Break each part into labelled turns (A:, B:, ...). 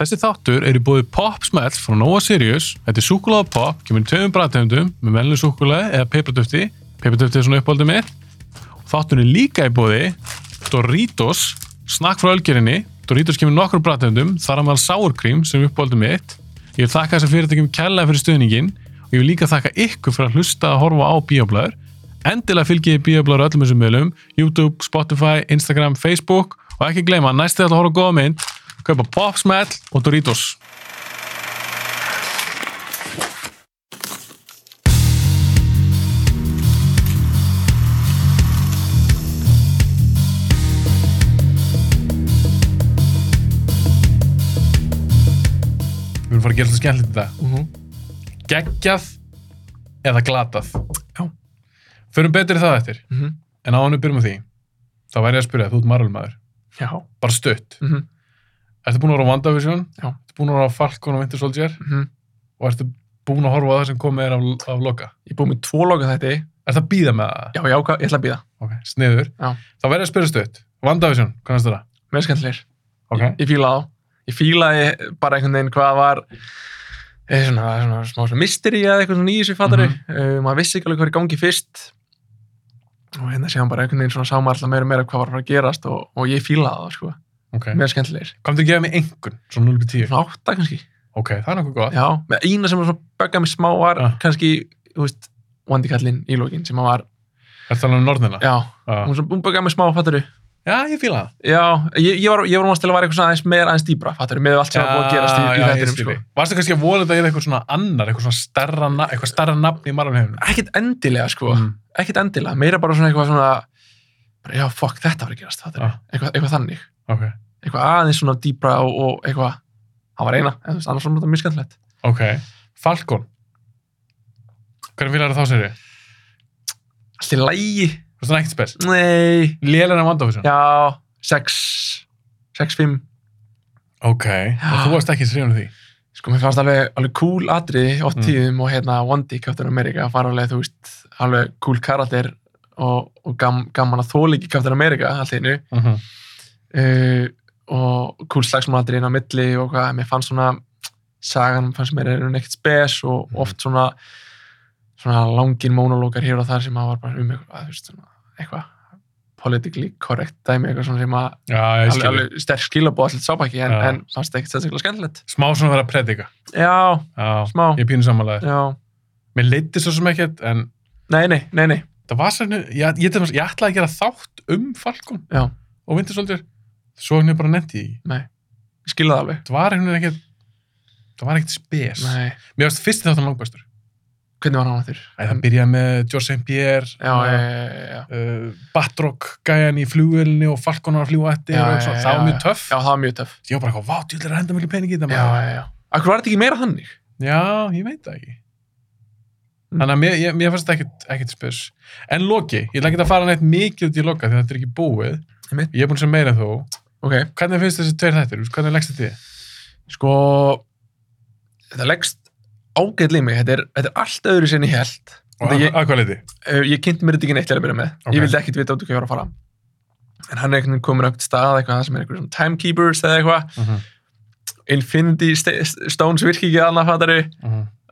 A: Þessi þáttur er í búið Popsmell frá Nova Sirius. Þetta er súkulega pop, kemur í tveimum bræðtegundum með melnum súkulega eða peipratöfti. Peipratöfti er svona uppáldið mitt. Þáttur er líka í búið Doritos, snakk frá ölgerinni. Doritos kemur í nokkrum bræðtegundum, þar að maður sárkrím sem er uppáldið mitt. Ég vil þakka þessar fyrirtækjum kærlega fyrir stuðningin og ég vil líka þakka ykkur fyrir að hlusta að horfa á bíoblæður. Endilega fylgjið bíoblæður öllum þessum meðlum, YouTube, Spotify, Instagram, Facebook og ekki gleyma, næstu þetta að horfa á góða mynd, kaupa Popsmell og Doritos. Við erum að fara að gera svolítið skemmtilegt þetta. geggjað eða glatað
B: Já.
A: förum betur í það eftir
B: Mhm.
A: en á hann við byrjum á því þá væri ég að spyrja, þú ert marulmaður
B: Já.
A: bara stutt,
B: Mm -hmm.
A: ertu búin að horfa á WandaVision
B: Já.
A: ertu búin að horfa á Falcon og Winter Soldier
B: Mm -hmm.
A: og ertu búin að horfa á það sem komið er af, af loka
B: Ég er búið með tvo loka þetta.
A: ertu að býða með það?
B: Já, já, hvað- ég ætla að býða.
A: ok, sniður,
B: Já.
A: þá væri ég að spyrja stutt WandaVision, hvað er það?
B: Mér er skemmtilegir.
A: ok,
B: Ég, ég fílaði á. Ég fílaði bara einhvern veginn hvað var eh, svona, svona, smá svona mystery eða eitthvað svona í
A: Mhm.
B: þessu fattari. Mm maður vissi ekki alveg hvað er í gangi fyrst. Og hérna séðan bara einhvern veginn svona sá maður alltaf meira og meira hvað var að fara að gerast og, og ég fílaði á það, sko.
A: ok
B: Mér er skemmtilegir.
A: komdu að gefa mig einhvern, svona 0-10
B: Svona átta kannski.
A: ok, það er nokkuð gott
B: Já, með eina sem var svona böggað mig smá var
A: Ah.
B: kannski, þú veist, Wandi Kallin í lókin sem að var,
A: ertu alveg um norðina?
B: já,
A: Já.
B: hún, svona- hún böggað mig smá, fattari.
A: já, ég fíla það
B: Já, ég, ég var, ég var umast til að vera eitthvað svona aðeins meira aðeins dýbra, fattur, með allt sem var búið að gerast í, í
A: Já, já, ég
B: þættinum,
A: skil
B: sko.
A: þig. Varstu kannski að vola þetta eða eitthvað svona annar, eitthvað svona starra, na eitthvað starra nafn í marulheiminu?
B: Ekkert endilega, sko,
A: Mm.
B: ekkert endilega, meira bara svona eitthvað svona, bara, já, fuck, þetta var að gerast, fattur,
A: Ah.
B: eitthvað, eitthvað þannig,
A: Ok,
B: eitthvað aðeins svona dýbra og, og eitthvað, það var eina, en þú veist, annars var þetta mjög skemmtilegt.
A: ok. Falcon. Hvernig vilja það þá sér þið?
B: Allt í lægi,
A: Þú veist það ekkert spes.
B: nei,
A: Lélan af Wandavision?
B: Mm. já, sex, sex, fimm,
A: Ok, og þú varst ekki sérjum því.
B: Sko, mér fannst alveg, alveg cool atriði oft
A: Mm.
B: tíðum og hérna Wandi, Captain America, var alveg, þú veist, alveg cool karakter og, og gam, gaman að þóla ekki Captain America allt í einu
A: Uh -huh.
B: uh, og cool slagsmálatriði inn á milli og hvað, mér fannst svona sagan fannst mér er hún ekkert spes og
A: Mm.
B: oft svona svona langin monologar hér og þar sem að var bara um eitthvað, þú veist, svona, eitthvað politically correct dæmi, eitthvað svona sem að
A: Já, ég
B: alveg,
A: skil þig.
B: alveg sterk skilabóð allir sábæki en,
A: Já.
B: en fannst ekkert sérstaklega skemmtilegt.
A: Smá svona verið að predika.
B: Já,
A: Já,
B: smá.
A: ég er pínu samanlega.
B: Já,
A: Mér leiti svo sem ekkert, en
B: Nei, nei, nei, nei.
A: það var sérnu, ég, ég, ég, ég ætlaði að gera þátt um Falcon
B: Já,
A: og Winter Soldier. Svo henni bara nefndi ég. ekki.
B: ég skilja það alveg.
A: Það var henni ekkert, það var ekkert spes.
B: Nei.
A: Mér varst fyrst þáttan langbæstur.
B: Hvernig var hann á þér?
A: Æ, Það byrjaði með George St. Pierre.
B: Mm. Já, já, já, já, já.
A: uh, Batrock gæjan í flugvelni og Falcon var að fljúa eftir
B: Já,
A: og eitthvað,
B: já,
A: það var
B: já,
A: mjög töff
B: Já, það var mjög töff.
A: ég var bara eitthvað, vá, djúlega er að henda miklu pening í þetta
B: Já,
A: maður."
B: já, já. Akkur var þetta ekki meira þannig?
A: já, ég veit það ekki
B: Mm.
A: þannig að mér, ég, mér fannst þetta ekkit, ekkit spes en Loki, ég ætla ekki að fara neitt mikið út í Loka því að þetta er ekki búið
B: Einmitt.
A: ég er búin að segja meira en þú
B: Ok.
A: hvernig finnst þessi tveir þættir, hvernig leggst þetta þið?
B: Sko, þetta leggst ágætlega í mig. Þetta er, þetta er allt öðru sinni held.
A: og
B: Þetta, ég,
A: að- að hvað leiti?
B: uh, ég kynnti mér þetta ekki neitt til að byrja með.
A: Ok.
B: Ég vildi ekkit vita út í hvað ég var að fara. En hann er einhvern veginn komin á einhvern stað, eitthvað sem er einhverjum timekeepers eða eitthvað. Infinity St- Stones virki ekki annað fattari.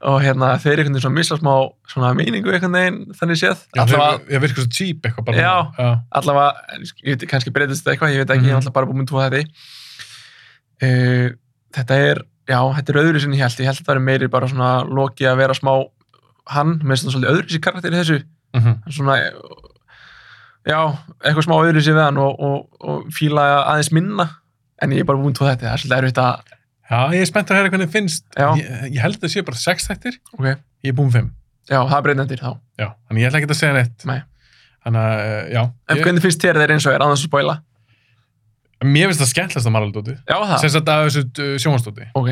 B: Og hérna, þeir einhvern veginn svona missa smá svona meiningu einhvern veginn, þannig séð. Allavega-
A: ég virkar svo cheap eitthvað bara
B: Já.
A: já,
B: allavega, en ég veit, kannski breytist þetta eitthvað, ég veit ekki, ég
A: Mhm.
B: er alltaf bara búin að tóa þetta uh, Þetta er, já, þetta er öðru sinni ég held, ég held að það er meiri bara svona loki að vera smá hann, með svona svolítið öðru sinni karakter í þessu,
A: Mhm.
B: svona eh, já, eitthvað smá öðru sinni við hann og, og, og fíla aðeins minna, en ég er bara búin að tóa þetta, það er svolítið erfitt að,
A: já, ég er spennt að heyra hvernig þið finnst
B: Já.
A: ég, ég held að það sé bara sex þættir
B: ok,
A: ég er búin fimm
B: já, það er breytnendir þá
A: Já, þannig ég ætla ekki að segja neitt.
B: Nei.
A: Þannig að, eh, já.
B: En
A: Ég,
B: hvernig finnst þér þeir eins og er, annars að spoila?
A: Mér finnst það skemmtilegast að Maraldóti.
B: Já, það,
A: Sess að það er þessu uh, sjónvarsdóti.
B: ok,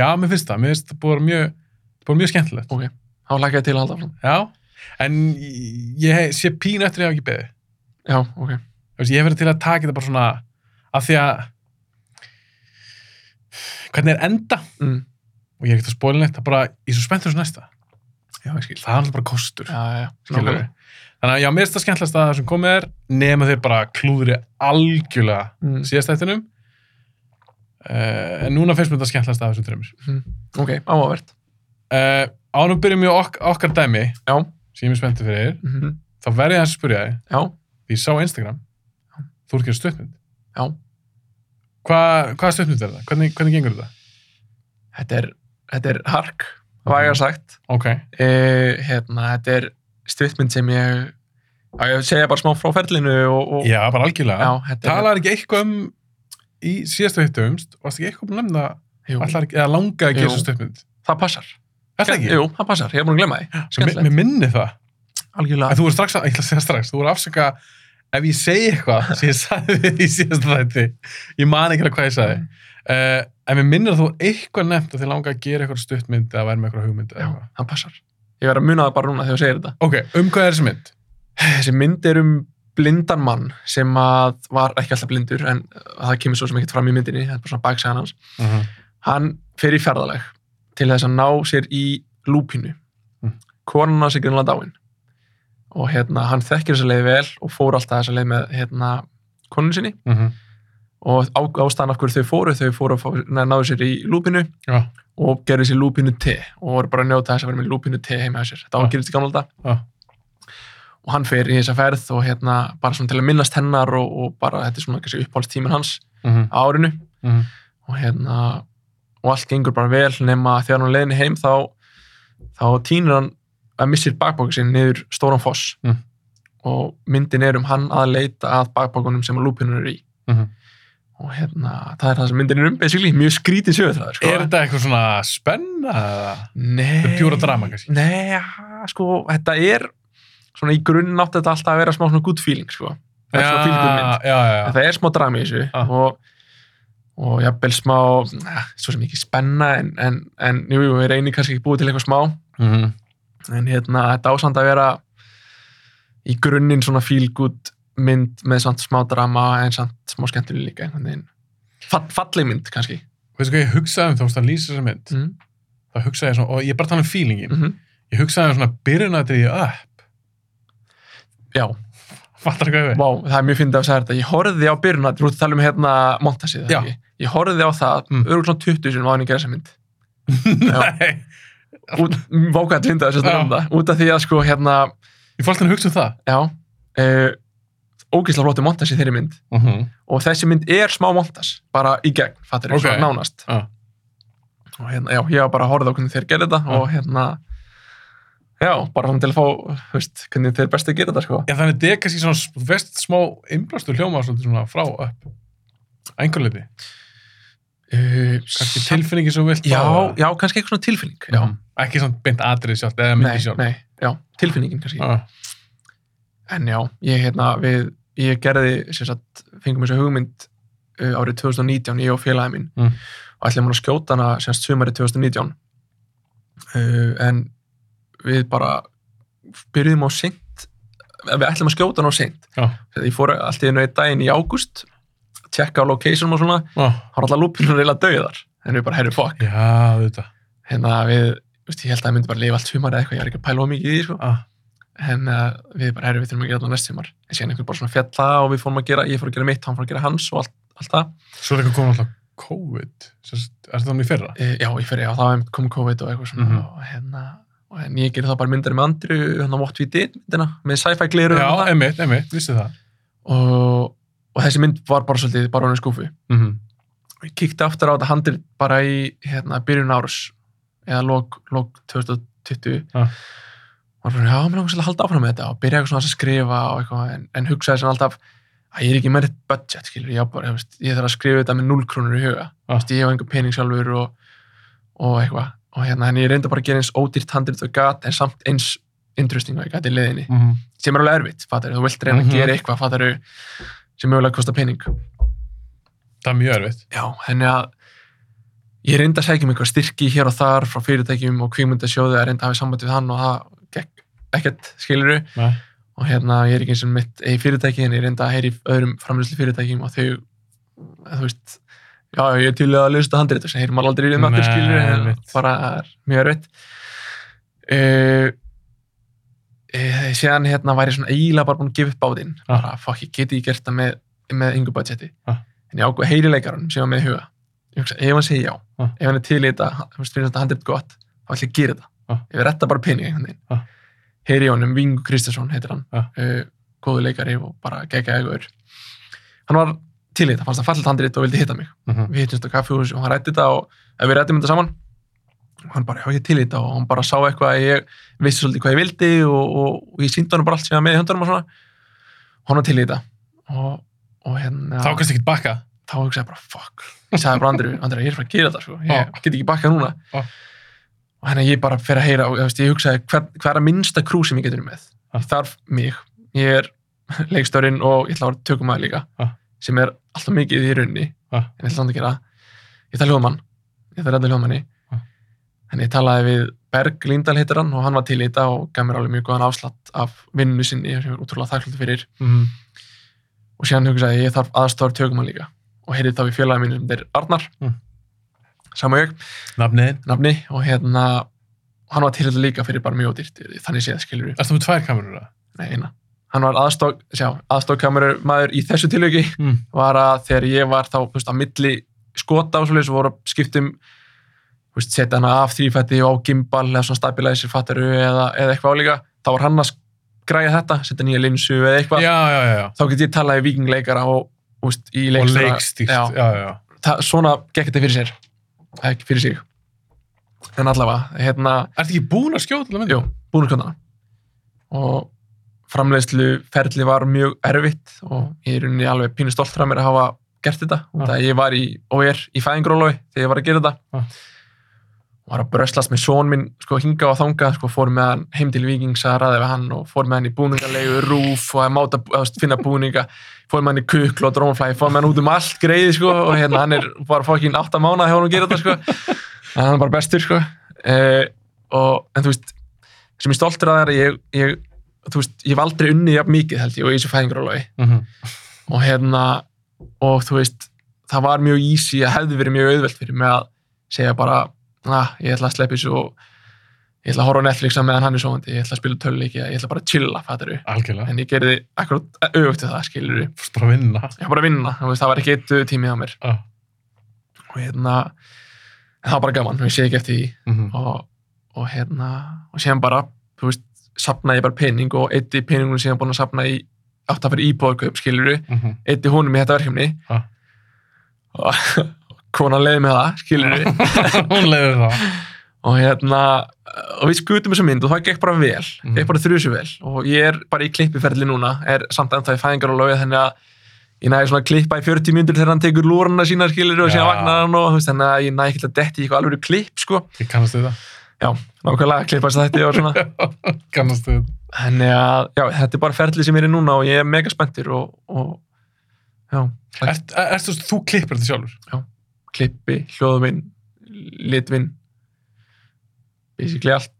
A: Já, mér finnst það. Mér finnst það búið mjög, búið mjög skemmtilegt.
B: þá lakka ég til að halda áfram.
A: Já, en ég- ég sé pínu eftir að ég hafa ekki beðið.
B: Já, ok,
A: Þú veist, Ég hef verið til að taka þetta bara svona af því að hvernig er enda
B: mm.
A: og ég er ekkert að spóla neitt, það bara, ég er svo spenntur þessu næsta.
B: já, ég skil
A: Það er alltaf bara kostur.
B: Já, já, já,
A: skilur við. Þannig að já, mér finnst það skemmtilegast að það sem komið er nema þeir bara klúðri algjörlega
B: Mm.
A: síðastættinum uh, en núna finnst mér þetta skemmtilegast af þessum þreymur
B: ok, áhugavert
A: uh, ánum byrjum við ok okkar dæmi
B: já,
A: sem ég er spenntið fyrir
B: mm
A: þá verð ég að spyrja þig,
B: já,
A: því ég sá á Instagram þú ert gerð stuttmynd
B: já
A: Hva, hvaða stuttmynd er það? Hvernig, hvernig gengur þetta?
B: þetta er, þetta er hark vægar
A: Mhm.
B: sagt
A: Ok,
B: uh, hérna, þetta er stuttmynd sem ég á ég að segja bara smá frá ferlinu og, og
A: já, bara algjörlega
B: já, þetta er
A: Talar ekki eitthvað um í síðastu hittumst, varst ekki eitthvað um nefna
B: jú,
A: allar, eða langa að
B: Jú.
A: gera þessu stuttmynd
B: það passar
A: Er það ekki?
B: jú, það passar, ég er búin að glemma því
A: Mér
B: skemmtilegt,
A: mér minni það
B: algjörlega
A: En þú voru strax, að, ég ætla að segja strax, þú voru að afsaka ef ég segi eitthvað sem ég sagði við í síðasta þætti. Ég man ekki alveg hvað ég sagði.
B: Mm,
A: Uh, en mér minnir að þú voru eitthvað nefnt að þið langa að gera eitthvað stuttmynd eða vera með eitthvað hugmynd eða
B: já,
A: eitthvað.
B: það passar ég verð að muna það bara núna þegar ég segir þetta
A: Ok, um hvað er þessi mynd?
B: þessi mynd er um blindan mann sem að var ekki alltaf blindur en það kemur svo sem ekkert fram í myndinni það er bara svona baksagan hans
A: Uh -huh.
B: hann fer í ferðaleg til þess að ná sér í lúpinu
A: Mm.
B: konan hans er grunlega dáin og hérna hann þekkir þessa leið vel og fór alltaf þessa leið með hérna konun sinni og á, ástæðan af hverju þau fóru þau fóru að fá- ná- náðu sér í lúpinu
A: Já,
B: og gerði sér lúpinu te og voru bara að njóta þess að vera með lúpinu te heima hjá sér þetta
A: Ah.
B: ágerist í gamla þetta
A: já,
B: og hann fer í þessa ferð og hérna bara svona til að minnast hennar og, og bara þetta er svona kannski uppáhaldstíminn hans
A: mhm,
B: á árinu
A: mhm,
B: og hérna og allt gengur bara vel nema þegar hann er á leiðinni heim þá þá týnir hann að missir bakbókin sinn niður stóran foss
A: Mm.
B: og myndin er um hann að leita að bakbókunum sem að lúpinur er í
A: mhm.
B: og hérna það er það sem myndin er um basically mjög skrítið sögutræður sko.
A: Er þetta eitthvað svona spenna? eða?
B: Nei,
A: Þetta er pjúra drama, kannski?
B: Nei, ja, sko, þetta er svona í grunn átti þetta alltaf að vera smá svona good feeling sko. það er svona feel good
A: já,
B: mynd
A: já,
B: En
A: já.
B: það er smá drama í þessu
A: Ah.
B: og, og jafnvel smá na, svo sem ekki spenna en, en, en jú, jú, við reynir kannski ekki búið til eitthvað smá
A: Mhm,
B: en hérna, þetta ásand að vera í grunninn svona feel good mynd með samt smá drama en samt smá skemmtileg líka einhvern veginn Fall, falleg mynd kannski
A: Veistu hvað ég hugsaði um þá, þú veist að lýsa þessa mynd?
B: mm
A: Það hugsaði ég svona, og ég er bara að tala um feelingin.
B: -hmm.
A: Ég hugsaði um svona byrjunadriði upp.
B: Já,
A: Fattar hvað ég við?
B: vá, það er mjög fyndið að segja þetta ég horfði á byrjunat, þú ert að tala um hérna montasið,
A: Já.
B: ekki? Ég horfði á það
A: Mm.
B: mm. örgulega svona 20 sem áðin ég gerði þessa mynd Já.
A: Nei,
B: Út- vákvæmt fyndið að
A: Já.
B: segja þetta um út af því að sko hérna
A: ég fórst hann að hugsa um það.
B: Já, uh, ógeðslega flottu montas í þeirri mynd
A: Uh -huh.
B: og þessi mynd er smá montas, bara í gegn, fattir
A: Ok.
B: ekki, okay. nánast.
A: Ah.
B: Og hérna, já, ég var bara að horfa á hvernig þeir gerði þetta
A: Ah.
B: og hérna, já, bara svona til að fá, þú veist, hvernig þeir bestu að gera þetta, sko.
A: Já, þannig að þetta er kannski svona vest smá innblastur hljóma svolítið svona frá og upp. Að Einhver leiti.
B: Uh,
A: Kannski tilfinningi Eh, sem þú vilt. fá,
B: Já,
A: eða?
B: já, kannski eitthvað svona tilfinning, já.
A: Mhm. Ekki svona beint atrið sjálft eða myndi
B: Nei,
A: sjálft.
B: nei, já, tilfinningin kannski.
A: Ah.
B: En já, ég hérna, við, ég gerði, sem sagt, fengum þessu hugmynd uh, árið 2019, ég og félagið minn
A: Mm.
B: og ætlum hún að skjóta hana sem sagt sumarið 2019 uh, en við bara byrjuðum á seint við ætlum að skjóta hana á seint
A: Já.
B: ég fór allt í einu einn daginn í ágúst tjekka á location og svona
A: Ah.
B: þá er alltaf lúpinur reyla dauðar en við bara, herri, fuck
A: Já, þetta.
B: hérna við, þú veist, ég held að það myndi bara lifa allt sumarið eða eitthvað, ég er ekki að pæla of mikið í því, sko
A: Ah.
B: en uh, við bara erum við þurfum að gera þetta næst sumar en síðan einhver bara svona fjalla og við fórum að gera ég fór að gera mitt, hann fór að gera hans og allt, allt það
A: Svo er eitthvað komin alltaf COVID. Sérst, er þetta þannig í fyrra?
B: e, já, ég fyrir, já, það var einmitt kom COVID og eitthvað svona
A: Mhm.
B: og hérna, og en ég gerði það bara myndar með andru, hann á What We Did myndina, með sci-fi gliru
A: Já,
B: og, það.
A: emitt, emitt, vissi það.
B: og, og þessi mynd var bara svolítið bara á henni skúfu
A: Mm
B: og ég kíkti aftur á þetta handrit bara í hérna, byrjun árs eða lok, lok 2020
A: Ah.
B: og hann fyrir, já, mér langar svolítið að halda áfram með þetta og byrja eitthvað svona aðeins að skrifa og eitthvað en, en hugsaði sem alltaf að ég er ekki með rétt budget, skilur, ég, á bara, ég, veist, ég þarf að skrifa þetta með 0 krónur í huga
A: Ah.
B: Þú veist, ég hef enga pening sjálfur og, og eitthvað og hérna, en ég reynda bara að gera eins ódýrt handrit og gat en samt eins interesting og ég gat í leiðinni
A: -hmm.
B: sem er alveg erfitt, fattar, þú vilt reyna
A: Mhm.
B: að gera eitthvað, fattar, sem mögulega kostar pening
A: Það er mjög erfitt.
B: Já, henni að ég reyndi að segja um eitthvað styrki hér og þar frá fyrirtækjum og kvíkmyndasjóði að reyndi að hafa sambandi við hann og það gekk ekkert skiluru
A: Nei.
B: og hérna ég er ekki eins og mitt í fyrirtæki en ég reyndi að heyri öðrum framlýslu fyrirtækjum og þau, eh, þú veist já, ég er til í að lýsta handrið þess að heyri maður aldrei í þeim
A: Nei,
B: allir skiluru en
A: einmitt.
B: bara það er mjög erfitt uh, uh, síðan hérna var ég svona eiginlega bara búin að gefa upp bátinn
A: Ah.
B: bara fuck, ég geti ég gert það með, með yngu budgeti
A: Ah.
B: en ég ákveð heyrileikarann sko, sem ég var með í huga ég ég hugsa, ef hann segir já,
A: Ah.
B: ef hann er til í þetta, þú veist, finnst þetta handrit gott, þá ætla ég að gera þetta.
A: Ah.
B: Ég verð retta bara pening einhvern veginn.
A: Ah.
B: Heyri í honum, Vingu Kristjánsson heitir hann,
A: Ah.
B: uh, góðu leikari og bara geggja egur. Hann var til í þetta, fannst það fallið handrit og vildi hitta mig.
A: Mhm.
B: Við hittumst á kaffihús og hann rætti þetta og eh, við rættum þetta saman. Og hann bara, já, ég er til í þetta og hann bara sá eitthvað að ég vissi svolítið hvað ég vildi og, og, og ég síndi honum bara allt sem ég var með í höndunum og svona. Og hann var til í þetta. Og, og hérna...
A: Þá kannski ekkert bakka.
B: þá hugsaði ég bara, fuck ég sagði bara Andri, Andri, ég er bara að gera þetta sko. ég
A: Já.
B: get ekki bakkað núna
A: Já.
B: og hérna ég bara fer að heyra og ég, veist, ég hugsaði, hver, hver er að minnsta krú sem ég getur verið með
A: Já.
B: ég þarf mig, ég er leikstörinn og ég ætla að vera tökumæður líka
A: Já.
B: sem er alltaf mikið í raunni
A: Já.
B: en ég ætla samt að gera ég ætla hljóðmann, ég ætla að redda hljóðmanni
A: Já.
B: en ég talaði við Berg Lindahl heitir hann og hann var til í þetta og gaf mér alveg mjög góðan afslatt af vinnu sinni sem ég er útrúlega þakkláttur fyrir
A: Mhm.
B: og síðan hugsaði ég, ég þarf aðstofar tökumann líka og heyrði þá við félagi mínu sem þeir Arnar
A: Mm.
B: sama ég,
A: Nafnið.
B: nafni og hérna hann var til þetta líka fyrir bara mjög dýrt þannig séð skilur við,
A: Erstu með tvær kamerur það?
B: nei eina hann var aðstof, sjá, aðstofkamerur maður í þessu tilviki
A: Mm.
B: var að þegar ég var þá, þú veist, á milli skota og svolítið, voru að skiptum þú veist, setja hana af þrýfætti og á gimbal eða svona stabilizer fattaru eða, eða eitthvað álíka, þá var hann að græja þetta, setja nýja linsu eða eitthvað
A: Já, já, já, já.
B: þá get ég talað í vikingleikara og úst, í
A: Og
B: leikstjóra
A: leikstýrt.
B: Já.
A: Já, já, já.
B: það, svona gekk þetta fyrir sér Eh, ekki fyrir sig en allavega, hérna,
A: Ertu ekki búin að skjóta alveg myndið?
B: jú, búinarskjöndana og framleiðslu ferli var mjög erfitt og ég er unni alveg pínu stoltur af mér að hafa gert þetta út af
A: Ah.
B: að ég var í, og er í fæðingrólaui þegar ég var að gera þetta
A: Ah.
B: var að bröslast með són minn sko hinga og þanga, sko fór með hann heim til Víkings að ræða við hann og fór með hann í búningalegu rúf og að máta, að finna búninga fór með hann í kukl og drómaflæði fór með hann út um allt greiði sko og hérna hann er bara fokkin 8 mánuð hjá hann að gera þetta sko en hann er bara bestur sko eh, og, en þú veist sem ég stoltur að það er að ég, ég þú veist, ég hef aldrei unnið jafn mikið held ég og í þessu fæðingarólaui
A: Mhm.
B: og hérna og þú veist, það var mjög easy að hefði verið mjög auðvelt fyrir mig að segja bara, að ég ætla að sleppi þessu og ég ætla að horfa á Netflix að meðan hann er svoandi, ég ætla að spila töluleiki ég ætla bara að chilla, fattar
A: Algjörlega.
B: en ég gerði akkurat auðvögt við það, skilur
A: Fórst bara að vinna. Ah.
B: ég var bara að vinna, þú veist, það var ekki eitt tími á mér
A: Já.
B: og hérna en það var bara gaman, ég sé ekki eftir því
A: Mhm.
B: og, og hérna og síðan bara, þú veist, sapnaði ég bara pening og eitt í peningunum síðan búin að sapna í átt að fyrir íbúðarkaup, skilur
A: Mhm.
B: eitt í húnum í þetta verkefni
A: Ha.
B: og konan leiði með það, skilur
A: Hún leiði það.
B: og hérna, og við skutum þessu mynd og það gekk bara vel,
A: Mhm.
B: gekk bara þrjusu vel og ég er bara í klippiferli núna er samt ennþá í fæðingar og lögið þannig að ég næði svona að klippa í 40 myndur þegar hann tekur lúrana sína skilur og
A: Já.
B: síðan vagnar hann og þú veist, þannig að ég næði ekki að detti í eitthvað alveg klipp sko,
A: Ég kannast við það.
B: nákvæmlega klippast þetta og svona
A: kannast við það.
B: þannig að, já, þetta er bara ferli sem ég er í núna og ég er mega spenntur og, og já,
A: Ert, er, ertu, þú klippir þetta sjálfur?
B: klippi, hljóðvinn litvinn basically allt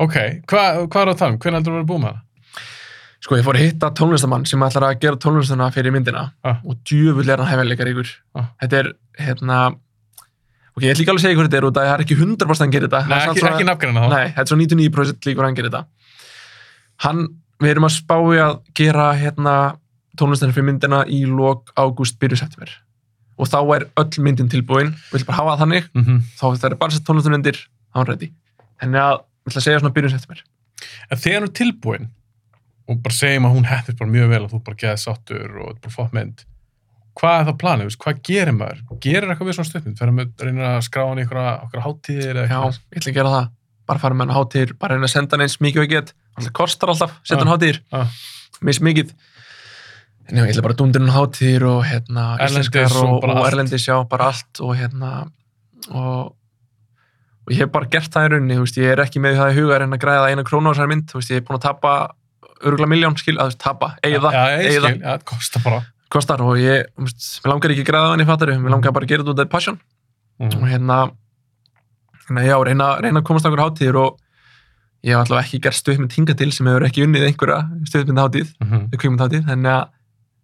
A: Ok, hvað hva er það að tala um? Hvernig heldur þú að vera búið með það?
B: sko ég fór að hitta tónlistamann sem ætlar að gera tónlistana fyrir myndina
A: Ah.
B: og djöfull er hann hefðarleikar ykkur
A: Ah.
B: þetta er hérna ok, ég ætla ekki alveg að segja hvað þetta er út af að það er ekki 100% hann gerir þetta
A: Nei,
B: Það er
A: ekki,
B: samt
A: ekki
B: svona,
A: nafngreina þá.
B: nei, þetta er svo 99% líkur hann gerir þetta hann, við erum að spája að gera hérna tónlistana fyrir myndina í lok ágúst byrju september og þá er öll myndin tilbúin og ég vil bara hafa það þannig
A: Mm
B: þá það er bara sett tónlistin undir þá er hann ready þannig að ég ætla að segja svona byrjun september
A: En þegar hún er tilbúin og bara segjum að hún hættir bara mjög vel og þú bara geðið sáttur og þetta er bara fótt mynd hvað er það planið, veist, hvað gerir maður? Gerir eitthvað við svona stöfnum? Þegar maður reynir að skrá hann í einhverja okkur hátíðir eða
B: já,
A: eitthvað?
B: ég ætla að gera það bara fara með hann á hátir, bara reyna að senda hann eins mikið og ég get alltaf kostar alltaf, setja hann á hátir
A: Já.
B: mis mikið en já, ég ætla bara að dúndur hann á hátir og hérna,
A: Erlendis
B: íslenskar
A: og
B: og,
A: bara
B: og
A: allt.
B: erlendis já, bara allt og hérna og, og ég hef bara gert það í rauninni, þú veist, ég er ekki með það í huga en að græða eina krónu á þessari mynd, þú veist, ég er búin að tapa örgulega miljón, skil, að þú veist, tapa, eigða,
A: Já, ég
B: eigða.
A: skil, já, það kostar bara.
B: kostar og ég, þú veist, mér langar ekki að græða á henni fattari, mér langar bara að gera þetta út af passion og
A: Mm.
B: hérna, hérna já, reyna, reyna að komast á einhver hátíðir og ég hef allavega ekki gert stuðmynd hinga til sem hefur ekki unnið einhverja stuðmynd hátíð,
A: Mhm.
B: kvíkmynd hátíð þannig að,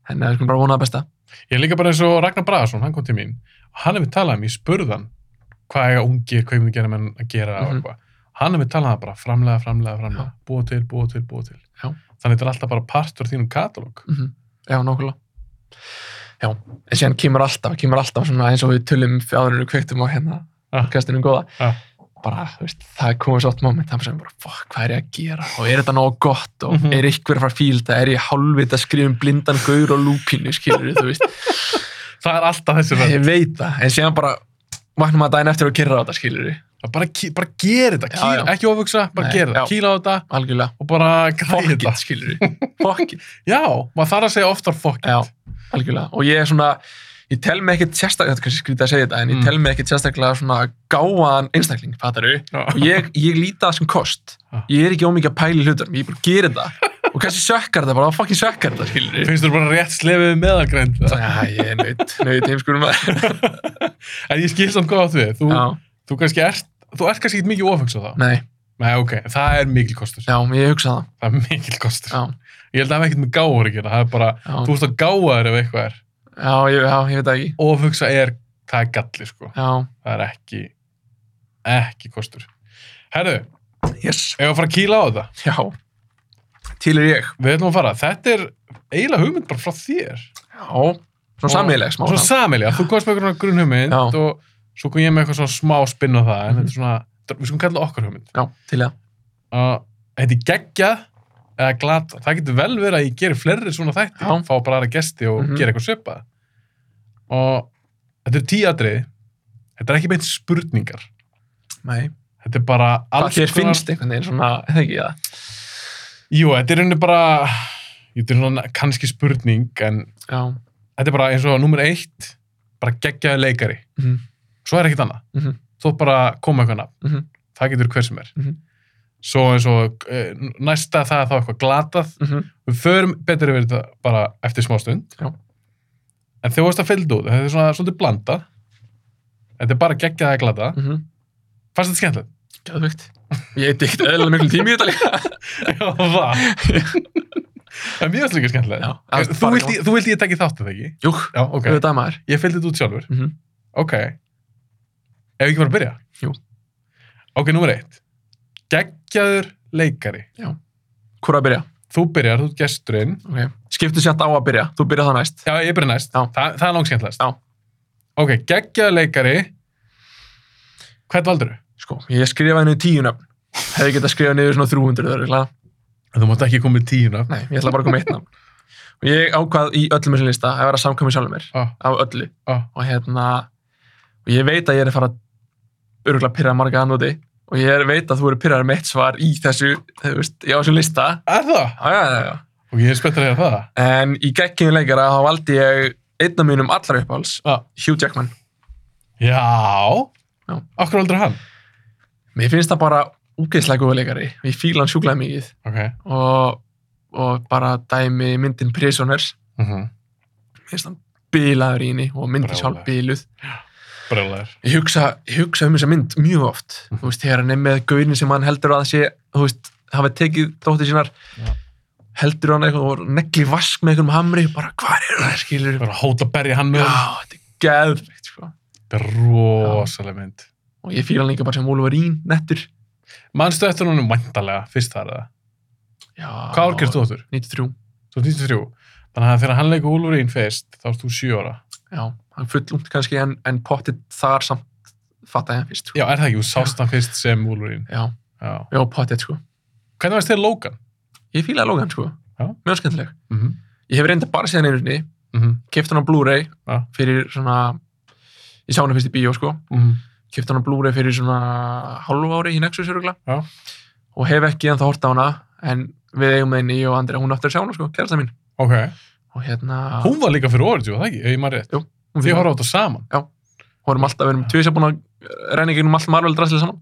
B: þannig að við skulum bara vona það besta
A: Ég er líka bara eins og Ragnar Braðarsson, hann kom til mín og hann hefur talað um, ég spurði hann hvað eiga ungir, hvað hefur gerað menn að gera og
B: Mhm.
A: eitthvað. Hann hefur talað um það bara framlega, framlega, framlega, búa til, búa til, búa til.
B: Já.
A: Þannig þetta er alltaf bara partur af þínum katalóg.
B: mm já, nákvæmlega Mhm. Já, en síðan kemur alltaf, kemur alltaf svona eins og við tölum fjárinu kveiktum á hérna,
A: Ah.
B: kastinum góða.
A: Ah.
B: Bara, þú veist, það er komið svo oft moment, það sem bara, fuck, hvað er ég að gera? Og er þetta nógu gott? Og
A: Mhm.
B: er ykkur að fara að fílda? Er ég hálfvit að skrifa um blindan gaur og lúpínu, skilur þú veist?
A: Það er alltaf þessi
B: ég veit það, en síðan bara vaknum að daginn eftir og kerra á þetta, skilur
A: Bara, ki- bara gera þetta,
B: Já,
A: kýla,
B: já.
A: ekki ofugsa, bara
B: Nei,
A: gera þetta,
B: já.
A: kýla á þetta
B: Algjörlega.
A: og bara
B: Fuck
A: græði
B: it,
A: þetta.
B: skilur Fuck it.
A: Já, maður þarf að segja oftar fuck it.
B: Já, algjörlega. Og ég er svona, ég tel mig ekkit sérstaklega, þetta er kannski skrítið að segja þetta, en ég
A: Mm.
B: tel mig ekkit sérstaklega svona gáðan einstakling, fattar og ég, ég líti það sem kost
A: Já.
B: ég er ekki ómikið að pæla í hlutunum ég bara gerir það og kannski sökkar það bara, þá fucking sökkar það skilur
A: Finnst þú bara rétt slefið meðalgrænd?
B: ég er nöyt, nöyt heimskurum
A: En ég skil samt hvað á því. Þú,
B: já,
A: þú kannski ert, þú ert kannski ekki mikið ofugsa það.
B: nei,
A: Nei, ok, það er mikil kostur.
B: já, ég hugsa það
A: Það er mikil kostur.
B: já,
A: Ég held að það er ekkert með gáður að gera. Það er bara,
B: já,
A: þú ert að gáða þér ef eitthvað er.
B: já, ég, já, ég veit það ekki
A: Ofugsa er, það er galli, sko.
B: já,
A: Það er ekki, ekki kostur. Herðu,
B: yes,
A: ef að fara að kýla á þetta.
B: já til er ég
A: Við ætlum að fara. Þetta er eiginlega hugmynd bara frá þér.
B: já, svona sammeðileg smá
A: Svona
B: svona.
A: samilega. Þú komst með einhvern grunn hugmynd
B: Já.
A: og svo kom ég með eitthvað svona smá spinn á það. En
B: Mhm.
A: þetta er svona, við skulum kalla okkar hugmynd.
B: já, til það,
A: að þetta er geggjað eða glata. Það getur vel verið að ég gerir fleiri svona þætti,
B: Já.
A: fá bara aðra gesti og
B: Mhm.
A: gera eitthvað svipað. Og þetta er tíu atrið. Þetta er ekki beint spurningar.
B: nei
A: Þetta er bara
B: hvað þér finnst einhvern veginn svona, eða ekki það
A: Jú, þetta er rauninni bara, jú, þetta er svona kannski spurning, en
B: já,
A: þetta er bara eins og nummer eitt, bara geggjaði leikari.
B: Mhm.
A: Svo er ekkert annað.
B: Mhm.
A: Þú átt bara að koma með eitthvað nafn.
B: Mhm.
A: Það getur hver sem er.
B: Mhm.
A: Svo eins og eh, næsta það er þá eitthvað glatað.
B: mhm,
A: við förum betur yfir þetta bara eftir smá stund
B: Já.
A: en þegar þú varst að fylgdu út þetta er svona svolítið blanda þetta er bara geggjað að glata
B: mhm
A: fannst þetta skemmtilegt?
B: Gæðvögt. Ég eitthvað ekkert eðlilega miklu tími í þetta líka.
A: Já, það en mér varst líka skemmtilegt
B: Já,
A: þú vilt, ég, þú vilt ég tekið þáttu þegar ekki?
B: Jú,
A: Já, ok.
B: auðvitað maður.
A: Ég fylgdi þetta út sjálfur.
B: Mhm.
A: Ok. Ef við ekki bara að byrja?
B: Jú.
A: Ok, númer eitt. Geggjaður leikari.
B: Hvor að byrja?
A: Þú byrjar, þú ert gesturinn.
B: Okay. Skiptu sér á að byrja, þú byrja þá næst
A: Já, ég byrja næst.
B: Já.
A: Þa, það er langskemmtilegast.
B: Já.
A: Ok, geggjaður leikari. Hvern valdur þú?
B: Sko, ég skrifaði niður tíu nöfn Hefði getað skrifað niður svona 300 örugglega.
A: Þú mátt ekki koma með tíuna.
B: Nei, ég ætla bara að koma með eitt nöfn Og ég ákvað í öllum þessum lista að vera samkvæmur sjálfur mér
A: Ah,
B: Af öllu
A: ah,
B: Og hérna Og ég veit að ég er að fara Öruglega pyrraða marga annúti Og ég er- veit að þú eru pyrraður með eitt svar í þessu Þú veist, já, þessu lista
A: er það?
B: Já, já, já, já
A: Og ég er spettur að heyra það.
B: En í geggjum leikara þá valdi ég einn af mínum allra uppáhals
A: Ah.
B: Hugh Jackman
A: Já.
B: Já.
A: Akkur aldrei hann?
B: Mér finnst það bara úgeðslega góða leikari Ég fíla hann sjúklaði mikið
A: Ok.
B: og, og bara dæmi myndin Prisoners
A: Mm -hmm.
B: Mér finnst hann bilaður í henni og myndin
A: Brjálæður.
B: sjálf biluð
A: Brjólaður.
B: ég hugsa, ég hugsa um þessa mynd mjög oft
A: Mhm.
B: þú veist, þegar hann er með gaurin sem hann heldur að sé þú veist, hafa tekið dóttir sínar
A: Já.
B: heldur hann eitthvað og negli vask með einhverjum hamri bara hvað er það skilur
A: Það er að hóta að berja hann með
B: já,
A: hann.
B: þetta er geðveikt sko.
A: Þetta er rosalega mynd.
B: og ég fíla hann líka bara sem Wolverine nettur
A: Manstu eftir hann vandalega fyrst þar eða?
B: já,
A: Hvað ár gerst þú áttur?
B: 93,
A: Þú ert 93. Þannig að þegar hann leikur Wolverine fyrst, þá erst þú 7 ára.
B: já, hann fullumt kannski en, en pottit þar samt fatta ég hann fyrst sko.
A: Já, er það ekki? Þú sást hann fyrst sem Wolverine.
B: já,
A: Já.
B: já pottit sko
A: Hvernig varst þér Logan?
B: Ég fílaði Logan sko,
A: Já.
B: mjög skemmtileg.
A: Mm -hmm.
B: Ég hef reynda bara séðan einu sinni,
A: Mm -hmm.
B: keft hann á Blu-ray
A: Já.
B: fyrir svona, ég sá hann fyrst í bíó sko,
A: Mhm.
B: keft hann á Blu-ray fyrir svona hálfu ári í Nexus örugla
A: Já.
B: og hef ekki ennþá hort á hana en við eigum með henni ég og Andri, hún aftur að sjá hana sko, kærasta mín.
A: Ok.
B: Og hérna,
A: Hún var líka fyrir orðið, var það ekki? Ef ég maður rétt.
B: hún
A: Þið
B: fyrir
A: horfa á þetta saman.
B: Hún erum alltaf, við erum tvisja búin að reyna í gegnum allt Marvel drastlið saman.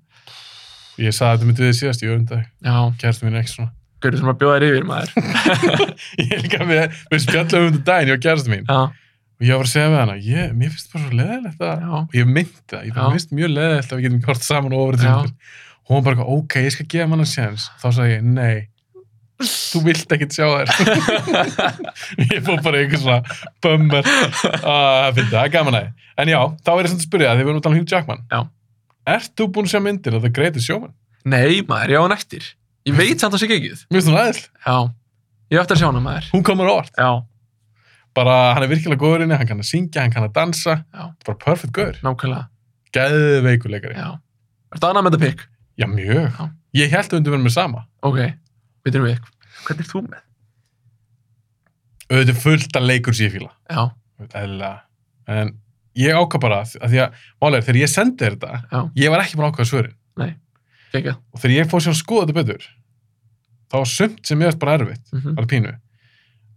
A: Ég saði þetta myndið þið síðast, ég öfndag.
B: Já,
A: Kærastu mín er ekki svona.
B: gaurið sem að bjóða þér yfir maður.
A: ég er líka með, með spjallum um þetta daginn, ég og kærastu mín.
B: Já,
A: Og ég var að segja við hana, ég, mér finnst bara svo leðilegt að,
B: já,
A: og ég myndi það, ég bara,
B: Já.
A: mér finnst mjög leðilegt að við getum ekki hort saman og ofrið
B: Já.
A: til Og hún bara, eitthvað, ok, ég skal gefa manna séns. Þá sagði ég, nei, þú vilt ekkert sjá þér. ég fór bara í einhver svona bömmar að finna, það er gaman að þið. En já, þá er ég samt að spyrja það, þegar við erum að tala um Hugh Jackman.
B: Já.
A: Ert þú búin að sjá myndir að það greiði sjóman?
B: nei maður, já, hann eftir. Ég veit samt að það sé ekki
A: Mér finnst hún aðeins,
B: Já, ég á eftir að sjá hana maður.
A: hún komur óvart.
B: Já,
A: bara hann er virkilega góður inni, hann kann að syngja, hann kann að dansa
B: Já.
A: bara perfect góður,
B: nákvæmlega,
A: geðveikuleikari já.
B: já. Ertu annað með þetta pikk?
A: já, mjög,
B: Já.
A: ég held að undir verðum með sama
B: Ok, byrjum við ykkur. Hvernig er þú með?
A: auðvitað er fullt að leikur sér fíla
B: Já,
A: eðlilega, en ég ákvað bara að að því að, málega, þegar ég sendi þér þetta
B: Já.
A: ég var ekki búin að ákvaða svörin
B: geggjað.
A: og þegar ég fór sér að skoða þetta betur þá var sumt sem ég veist bara erfitt
B: Mm -hmm.
A: bara pínu
B: Já,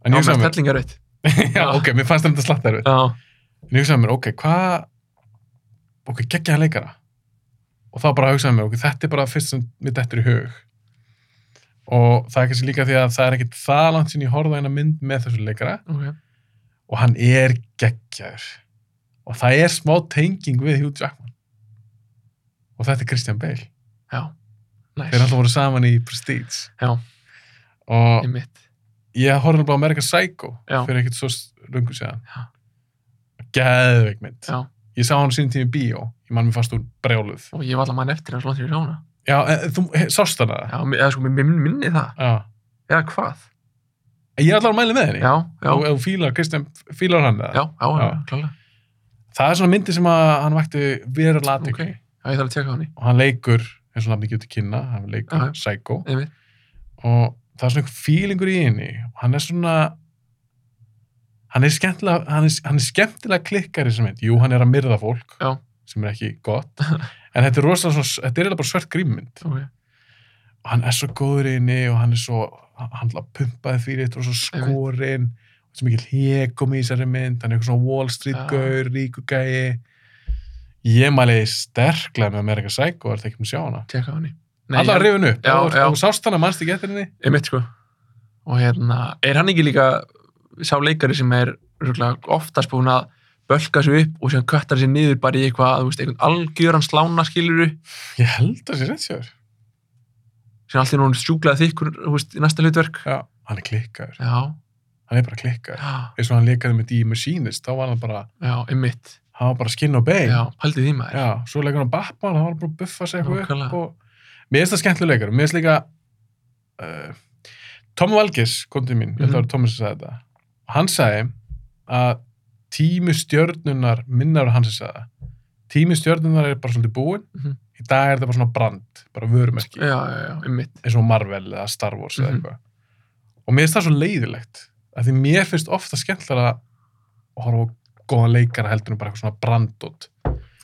A: en ég
B: með
A: sagði mér,
B: stellingar veit.
A: já, ok, mér fannst þetta slatt erfitt
B: Já,
A: en ég sagði mér, ok, hvað ok, geggjaða leikara og þá bara hugsaði mér, ok, þetta er bara fyrst sem mér dettur í hug og það er kannski líka því að það er ekkit það langt sín ég horfði á eina mynd með þessu leikara
B: ok.
A: og hann er geggjaður og það er smá tenging við Hugh Jackman og þetta er Christian Bale
B: Já, næs.
A: þeir alltaf voru saman í Prestige
B: Já.
A: og
B: Í mitt.
A: ég horfði alveg á American Psycho
B: Já.
A: fyrir ekkert svo lungu séðan
B: Já.
A: geðveik mynd
B: Já.
A: ég sá hann sínum tími í bíó ég mann mér fast úr brjáluð
B: Og ég var allan mann eftir hans langt fyrir hana.
A: já, en, þú he- sást hann að
B: Já, mi- eða sko, mér minn, minni það.
A: það
B: Eða hvað?
A: ég er allavega að mæla með henni
B: Já, já,
A: og ef þú fílar, Christian fílar hann eða?
B: já, já, já,
A: Já.
B: klálega.
A: það er svona myndi sem að hann vakti vera latik
B: Ok. Já, ég þarf að tjekka á henni.
A: og hann leikur eins og nafni getur kynna, hann leikur
B: Já, já.
A: Psycho
B: Í mitt.
A: og það er svona einhver fílingur í henni og hann er svona hann er skemmtilega hann er, hann er skemmtilega klikkar í þessum mynd jú, hann er að myrða fólk
B: Já.
A: sem er ekki gott en þetta er rosalega svona, þetta er eiginlega bara svört grímmynd
B: Ok,
A: og hann er svo góður í henni og hann er svo hann er að pumpaði fyrir þetta og svo
B: Einmitt.
A: skorinn og svo mikil hekum í þessari mynd hann er eitthvað svona Wall Street
B: Já.
A: gaur, ríkugæi ég mæli sterklega með America Psycho er það ekki með sjá hana
B: tjekka á henni. Nei,
A: allar
B: ég-
A: rifin upp
B: Já,
A: og,
B: já.
A: og sást hana mannst ekki eftir henni
B: Í mitt, sko. Og hérna, er hann ekki líka sá leikari sem er rúkla, oftast búin að bölka sig upp og sem köttar sig niður bara í eitthvað, þú veist, einhvern algjöran slána skiluru
A: ég held að það sé rétt sér
B: sem allt í núna sjúklaði þykkur þú veist, í næsta hlutverk
A: Já, hann er klikkaður.
B: já,
A: Hann er bara klikkaður.
B: já,
A: Eins og hann leikaði með The Machinist, þá var hann bara,
B: já, ymmit
A: hann var bara skinn og bein.
B: já, paldið því maður
A: Já, svo leikur hann Batman, hann var bara að buffa sig eitthvað
B: Nákvæmlega.
A: upp og... Mér finnst það skemmtileg leikar. Mér finnst líka... Uh, Tom Valgis kom til mín, ég held að það
B: Mhm.
A: var Thomas sem sagði þetta. Hann sagði að tími stjörnunar minnar hann sem sagði það. Tími stjörnunar er bara svolítið búinn.
B: Mhm.
A: Í dag er þetta bara svona brand, bara vörumerki.
B: já, já, já, ymmit
A: eins og Marvel eða Star Wars eða
B: Mhm.
A: eitthvað og mér finnst það svo leiðilegt af því mér finnst ofta skemmtilega að horfa á góðan leikara heldur en bara eitthvað svona brandot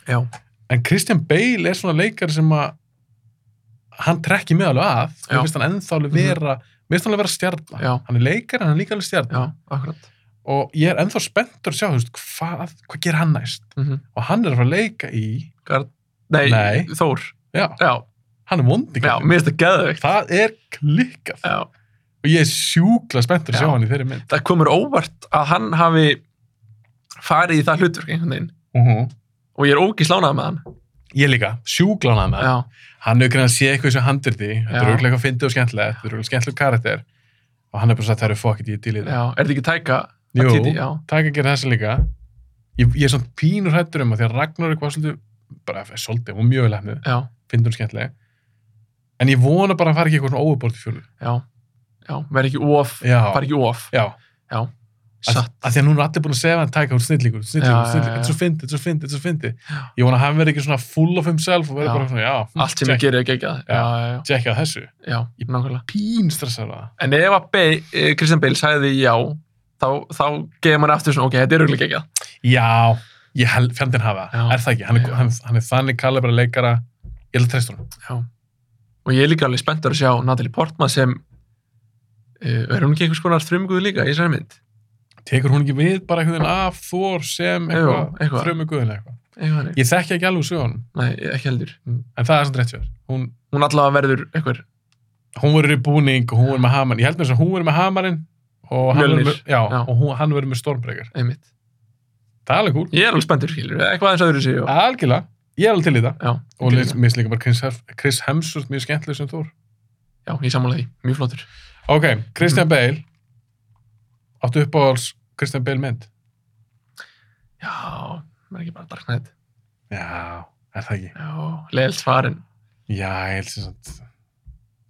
B: já,
A: en Christian Bale er svona leikari sem að hann trekki með alveg að
B: Já.
A: mér finnst hann ennþá alveg
B: Mhm.
A: vera mér finnst hann alveg vera stjarnar
B: Já.
A: hann er leikari en hann er líka alveg stjarnar
B: já, akkurat
A: og ég er ennþá spenntur að sjá þú veist, hvað, hvað ger hann næst
B: mm
A: og hann er að fara að leika í
B: Gard... nei,
A: Nei.
B: Þór
A: já,
B: já,
A: hann er vondi
B: já,
A: kallinn.
B: mér finnst það geðveikt
A: það er klikkað
B: já,
A: og ég er sjúkla spenntur að
B: Já.
A: sjá hann í þeirri mynd
B: það komur óvart að hann hafi farið í það hlutverk einhvern veginn
A: uh
B: og ég er ógið slánað með hann
A: Ég líka, sjúklan hann
B: já,
A: Hann hefur greið að sé eitthvað sem handurði Þetta er
B: Já.
A: auðvitað eitthvað fyndið og skemmtilegt Þetta er auðvitað skemmtileg karakter Og hann er bara sagt, það eru fokkit í dýlið
B: já, er þetta ekki tæka
A: Jú.
B: Að Titi, já,
A: Takk að gera þessi líka Ég, ég er svona pínur hættur um að því að Ragnar var svolítið bara er svolítið, hún var mjög lefnið
B: já,
A: Fyndið hún skemmtileg En ég vona bara að hann fari ekki eitthvað svona óubort í fjölu
B: já, já verð ekki of, fari
A: Já,
B: ekki of
A: já Að,
B: satt,
A: að því að núna er allir búin að segja hann tæka hún snillíkur, snillíkur,
B: Já, já,
A: snillíkur,
B: já.
A: þetta er svo fyndið, þetta er svo fyndið, þetta er svo fyndið.
B: Já.
A: Ég vona að hann verði ekki svona full of himself og verði
B: Já.
A: bara svona, já, hm,
B: allt sem ég
A: check-
B: gerir er gegjað já, já, já,
A: check á þessu.
B: já,
A: Ég-
B: nákvæmlega
A: Pín stressar það.
B: En ef að Be eh, Christian Bale sagði já, þá, þá gefur maður aftur svona, ok, þetta er auðvitað ekki að.
A: Já, ég held, fjandinn hafa það,
B: Já.
A: er það ekki, hann er,
B: Já.
A: hann, hann er þannig kallar bara leikara, ég held að treysta honum.
B: Og ég er líka alveg spenntur að sjá Natalie Portman sem, uh, er hún ekki einhvers konar þrjumguð líka í þessari mynd?
A: Tekur hún ekki við bara einhvern veginn af Þór sem
B: Jú, eitthvað.
A: eitthvað, þrjömu guðin eitthvað.
B: Eitthvað hannig?
A: Ég þekki ekki alveg sögunum,
B: Nei, ekki heldur.
A: en það er samt rétt fyrir. Hún,
B: Hún allavega verður eitthvað,
A: hún verður í búning og hún verður með hamarinn, ég held með þess að hún verður með hamarinn og hann verður
B: Mjölnir.
A: með, já,
B: Já.
A: og hún, hann verður með stormbreykar.
B: einmitt.
A: Það er alveg kúl,
B: Ég er alveg spenntur, skilur, eitthvað aðeins öðru sig og...
A: algjörlega, ég er alveg til í það.
B: Já,
A: Og
B: til í
A: mér
B: það.
A: finnst líka bara Chris, Hef- Chris Hemsworth mjög skemmtileg sem Þór.
B: Já, ég sammála því, mjög flottur.
A: Ok, Christian Bale, áttu uppáhalds Christian Bale mynd?
B: Já, maður er ekki bara Dark Knight.
A: Já, er það ekki?
B: Já, leiðilt svarinn.
A: Já, ég held sem sagt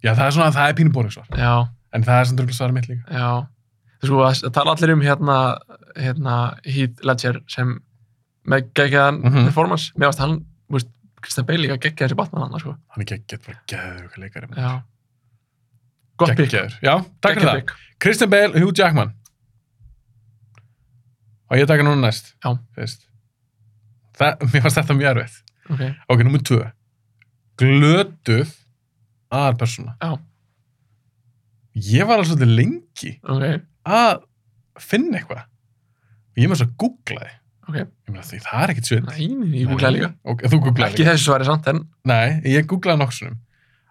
A: Já, það er svona, það er pínubóring svar
B: Já,
A: En það er sem drögglega svarið mitt líka
B: já. Þú sko, það það tala allir um hérna hérna, Heath Ledger sem með geggjaðan
A: Mhm.
B: performance mér varst hann, þú veist, Christian Bale líka geggjaðan sér Batman hann, sko
A: Hann er geggjæður, bara geðugur leikari. maður.
B: Já. gott bygg,
A: Geggjaður. Já, takk fyrir það.
B: geggjað bygg
A: Christian Bale, Hugh Jackman. Og ég taka núna næst.
B: Já.
A: Fyrst. Það, mér fannst þetta mjög erfið.
B: okay.
A: Ok, nummer tvö. Glötuð aðalpersona.
B: Já.
A: Ég var alveg svolítið lengi
B: ok,
A: að finna eitthvað. Og ég með þess að googlaði.
B: ok,
A: Ég meina því, það er ekkert svinn.
B: næn, ég googlaði líka
A: Ok, þú googlaði
B: ekki
A: líka.
B: þessu svari samt, en
A: Nei, ég googlaði nokksunum.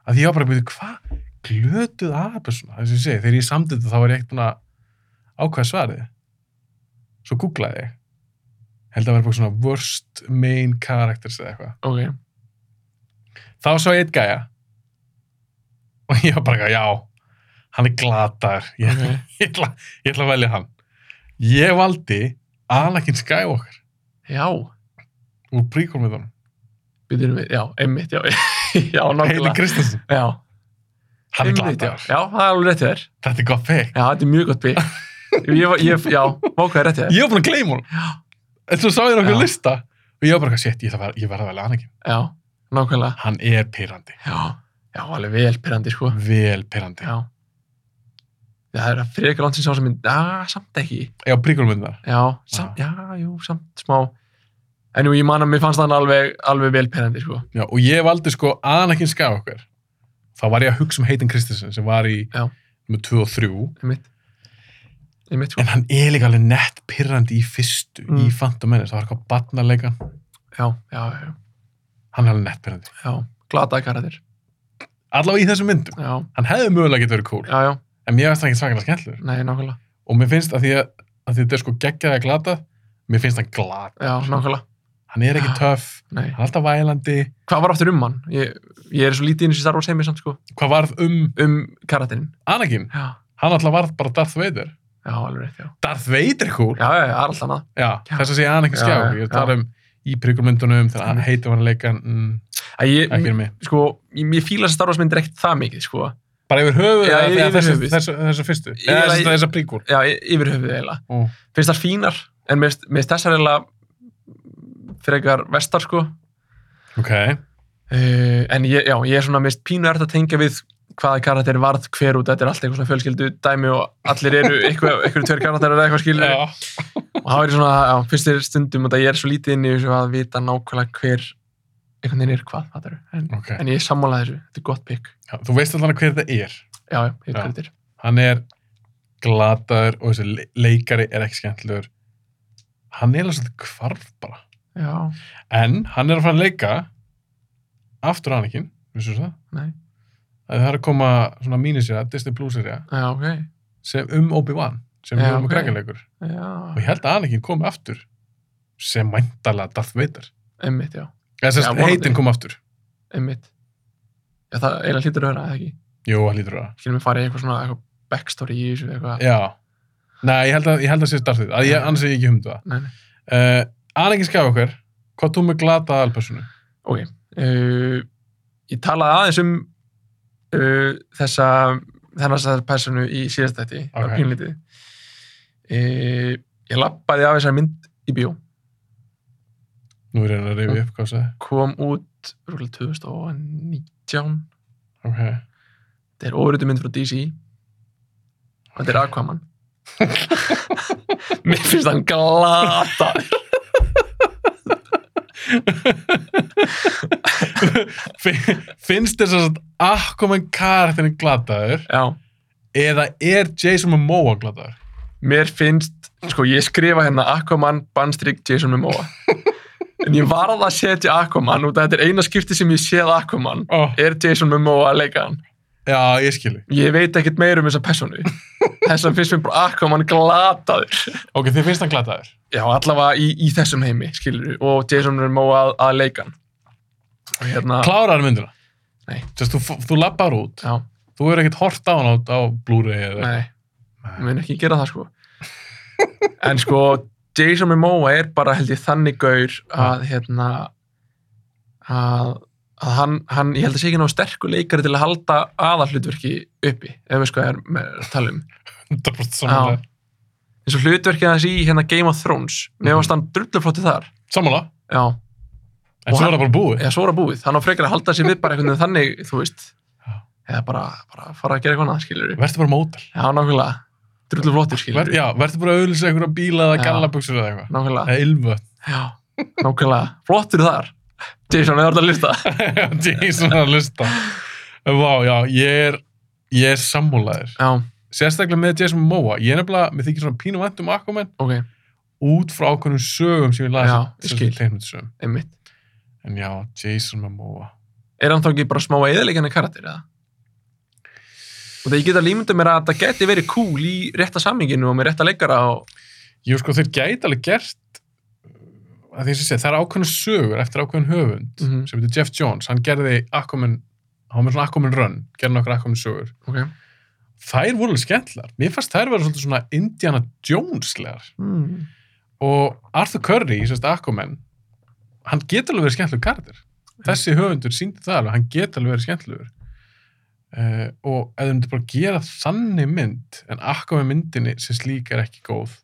A: Að því ég var bara að byrja, hvað? Glötuð aðalpersona, þess að ég segi. Þegar ég samdi þetta, þá var ég ekkert búin að ákvæða svarið. Svo googlaði ég. Held að vera bara svona worst main characters eða eitthvað.
B: ok,
A: þá sá ég eitt gæja og ég var bara eitthvað, já hann er glatar ég,
B: ok
A: ég, ætla, ég ætla að velja hann ég valdi Anakin Skywalker
B: já,
A: úr príkól með honum
B: byrjum við, já, einmitt, já já,
A: Heili
B: nákvæmlega
A: Kristensen,
B: já,
A: hann er
B: einmitt, já.
A: glatar
B: já, það er alveg rétt hjá þér
A: þetta er gott fekk
B: já, þetta er mjög gott bygg ég, var- ég, já, vákvæði rétt hjá þér
A: ég var búin að gleyma
B: Já.
A: hún en svo sá ég nokkuð
B: Já.
A: lista og ég var bara eitthvað, shit, ég, ætla að vera- ég verða að velja Anakin
B: já, nákvæmlega
A: hann er pyrrandi,
B: já, já, alveg vel pyrrandi, sko
A: vel pyrrandi já,
B: Já. Það er að frekar langt sem sá sem mynd, já, samt ekki.
A: já príkól með það
B: Já, samt, já, jú, samt smá. En jú, ég man að mér fannst hann alveg, alveg velpennandi, sko.
A: Já, og ég valdi sko Anakin Skywalker þá var ég að hugsa um Heitin Kristensen sem var í
B: Já.
A: nummer 2 og 3
B: Einmitt. Einmitt, sko.
A: en hann er líka alveg nett pirrandi í fyrstu
B: Mm.
A: í Phantom Menace, það var eitthvað barnarleika
B: Já, já, já,
A: hann er alveg nett pirrandi,
B: já. Glataði karatir.
A: allavega í þessum myndum
B: Já,
A: hann hefði mögulega getur verið cool,
B: já, já.
A: en mér finnst hann ekki svakalega skemmtlur
B: Nei, nákvæmlega.
A: og mér finnst að því að, að því þetta er sko geggjaði að glata mér finnst hann glat,
B: Já, nákvæmlega.
A: hann er ekki
B: Já.
A: töff
B: Nei.
A: hann er alltaf vælandi,
B: Hvað var aftur um hann? Ég, ég er svo lítið inn í starf og segmi samt, sko.
A: hvað varð um
B: Um karatirinn.
A: Anakin,
B: Já,
A: hann alltaf varð bara Darth Vader
B: já, alveg rétt, já.
A: Darth Vader er cool,
B: Já, já, já, allt annað.
A: Já,
B: Já.
A: þess að segja Anakin
B: Já,
A: Skywalker, ég er að tala um í prigulmyndunum þegar hann
B: Einmitt.
A: heitir hann að leika mm,
B: Æ, ég,
A: ekki er mig,
B: sko, ég, ég fíla þess að starf og segmyndir ekkert það mikið, sko.
A: bara yfir höfuð
B: Já,
A: eða-
B: yfir
A: eða þessu-
B: höfuð.
A: þessu þessu fyrstu,
B: Ég-
A: eða
B: ég-
A: þessa prigul
B: Já, y- yfir höfuð eiginlega.
A: Mm.
B: finnst það fínar en mér finnst- mér finnst þessar eiginlega frekar vestar sko
A: Ok,
B: uh, en ég, já, ég er svona mér finnst pínu ert að tengja við hvaða karakter varð hver út þetta er allt eitthvað svona fjölskyldu dæmi og allir eru eitthvað, eitthvað tveir karakterar eða eitthvað skilur
A: já,
B: og það er svona, já, fyrst er stundum og það ég er svo lítið inn í þessu að vita nákvæmlega hver einhvern veginn er hvað það eru en,
A: ok.
B: en ég er sammála þessu, þetta er gott pick
A: Já, þú veist allan hver það er.
B: já, já, ég
A: Já.
B: veit hvað þetta er
A: Hann er glataður og þessi le- leikari er ekki skemmtilegur. Hann er alveg svolítið kvarf bara.
B: já,
A: En hann er að fara að leika aftur Anakin, vissu það?
B: nei,
A: Að Það er að koma svona mínisera, Disney Plus-serja,
B: já, ok
A: sem um Obi-Wan, sem
B: Já,
A: við erum að
B: ok.
A: krakka leikur. Og
B: já,
A: ég held að Anakin komi aftur sem mæntalega Darth Vader.
B: einmitt, já,
A: Eða
B: Já,
A: sem
B: vonandi.
A: heitin kom aftur.
B: einmitt já, það eiginlega hlýtur að vera, eða ekki
A: Jú, hann lítur að það.
B: skilum við fara í eitthvað svona eitthvað backstory í þessu eitthvað
A: Já. Nei, ég held að, ég held að sé Darth Vader. Að ég, annars er ég ekki humdu það.
B: nei, nei.
A: Uh, Anakin Skywalker, hvað þú með glata aðalpersonu?
B: ok uh, ég talaði aðeins um uh, þessa þennan þessar personu í síðastætti það
A: Ok.
B: var pínlítið uh, ég lappaði af þessari mynd í bíó
A: Nú er ég að reyfi upp hvað það
B: kom út rúglega 2019
A: Ok.
B: þetta er óriðu mynd frá DC þetta er Aquaman mér finnst hann glata
A: Fin- Finnst þess að Aquaman karakterin glataður
B: já
A: eða er Jason Momoa glataður?
B: mér finnst, sko ég skrifa hérna Aquaman, Bandstrik, Jason Momoa en ég varð að setja Aquaman út af þetta er eina skipti sem ég séð Aquaman
A: Oh.
B: er Jason Momoa að leika hann
A: Já, ég skilji.
B: ég veit ekkert meir um þessa personu þess að finnst mér bara Aquaman glataður
A: Ok, þið finnst hann glataður?
B: já, allavega í, í þessum heimi, skilur og Jason Momoa að, að leika hann og hérna,
A: Klárar myndina?
B: Nei.
A: Þess, þú, þú lappar út,
B: já,
A: þú er ekkert hort á hann á, á Blu-ray eða...
B: nei ég mun ekki gera það sko en sko Jason Momoa er bara held ég þannig gaur að hérna að, að hann, hann ég held að sé ekki ná sterkur leikari til að halda aðallutverki uppi ef við sko er með að tala um
A: 100% samanlega.
B: eins og hlutverkið hans í hérna Game of Thrones mér varst hann drulluflotti þar
A: Sammála.
B: já,
A: En
B: Og
A: svo
B: hann-
A: er það bara búið.
B: eða svo er að búið hann á frekar að halda sér við bara einhvern veginn þannig þú veist, eða bara, bara fara að gera eitthvað annað skilur
A: Verður bara mótel.
B: já, nákvæmlega, drulluflottur skilur
A: Ver, já, verður bara að auðlýsa einhverja bíla eða
B: Já.
A: gallabuxur eða eitthvað.
B: nákvæmlega,
A: Eða ylvötn.
B: já, nákvæmlega flottur þar, Jason, eða orðið að lista
A: Jason að lista. Vá, já, ég er, ég er sammálaður.
B: já,
A: Sérstaklega með Jason Momoa. Ég er nefnilega, mér þykir svona pínu vænt um Aquaman
B: ok,
A: út frá ákveðnum sögum sem ég
B: Já,
A: laði
B: ég skil.
A: teiknmyndsögum.
B: einmitt
A: En já, Jason Momoa.
B: er hann þá ekki bara smá eðilegjandi karakter eða? og það ég geta límyndum mér að það geti verið cool í rétta saminginu og með rétta leikara og
A: Jú, sko, þeir gæti alveg gert uh, að því sem sé, það er ákveðin sögur eftir ákveðin höfund
B: Mhm.
A: sem heitir Jeff Jones, hann gerði Aquaman, hann var með svona Aquaman Run gerði nokkur Aquaman sögur
B: ok,
A: þær voru alveg skemmtlar, mér fannst þær vera svolítið svona Indiana Joneslegar
B: mm.
A: og Arthur Curry, sérst Aquaman hann getur alveg verið skemmtlugur karakter þessi höfundur síndi það alveg, hann getur alveg verið skemmtlugur uh, og ef þau myndir bara gera þannig mynd en Aquaman myndinni sem slík er ekki góð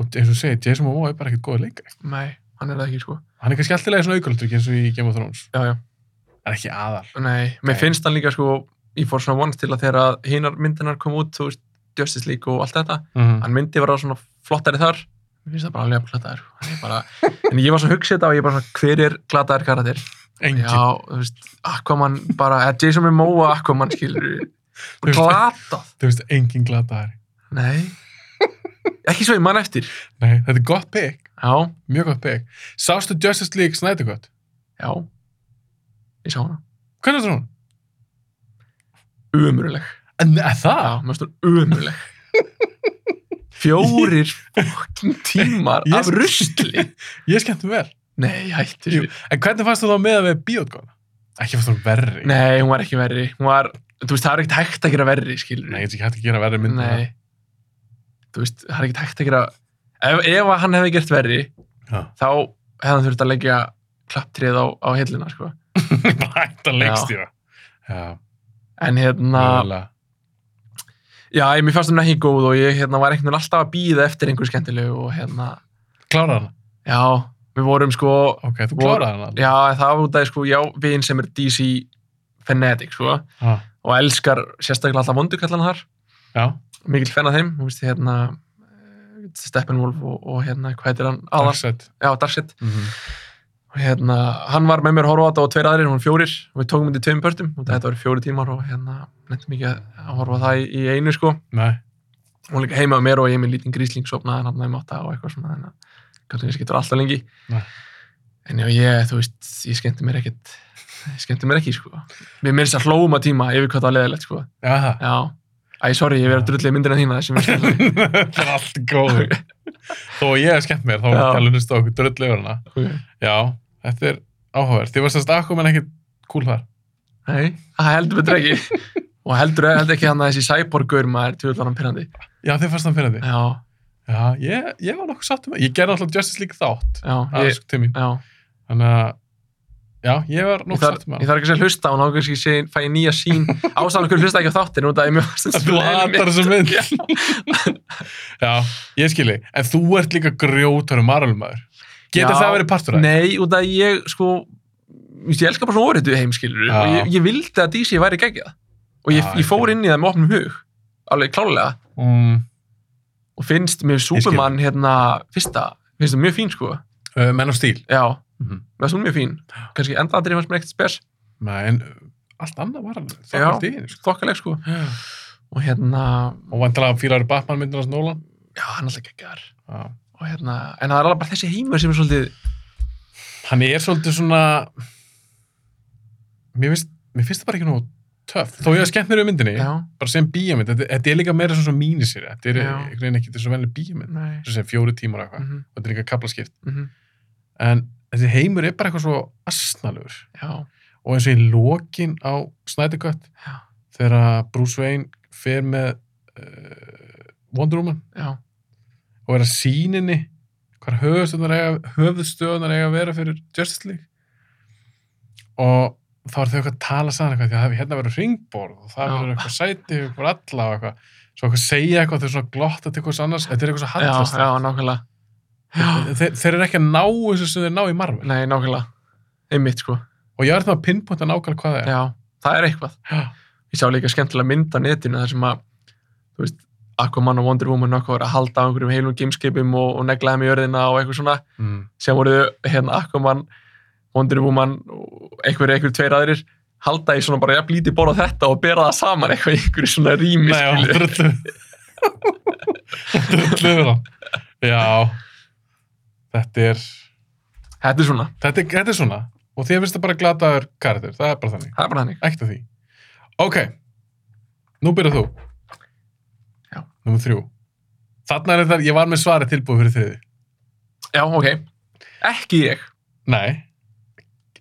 A: og eins og segi, Jason Momoa er bara ekkert góð leikari
B: nei, hann er það ekki sko
A: hann er kannski alltaf leið svona aukurlutverk eins og í Game of Thrones
B: já, já,
A: hann er ekki aðal
B: Nei, mér
A: Nei.
B: finnst hann líka sko ég fór svona vonast til að þegar hinnar myndinar kom út, þú veist, Justice League og allt þetta hann myndi vera svona flottari þar mér finnst það bara alveg að glata þær bara... en ég var svona að hugsa þetta og ég bara svona hver er glata þær karatir?
A: engin,
B: Já, þú veist, Aquaman bara eða Jason Momoa Aquaman skilur
A: Þú veist-
B: glatað
A: þú veist, engin glataðari
B: Nei ekki svo ég mann eftir
A: nei, þetta er gott pick,
B: Já,
A: mjög gott pick sástu Justice League Snyder Cut
B: já ég sá hana
A: hvernig er það hún?
B: umurleg
A: En, er það?
B: Já, mér finnst hún umurleg Fjórir fokkin tímar
A: Ég-
B: af rusli
A: Ég skemmti mig vel.
B: Nei, hætti
A: Jú.
B: þessu.
A: En hvernig fannst þú þá með að við bíotgóna? Ekki fannst þú hún verri.
B: Nei, hún var ekki verri. Hún var, þú veist, það er ekkert hægt að gera verri, skilur.
A: Nei, ég veit ekki hægt að gera verri mynd.
B: Nei. Þú veist, það er ekkert hægt að gera... Ef, ef að hann hefði gert verri,
A: Já.
B: þá hefði hann þurft að leggja klapptrið á, á hillina, sko.
A: Bara hægt að leikstýra. Já.
B: En hérna,
A: mögulega.
B: já, ég mér fannst hún ekki góð og ég hérna, var einhvern veginn alltaf að býða eftir einhver skemmtilegu og hérna,
A: Kláraði hana.
B: já, við vorum sko,
A: Ok, þú
B: Vor-
A: kláraði hana.
B: já, það var út af, sko, já, vin sem er DC fanatic, sko,
A: Já.
B: og elskar sérstaklega alltaf vondukallana þar.
A: Já.
B: mikill fenn að þeim, þú veist, hérna eh, Steppenwolf og, og hérna, hvað heitir hann? Aðar,
A: Darkseid.
B: já, Darkseid
A: Mhm.
B: og hérna, hann var með mér að horfa á þetta og tveir aðrir, hún fjórir, og við tókum þetta í tveim pörtum og þetta var fjóri tímar og hérna nefndi mikið að- að horfa á það í, í einu sko
A: Nei.
B: hún líka heima á mér og ég er með lítinn grísling sopnaði hann hann átta og eitthvað svona þannig að kannski þessi getur alltaf lengi
A: Nei.
B: en já, ég, þú veist, ég skemmti mér ekkert ég skemmti mér ekki, sko við mér þess að hlóma tíma yfir hvað það var leðilegt, sko
A: Já, það.
B: já, æ, sorry, ég verið að drullið myndina þína þessi mér skemmtilega
A: það er allt góður. Þó að ég hef skemmt mér, þá
B: Já.
A: var ekki alveg hlust á okkur dröll yfir hana.
B: okay.
A: Já, þetta er áhugavert. Þið var sérst akkum en ekki cool þar.
B: Nei, það heldur betur ekki og heldur, heldur ekki hann að þessi cyborgur maður tjóðlanum pyrrandi
A: Já, þið fannst hann fyrir því.
B: já,
A: Já, ég, ég var nokkuð sátt um það. Ég gerði alltaf Justice League þátt.
B: já,
A: Það er
B: ég,
A: sko til mín.
B: já.
A: Þannig að, já, ég var
B: Ég,
A: nokkuð
B: þarf,
A: sátt með
B: ég
A: hann.
B: þarf ekki að segja hlusta og nákvæmst ekki sé, fæ ég nýja sín ástæðan okkur hlusta ekki á þáttin út af ég mjög fannst
A: Þú hatar þessu mynd. já, ég skilji. En þú ert líka grjótar um maralumæður. Getur
B: Já.
A: það verið partur af það?
B: Nei, út af ég sko þú veist, ég elska bara svona óreitu heimskilur
A: Já.
B: og ég, ég vildi að DC væri geggjað og ég,
A: Já,
B: ég fór
A: ekki.
B: inn í það með opnum hug alveg klálega
A: Mm,
B: og finnst mér
A: skil.
B: Superman hérna fyrsta, finnst það mjög fín sko
A: uh, menn á stíl.
B: já,
A: Mhm.
B: mér finnst hún mjög fín kannski enda aðrið fannst mér ekkert spes
A: Nei, en uh, allt annað maralumæður. Það
B: Já.
A: var allt í einu, sko.
B: þokkaleg sko og hérna,
A: Og vantilega fýlar Batman myndir hans Nólan.
B: já, hann er alltaf geggar
A: Já.
B: og hérna, en það er alveg bara þessi heimur sem er svolítið,
A: Hann er svolítið svona... Mér finnst, mér finnst það bara ekki nóg töff. Þó ég hef skemmt mér við myndinni,
B: já,
A: bara sem bíjamynd. Þetta, þetta er líka meira svona mínisýri. Þetta er
B: Já.
A: einhvern veginn ekki þessu venlega bíjamynd.
B: nei
A: Svo sem fjóri tímar og eitthvað.
B: mhm,
A: Og þetta er líka kaplaskipt.
B: mhm,
A: en þessi heimur er bara eitthvað svo asnalur
B: já,
A: og eins og í lokin á Snyder Cut
B: Já.
A: þegar að Bruce Wayne fer með uh, Wonder Woman
B: já,
A: og er að síninni hvar höfðstöðunar eiga, höfðstöðunar eiga að vera fyrir Justice League og þá er þau eitthvað að tala saman eitthvað því að það hefur hérna verið ringborð og það
B: Já.
A: verður eitthvað sæti ykkur alla og eitthvað svo eitthvað segja eitthvað þau eru svona glotta til hvers annars þetta er eitthvað svo
B: já,
A: handlast
B: já, nákvæmlega já,
A: þeir, þeir eru ekki að ná þessu sem þeir ná í marvel
B: nei, nákvæmlega einmitt sko,
A: og ég er það að pinpointa nákvæmlega hvað það er
B: já, það er eitthvað
A: Já.
B: ég sá líka skemmtilega mynd á netinu þar sem að, þú veist, Aquaman og Wonder Woman og okkur voru að halda á einhverjum heilum gameskipum og, og negla þeim í jörðina og eitthvað svona
A: Mm.
B: sem voru þau, hérna Aquaman Wonder Woman og einhverju, einhverju tveir aðrir halda í svona bara jafn lítið borð á þetta og bera það saman eitthvað í einhverju svona rými
A: Nei, já,
B: skilur.
A: drullu drullu yfir hann já þetta er
B: þetta er svona,
A: þetta er, þetta er svona og þér finnst það bara glataður karakter það er bara þannig,
B: það er bara þannig
A: ekkert að því ok, nú byrjar þú
B: Já.
A: nummer þrjú þarna er þetta, ég var með svarið tilbúið fyrir þriði
B: já, ok, ekki ég
A: nei,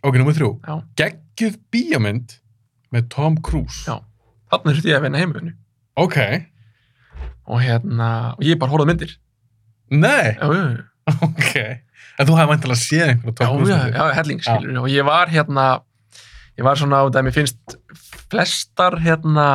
A: ok, nummer þrjú
B: Já.
A: geggjuð bíómynd með Tom Cruise
B: Já. þarna þurfti ég að vinna heimöfnu
A: ok,
B: og hérna, og ég bara horfði á myndir
A: nei
B: já, já, já.
A: ok, en þú hefði mæntilega séð einhverja Tom
B: já,
A: Cruise
B: já,
A: myndir.
B: já, helling skilur og ég var hérna ég var svona á það að mér finnst flestar hérna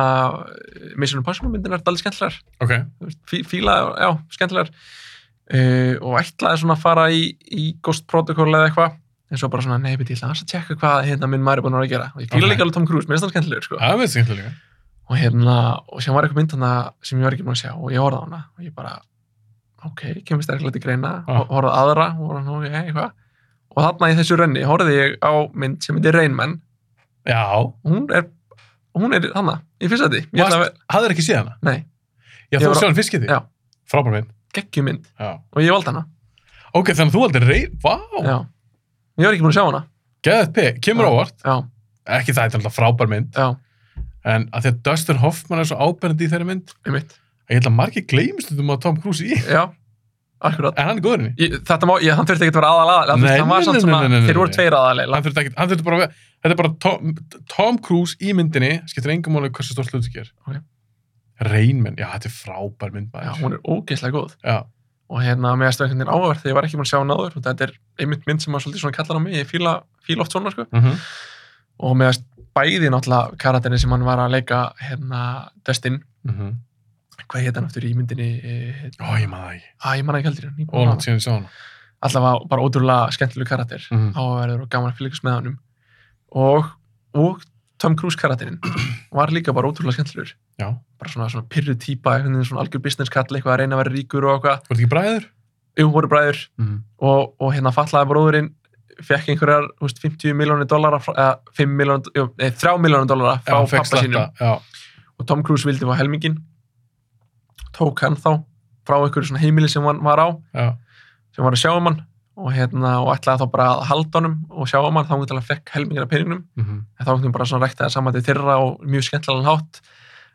B: Mission Impossible myndinar alveg skemmtilegar
A: ok,
B: Þú veist, fí- fíla, já, skemmtilegar uh, og ætlaði svona að fara í, í Ghost Protocol eða eitthvað en svo bara svona, nei, beti, ég ætla aðeins að tjekka hvað hérna minn maður er búin að vera að gera og ég fíla
A: Ok.
B: líka alveg Tom Cruise, mér finnst hann skemmtilegur sko.
A: það er skemmtilega
B: og hérna, og sem var eitthvað mynd hana sem ég var ekki búin að sjá og ég horfði á hana og ég bara, ok, kemur sterklega til greina
A: Ah.
B: og horfði á aðra og horfði á ok, eitthvað og þarna í þessu renni horfði ég á mynd sem heitir Rain Man
A: já,
B: og hún er, hún er þarna í fyrsta því, ég ætla að,
A: Varst, hafðir ekki séð hana?
B: Nei.
A: Já,
B: Ég
A: þú
B: var-
A: séð hann fiskið því?
B: Já.
A: Frábær minn.
B: geggjum mynd
A: Já.
B: og ég valdi hana,
A: Ok, þannig að þú aldrei reyð, vá,
B: já ég var ekki búin að sjá hana,
A: geðað P, kemur
B: Já.
A: ávart.
B: já,
A: Ekki það, þetta er alltaf frábær mynd,
B: já,
A: en að því að Dustin Hoffman er svo ábennandi í þeirri mynd,
B: um mitt
A: að ég held að margir gleymist um að Tom Cruise í,
B: já, akkurat
A: en hann er góður henni.
B: ég, þetta má, ég, hann þurfti ekki að vera aðal aðal
A: Nei,
B: hann var
A: nei,
B: samt
A: nei,
B: svona,
A: nei, nei, nei,
B: þeir voru
A: nei.
B: tveir aðal
A: Hann þurfti ekki, hann þurfti bara að vera, þetta er bara Tom, Tom Cruise í myndinni, skiptir engum máli hversu stórt hlutu ger.
B: Ok.
A: Reynmenn, já, þetta er frábær mynd,
B: já,
A: maður.
B: hún er ógeðslega góð
A: Já,
B: og hérna með aðstöðu einhvern veginn áverð þegar ég var ekki búin að sjá hann áður og þetta er einmitt mynd sem að svolítið svona kallar á mig, ég fíla, fíla oft svona sko
A: Mhm.
B: og með að bæði náttúrulega karaterin sem hann var að leika hérna Dustin,
A: Mhm.
B: hvað hétt hann aftur í myndinni eh, hérna,
A: Ó, ég maður það ekki.
B: að ég manna ekki heldur hann,
A: Ólangt síðan ég sá hana.
B: alltaf var bara ótrúlega skemmtileg karater
A: Mhm.
B: áverður og gaman að fylgjast með honum og, og Tom Cruise karaterin var líka bara ótrúlega skemmtilegur
A: Já.
B: bara svona, svona pyrru típa, einhvern veginn svona algjör business kall eitthvað að reyna að vera ríkur og eitthvað
A: Þú ert ekki bræður?
B: jú, voru bræður og, og hérna fallaði bróðurinn fekk einhverjar þú veist, 50 miljónir dollara frá- eða 5 miljónir, jú, nei, 3 miljónir dollara frá
A: Já, fékkst
B: pappa sínum
A: þetta, já.
B: og Tom Cruise vildi fá helmingin tók hann þá frá einhverju svona heimili sem hann var á
A: Já.
B: sem var að sjá um hann og, hérna, og ætlaði þá bara að halda honum og sjá um hann þá hann til að fekk helmingin af peningnum
A: Mhm.
B: en þá hann bara svona ræktaði saman til þeirra og mjög skemmtilegan hátt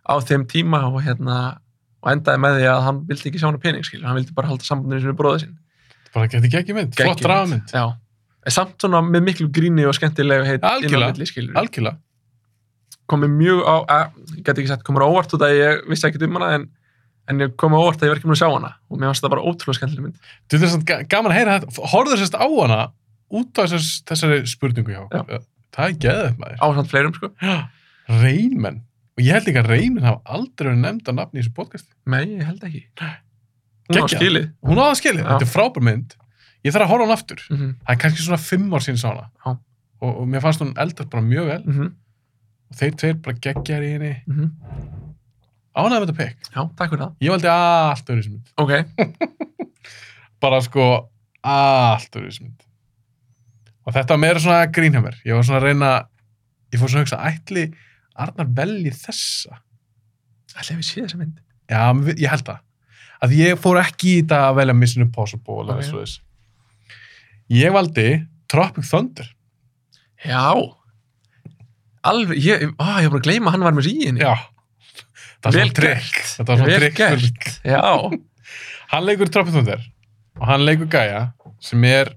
B: á þeim tíma og hérna og endaði með því að hann vildi ekki sjá hann pening skilur, hann vildi bara halda sambandinu sem við bróðið sinn
A: bara þetta er geggjum mynd, flott
B: Geggjum
A: drafmynd
B: Já, en samt svona með miklu gríni og skemmtilegu heit inn á
A: Algjörlega.
B: milli skilur.
A: algjörlega,
B: Komið mjög á, að, ég gæti ekki sagt komur á óvart út að ég vissi ekkert um hana en, en ég komið á óvart að ég var ekki mér að sjá hana og mér fannst það bara ótrúlega skemmtileg mynd.
A: þú veist samt ga- gaman að heyra þetta horfður sérst á hana út af þessari, þessari spurningu hjá okkur það er geðið maður,
B: Ásamt fleirum sko.
A: reynmenn og ég held ekki að reynmenn hafa aldrei verið nefnd að nafni í þessu podcasti,
B: Nei, ég held ekki. Hún á
A: Geggjað.
B: skilið.
A: hún á það skilið
B: Já.
A: þetta er frábær mynd, ég þarf að horfa á hann aftur
B: Mm -hmm.
A: það er kannski svona fimm ár sín sá hana
B: Já.
A: og, og mér fannst hún eldast bara mjög vel
B: Mm
A: og þeir tveir bara geggjar í henni ánægðum þetta pekk,
B: mhm. Já, takk fyrir það.
A: ég valdi allt öðru mynd
B: Ok,
A: bara sko allt úr þessu mynd og þetta var meira svona grínhammer ég var svona að reyna ég fór svona að hugsa, ætli Arnar velji þessa
B: ætlaði við séð þessa mynd.
A: já, mér fi- ég held það að ég fór ekki í þetta að velja Mission Impossible eða
B: Ok.
A: okay. svoleiðis ég valdi Tropic Thunder
B: Já. Alveg, ég, á, ég var bara að gleyma að hann var með í henni.
A: já, það var
B: Vel
A: svona trikk
B: gert.
A: þetta var
B: Vel
A: svona trikk
B: gert.
A: fyrir-
B: Já.
A: hann leikur í Tropic Thunder og hann leikur Gaia sem er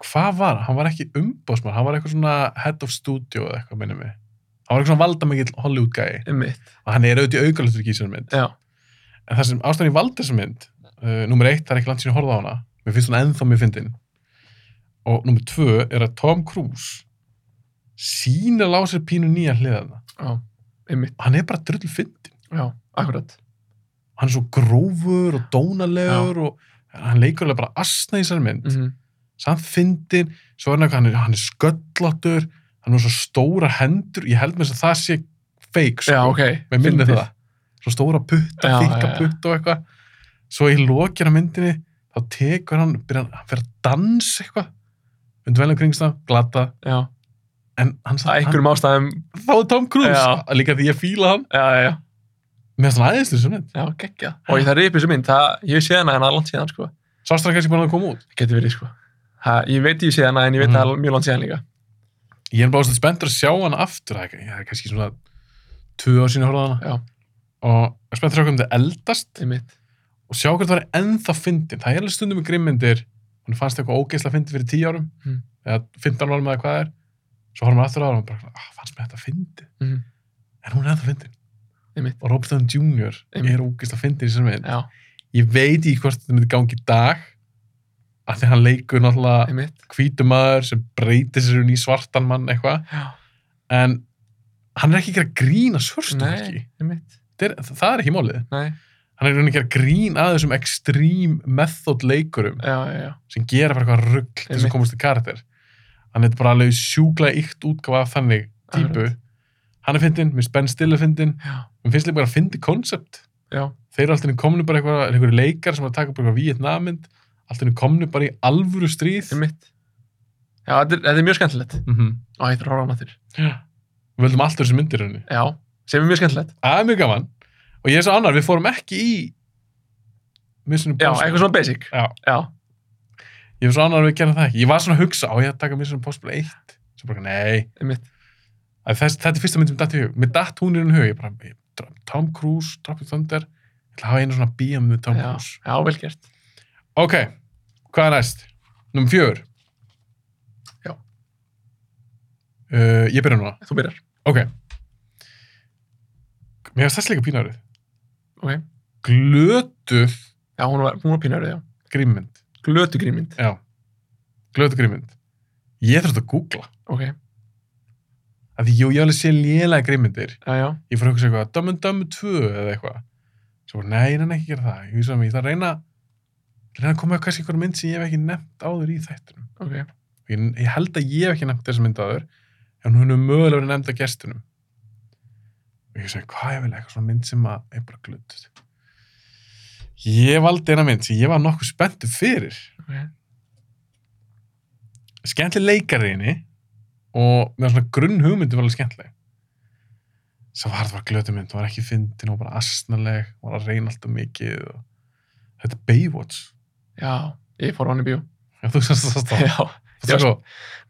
A: hvað var, hann? hann var ekki umbóðsmann hann var eitthvað svona head of studio eða eitthvað minni mig, hann var eitthvað svona valdamikill Hollywood Gai
B: Einmitt.
A: og hann er auðvitað í augalutur í þessari mynd
B: Já.
A: en það sem ástæðan ég valdi þessari mynd uh, nummer eitt, það er ekki langt sér að horfa á hana mér finnst hún ennþá mér fyndin og nummer tvö er að Tom Cruise sína lásir pínu nýja hliðana
B: já, einmitt,
A: hann er bara drull fyndin
B: já, akkurat
A: hann er svo grófur og dónalegur og hann leikur alveg bara asna í sér mynd
B: mm
A: samt fyndin, svo er hann, eitthvað- hann, er- hann er sköllatur hann er með svo stóra hendur ég held með þess að það sé fake sko.
B: já, ok,
A: með minni
B: fyndið.
A: það svo stóra putta,
B: Já,
A: þykka
B: já, já.
A: putta og eitthvað svo í lokina myndinni þá tekur hann, byrja, hann fyrir að dansa eitthvað undir velum kringstaf, glata
B: já,
A: en hann
B: það er einhverjum ástæðum
A: hann, þá er Tom Cruise,
B: Já.
A: líka því ég fíla hann
B: já, já, já,
A: mér finnst hann aðeinslu sem mynd
B: já, geggja og það ripi sem um mynd, það, ég sé hana en það er langt síðan, sko,
A: sást hann kannski búin að koma út
B: það getur verið, sko ha, ég veit ég sé hana en ég veit
A: Mhm.
B: mm. það er mjög langt síðan líka
A: ég er bara ástætt spenntur að sjá hann aftur það er- það er kannski svona tvö ár sína horfða hana
B: já,
A: og ég er spenntur að sjá hvernig það eldast
B: einmitt,
A: og sjá hvernig það er ennþá fyndin það er alveg stundum í grimmindir hún fannst eitthvað ógeisla fyndin fyrir 10 árum
B: Mm.
A: eða 15 árum eða hvað það er svo horfum við aftur á það og bara ah, fannst mér þetta fyndin
B: Mhm.
A: en hún er ennþá fyndin
B: Einmitt.
A: og Robert Downey Jr.
B: Einmitt.
A: er ógeisla fyndin í sem mynd
B: já,
A: ég veit í hvort þetta myndi gangi í dag að því hann leikur náttúrulega
B: einmitt
A: hvítum maður sem breytir sér hún í svartan mann eitthvað
B: já,
A: en hann er ekki ekki að grína svörstum
B: nei,
A: ekki
B: einmitt,
A: það er, það er ekki málið
B: nei,
A: hann er í rauninni ekki að grína að þessum extreme method leikurum
B: já, já, já
A: sem gera bara eitthvað rugg til þess
B: Einmitt.
A: að komast til karakter hann er bara alveg sjúklega ykt útgáfa af þannig típu
B: Akkurat.
A: hann er fyndin, mér spenn stilla fyndin
B: já,
A: mér finnst líka bara að fyndi koncept
B: já,
A: þeir eru alltaf komnu bara eitthvað, er einhverju leikar sem er að taka bara eitthvað vietnamind alltaf komnu bara í alvöru stríð mm
B: einmitt já, þetta er, þetta er mjög skemmtilegt
A: -hmm.
B: og ég þarf að horfa á maður
A: við völdum alltaf þessu myndir henni
B: já, sem er mjög skemmtilegt
A: það er mjög gaman og ég er svo annar, við fórum ekki í Mission
B: já,
A: Impossible
B: eitthvað svona basic
A: Já.
B: já,
A: ég er svo annar að við gerum það ekki ég var svona að hugsa, á ég að taka Mission Impossible 1 svo bara, nei,
B: einmitt
A: að þess, þetta er fyrsta mynd sem datt í hug mér datt hún í hún hug ég bara, ég, dra- Tom Cruise, Tropic Thunder ég ætla að hafa einu svona bíam með Tom
B: já,
A: Cruise
B: já, vel gert
A: ok, hvað er næst? Númer fjögur
B: Já.
A: uh, ég byrja núna,
B: Þú byrjar.
A: ok mér finnst þess líka pínarið
B: Ok.
A: glötuð
B: Já, hún var, hún var pínarið, já.
A: grímmynd
B: Glötugrýmynd.
A: já, glötuð grímmynd ég þarf þetta að googla
B: Ok.
A: af því jú, ég alveg sé lélega grímyndir
B: Já, já.
A: ég fór að hugsa eitthvað, Dumb and Dumb 2 eða eitthvað svo bara, nei, ég nenni ekki að gera það ég vissi að mig, ég þarf að reyna reyna að koma með kannski einhver mynd sem ég hef ekki nefnt áður í þættunum
B: Ok.
A: Og ég, ég held að ég hef ekki nefnt þessa mynd áður en hún er mögulega verið nefnd af gestunum og ég segi, hvað er vel eitthvað svona mynd sem að er bara glötuð ég valdi eina mynd sem ég var nokkuð spenntu fyrir
B: Ok.
A: skemmtileg leikari í henni og með svona grunn hugmyndi var alveg skemmtileg svo var það bara glötu mynd, hún var ekki fyndin og bara asnaleg, hún var að reyna alltaf mikið og þetta er Baywatch
B: Já, ég fór á hann í bíó.
A: já, þú sérst það stáð
B: Já. Já,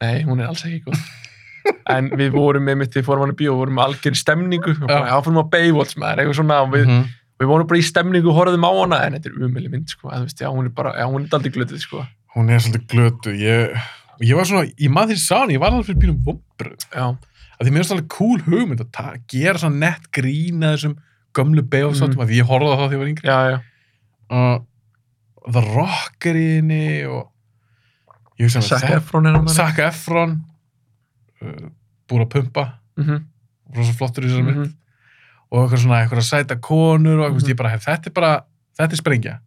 B: Nei, hún er alls ekki góð. en við vorum með mitt, við fórum á hann í bíó, vorum með algjör stemningu. og bara,
A: Já.
B: Já, fórum á Baywatch maður, eitthvað svona. og Við,
A: Mhm.
B: við vorum bara í stemningu, horfðum á hana, en þetta er umöli mynd, sko. Að, þú veist, já, hún er bara, já, hún er aldrei glötuð, sko.
A: hún er svolítið glötu ég, og ég var svona, ég maður því sá hann ég var alveg fyrir bílum vombröð
B: Já.
A: að því mér finnst alveg cool hugmynd að ta- gera svona nett grín að þessum gömlu Baywatch þáttum,
B: Mhm.
A: að því ég horfði á það þegar ég var yngri
B: Já, já.
A: og The Rock er í henni og ég hugsa með
B: Sakka Efron er hann maður.
A: Zac Efron uh, búið að pumpa
B: Mhm,
A: rosa flottur í þessari mynd
B: mhm.
A: og eitthvað svona, eitthvað að sæta konur og eitthvað,
B: Mhm.
A: ég bara, "Hey, þetta er bara, þetta er sprengja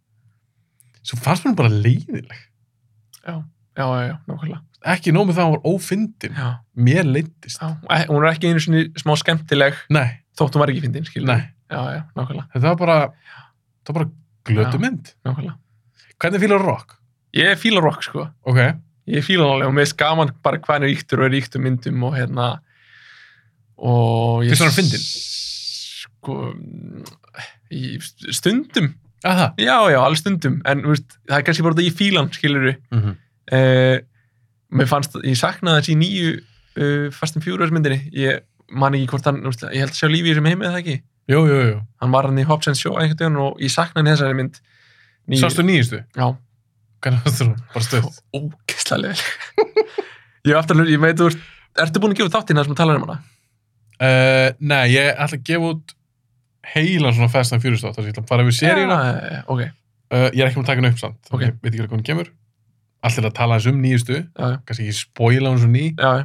A: svo fannst mér hún bara leiðileg
B: Já, já, já, nákvæmlega.
A: ekki nóg með það að hún var ófyndin
B: Já.
A: mér leiddist,
B: já. Eh, Hún er ekki einu sinni smá skemmtileg,
A: nei,
B: þótt hún var ekki fyndin, skilur.
A: nei
B: Já, já, nákvæmlega,
A: þetta var bara, þetta var bara glötu
B: Já.
A: mynd
B: nákvæmlega.
A: hvernig fílar rock?
B: Ég fíla rock, sko.
A: ok,
B: Ég fíla hann alveg og mér finnst gaman bara hvað hann er ríktur og er ríktur myndum og hérna og
A: Finnst þér hann fyndinn?
B: Sko mm, í stundum,
A: að það
B: já, já, alveg stundum en þú veist, það er kannski bara þetta ég fíla hann, skilur við
A: mm -hmm.
B: uh, Mér fannst, ég saknaði þess í nýju uh, Fast and Furious myndinni ég man ekki hvort hann, þú veist, ég held að sjá lífi í þessum heimið það ekki,
A: jú, jú, jú,
B: hann var hann í Hobbs and Show einhvern veginn og ég saknaði hann í þessari mynd Nýju-
A: sástu nýjistu
B: Já,
A: hvernig fannst þú, bara
B: Sko.
A: stöð
B: ógeðslega leðileg ég, hef aftur, að hlusta- ég veit þú ert, ertu búin að gefa þátt í það sem talar um hana
A: uh, nei, ég ætla að gefa út heilan svona festan fjúristátt þess að ég ætla að fara yfir seríuna
B: Já, Eh, ok,
A: Uh, ég er ekki með að taka henni upp samt,
B: Ok.
A: okay. ég veit ekki alveg hvernig kemur. Allir að tala hans um nýjustu,
B: já, já,
A: kannski ekki spoila hans um ný,
B: já, já,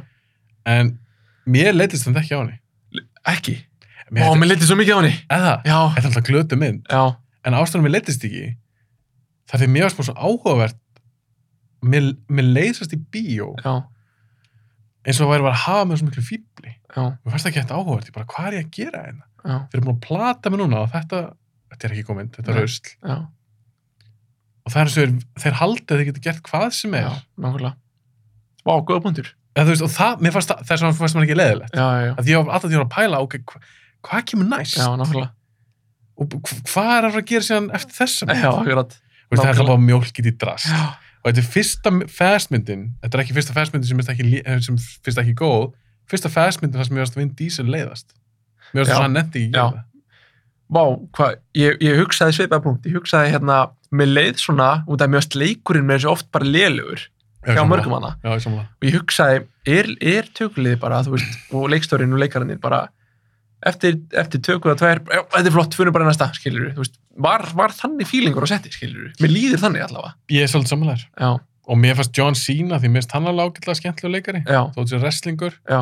A: en mér leittist þetta ekki á henni.
B: Ekki.
A: Mér
B: Ó, mér litið svo mikið á henni.
A: eða,
B: Já,
A: þetta er alltaf glötu mynd,
B: já,
A: en ástæðan mér leittist ekki, það er því mér varst bara svo áhugavert, mér, mér leiðsast í bíó,
B: já,
A: eins og það væri bara að hafa með svo miklu fýbli.
B: já,
A: Mér fannst það ekki þetta áhugavert, ég bara, hvað er ég að gera hérna?
B: já,
A: Þeir eru búin að plata mig núna og þetta, þetta er ekki góð mynd, þetta er
B: Nei.
A: rausl.
B: já.
A: Og það er eins og þeir, þeir halda að þeir geta gert hvað sem
B: Já,
A: er.
B: nákvæmlega. Vá, góða punktur.
A: Eða, þú veist, og það, mér fannst það, þess vegna fannst mér ekki leðilegt.
B: Já, já, já,
A: Að því ég var alltaf því að pæla, ok, hva, hvað kemur næst?
B: já, nákvæmlega.
A: Og hv- hvað er að fara að gera síðan eftir þessa mynd?
B: Já, akkurat.
A: Þú veist, það er
B: nákvæmlega.
A: það bara mjólkið í drast.
B: Já,
A: Og þetta er fyrsta mi- fastmyndin, þetta er ekki fyrsta fastmyndin sem finnst ekki, lí- eh, sem finnst ekki góð, fyrsta fastmyndin þar sem mér varst að vinna dísil leiðast. Mér varst
B: Já.
A: að hann nefndi ekki að
B: Já.
A: gera það.
B: Vá, hvað, ég, ég hugsaði svipað punkt, ég hugsaði hérna, mér leið svona, út af mjögst leikurinn með þessu oft bara lélugur
A: Já,
B: hjá
A: sammála.
B: mörgum hana.
A: Já, ég sammála.
B: Og ég hugsaði, er, er tökuliði bara, þú veist, og leikstörinn og leikarinnir bara, eftir, eftir tökuða tvær, já, þetta er flott, funum bara í næsta, skilur þú veist, var, var þannig fílingur á setti, skilur mér líður þannig allavega.
A: Ég er svolítið sammálaður.
B: Já,
A: Og mér fannst John Cena, því mér finnst hann alveg ágætlega skemmtilega leikari.
B: já,
A: Þótt sér wrestlingur,
B: já,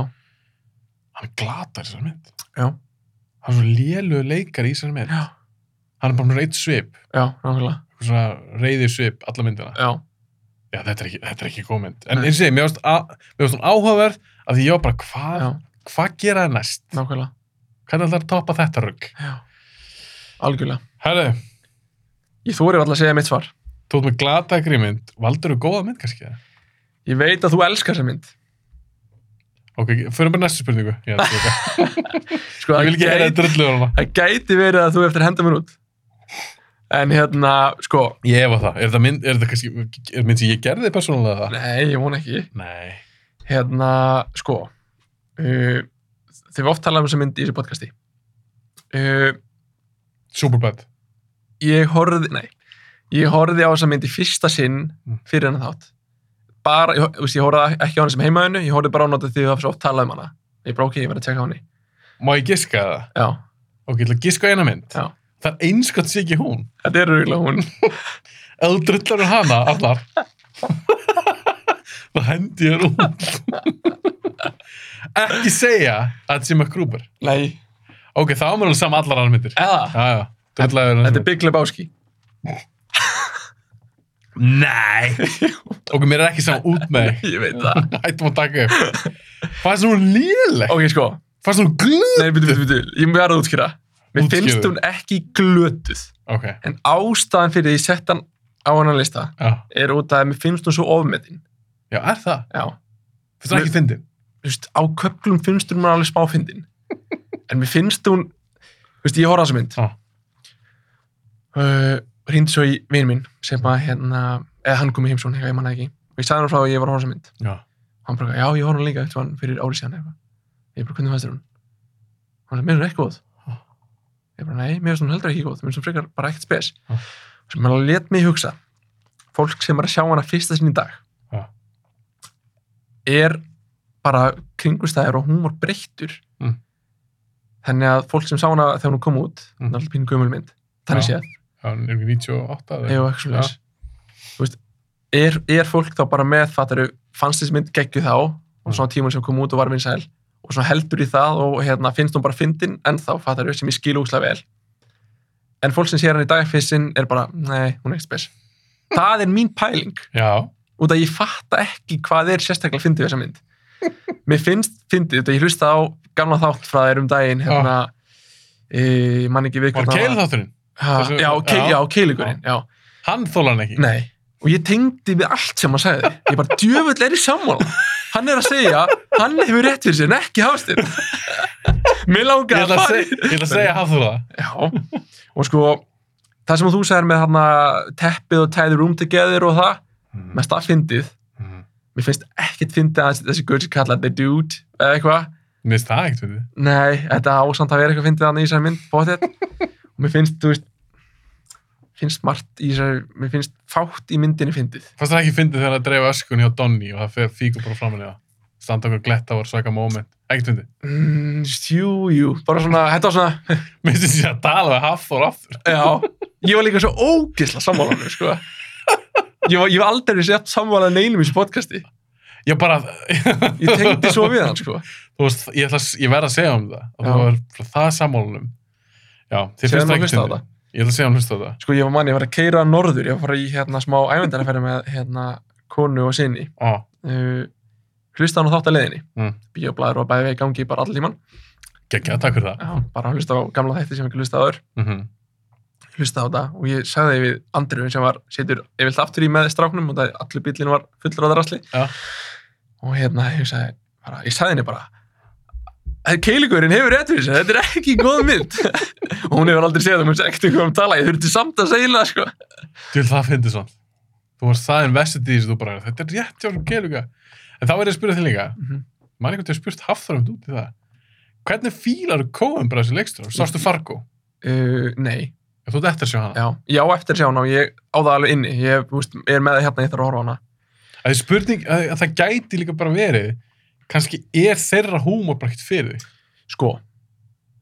A: hann glatar þessar mynd.
B: Já.
A: Hann er svo lélugur leikari í þessar mynd.
B: já,
A: Hann er bara með reitt svip,
B: já, nákvæmlega,
A: eitthvað svona reyði svip, alla myndina.
B: já,
A: Já, þetta er ekki, þetta er ekki góð mynd. En
B: Nei.
A: eins og ég, segi, mér varst, að, mér varst hún áhugaverð af því ég var bara, hvað,
B: já,
A: hvað gera það næst?
B: nákvæmlega,
A: Hvernig ætlar að toppa þetta rugg?
B: já, algjörlega.
A: Herðu,
B: Ég þóri alltaf að segja mitt svar.
A: þú ert með glata grímynd, valdur þú góða mynd kannski? eða?
B: Ég veit að þú elskar þessa mynd.
A: Ok, fyrir bara í næstu spurningu. Já, þetta er ok. ég
B: Sko, það
A: vil ekki heyra
B: gæti-
A: þetta rullu hana.
B: Það gæti verið að þú eftir að henda mér út. En hérna, sko,
A: Ég efa það. Er þetta mynd, er þetta kannski, er mynd sem ég gerði persónulega það?
B: nei, ég vona ekki.
A: Nei.
B: Hérna, sko, uh, þegar við oft talaðum um þessa mynd í þessu podcasti. Uh,
A: Superbad.
B: ég horfði, nei, ég horfði á þessa mynd í fyrsta sinn
A: Mm.
B: fyrir hennar þátt. Bara, ég, þú veist, ég horfði ekki á henni sem heimaðinu, ég horfði bara á notið því að það var svo oft talað um hana. Ég bara, ok, ég verði að tjekka á henni.
A: Má ég giska það?
B: Já,
A: Ok, ég ætla að giska á eina mynd.
B: Já.
A: Það er einskott sé ekki hún.
B: þetta er rúglega hún.
A: Ef þú drullar um hana allar þá hendi ég þér út ekki segja að þetta sé MacGruber
B: Nei.
A: ok, þá er mér alveg saman allar annar myndir
B: Eða,
A: já, já, drullar
B: þetta er Big Lebowski.
A: nei ok, mér er ekki saman út með þig
B: Ég veit það.
A: hættum að taka upp fannst hún léleg
B: ok, sko,
A: fannst hún glöð
B: Nei, byrju, byrju, byrju, ég verða að útskýra. Mér
A: Útskýrðu.
B: finnst hún ekki glötuð,
A: ok,
B: en ástæðan fyrir því ég sett hann á hann að lista
A: já,
B: er út af að mér finnst hún svo ofmetin.
A: já er það
B: Já,
A: finnst hún ekki fyndin
B: þú veist, á köplum finnst hún mér alveg smáfindin. en mér finnst hún, þú veist, ég horfði á þessa mynd.
A: Já.
B: Uh, Rýndi svo í vinn minn sem að hérna, eða hann kom í heimsón, eitthvað, ég manna ekki. Og ég sagði hann frá að ég var að horfa á þessa mynd.
A: já,
B: hann bara, já, ég horf hún líka eftir hann fyrir árið síðan eitthvað. Ég bara, hvernig fannst þér hún? Hann sagði, mér er hún ekki góð. Ég bara, nei, mér finnst hún heldur ekki góð, mér finnst hún frekar bara ekkert spes.
A: Já.
B: Sem hann let mig hugsa, fólk sem er að sjá hana fyrsta sinni í dag,
A: Já.
B: er bara kringustæðir og hún var breyttur.
A: Mm.
B: Þannig að fólk sem sá hana þegar hún kom út,
A: Mm.
B: mm. náttúrulega pínu gömulmynd, þannig
A: Já.
B: séð,
A: já, hún er ekki 98 eða-
B: eða eitthvað
A: Já.
B: svona þú veist, er, er fólk þá bara með fattaru, fannst þessi mynd geggju þá
A: Mm.
B: og svona tímun sem kom út og var vinsæl og svona heldur í það og hérna finnst hún bara fyndin en þá fattaru sem ég skil úkslega vel en fólk sem sér hann í dag fyrst sinn er bara, nei, hún er ekki spes það er mín pæling
A: já,
B: út að ég fatta ekki hvað er sérstaklega fyndið við þessa mynd mér finnst fyndið, þetta ég hlusta á gamla þátt frá þér um daginn hérna, e, ég man ekki við
A: Ah. var
B: hvort það
A: keil þátturinn
B: Ha,
A: Þessu-
B: já, keil,
A: já.
B: já, keilugurinn, já
A: hann þóla hann ekki
B: Nei, og ég tengdi við allt sem hann sagði Ég bara, djöfull er í sammála Hann er að segja, hann hefur rétt fyrir sér en ekki hafstinn Mér
A: ég
B: langar
A: ætla
B: að
A: að
B: fara
A: seg- ég ætla að segja hann þóla
B: Já, og sko Það sem þú sagðir með hann teppið og tæði room together og það
A: það
B: mest að fyndið,
A: Mhm.
B: mér finnst ekkert fyndið að þessi gaur sem kallaði the dude eða eitthvað
A: Mér finnst það ekkert við.
B: Nei, þetta ásamt að vera eitthvað fyndið þannig í þessari mynd, bóttið. og mér finnst, þú veist, finnst margt í þessari, mér finnst fátt í myndinni fyndið.
A: Fannst það ekki fyndið þegar það dreif öskun hjá Donny og það fer fíkur bara fram henni það. Standa okkur gletta var svaka moment. Ekkert fyndið.
B: Mm, jú, jú, bara svona, þetta var svona,
A: Mér finnst þess að tala við Hafþór aftur.
B: já, ég var líka svo ógisla sammálanum, sko. Ég var, ég var aldrei sett sammála neinum í þessu podcasti.
A: ég bara,
B: Ég tengdi svo við hann, sko.
A: þú veist, ég, ætla, að- ég verð að segja um það að
B: Já.
A: þú var frá það sammálunum já, þið
B: Segðu
A: finnst
B: honum
A: það
B: að
A: ekki
B: hlusta á
A: fyndið.
B: það.
A: ég ætla að segja um hlusta á það
B: Sko, ég var manni, ég var að keira norður, ég var að fara í hérna smá ævendarafæri með hérna konu og sinni.
A: Ó,
B: Uh, hlusta hann á þátt að leiðinni.
A: Mm.
B: Bíoblæður og bæði í gangi bara all tíman.
A: geggja, takk fyrir það
B: Já, bara hlusta á gamla þætti sem ég ekki hlusta áður.
A: mhm,
B: Hlusta á það og ég sagði því við Andriðun sem var, setur yfirlt aftur í með stráknum og það allur bílinn var fullur á það rasli.
A: Já.
B: Og hérna, ég sagði, bara, ég sagði henni bara, Keiligurinn hefur rétt fyrir þessu, þetta er ekki góð mynd. og hún hefur aldrei segjað það, hún hefur ekkert eitthvað um tala, ég þurfti samt að segja það, sko.
A: Til það finnst svona. Þú varst það investið í þessu þú bara, þetta er rétt hjá Geluga. En þá er ég að spyrja þig líka,
B: Mhm.
A: mann einhvern veginn spurt Hafþór um út í það. Hvernig fílar kóum bara þessu leikstráð? Sástu Fargo?
B: Uh, nei,
A: Ef þú ert eftir að sjá hana.
B: já, já eftir sjá hana og ég á það alveg inni, ég úst, er með það hérna ég þarf að horfa á hana
A: Það er spurning, að, að það gæti líka bara verið, kannski er þeirra húmor bara ekkert fyrir því.
B: Sko,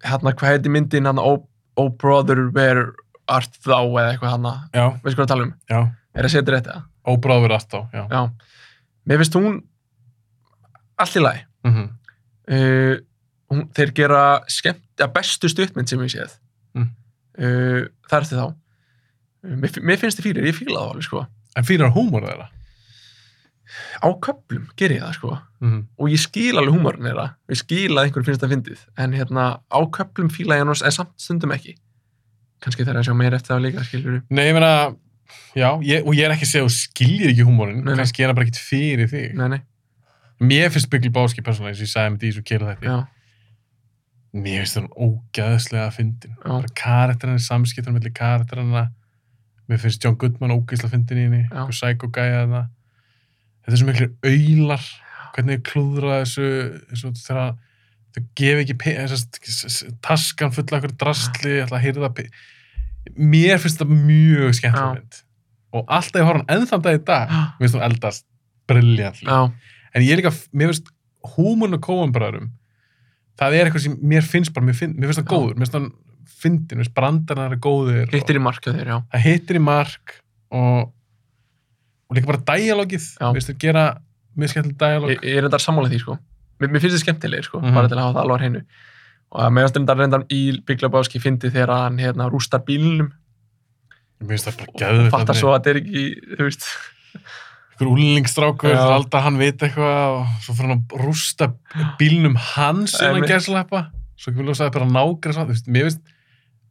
B: hérna hvað heiti myndin hann oh, oh brother where art thou eða eitthvað hana
A: Já,
B: veist hvað ég er að tala um,
A: já.
B: er að setja þetta
A: Óbráður allt á, já.
B: Já, mér finnst hún allt í lagi
A: Mm
B: uh, hún, Þeir gera skemmt, ja, bestu stuttmynd sem ég séð
A: Mm.
B: uh, Það er til þá Uh, Mér, fi- mér finnst þið fyrir, ég fíla það alveg sko
A: En fílar húmor þeirra.
B: Á köplum ger ég það sko
A: Mm
B: og ég skil alveg húmorinn þeirra ég skil að einhverjum finnst það fyndið en hérna á köplum fíla ég hann en samt stundum ekki kannski þegar að sjá meir eftir það líka skilur
A: Nei, ég meina, já, ég, og ég er ekki að segja að þú skiljir ekki húmorinn,
B: Nei, nei.
A: kannski er það bara ekkert fyrir þig.
B: nei, nei,
A: Mér finnst Byggli Báski persónulega, eins og ég sagði með því svo kera þetta.
B: já,
A: Mér finnst það ógæðslega að fyndin.
B: já,
A: Bara karakterinn, samskiptunum mellir karakterina. Mér finnst John Goodman ógæðslega að fyndin í henni.
B: Já.
A: Einhver sækogæja þarna. Þetta er svo miklu auðlar. Hvernig þau klúðra þessu, þessu þegar þau gefa ekki pe- þessast- s- s- taskan fulla okkur drastli, ætla að hýrða pe... Mér finnst það mjög skemmtilega
B: Já.
A: mynd. Og alltaf ég horf hann ennþann dag í dag,
B: Já.
A: mér finnst hún eldast briljantlega
B: já,
A: en ég er líka, mér finnst húmurinn og kóanbræðurum það er eitthvað sem mér finnst bara, mér, finn, mér finnst það
B: Já.
A: góður mér finnst það fyndin, mér finnst brandarnar eru góðir
B: hittir í marka þeir, já
A: og, það hittir í mark og, og líka bara dialogið
B: Já.
A: mér finnst það gera mjög skemmtileg dialog
B: ég, ég er reyndar sammála því sko mér, mér finnst þið skemmtilegir sko,
A: Mhm.
B: bara til að hafa það alvar hennu og að meðast reyndar reyndar í Bygglabáski fyndi þegar hann hérna rústar bílnum
A: mér finnst það bara
B: og
A: gæður
B: fattar svo að þetta er ekki, þú veist
A: einhver úlningstrákur,
B: Já.
A: alltaf hann veit eitthvað og svo fyrir hann að rústa bílnum hans innan
B: Einmitt.
A: gæslepa svo ekki vil ljósa það bara nákvæmst þú veist, mér finnst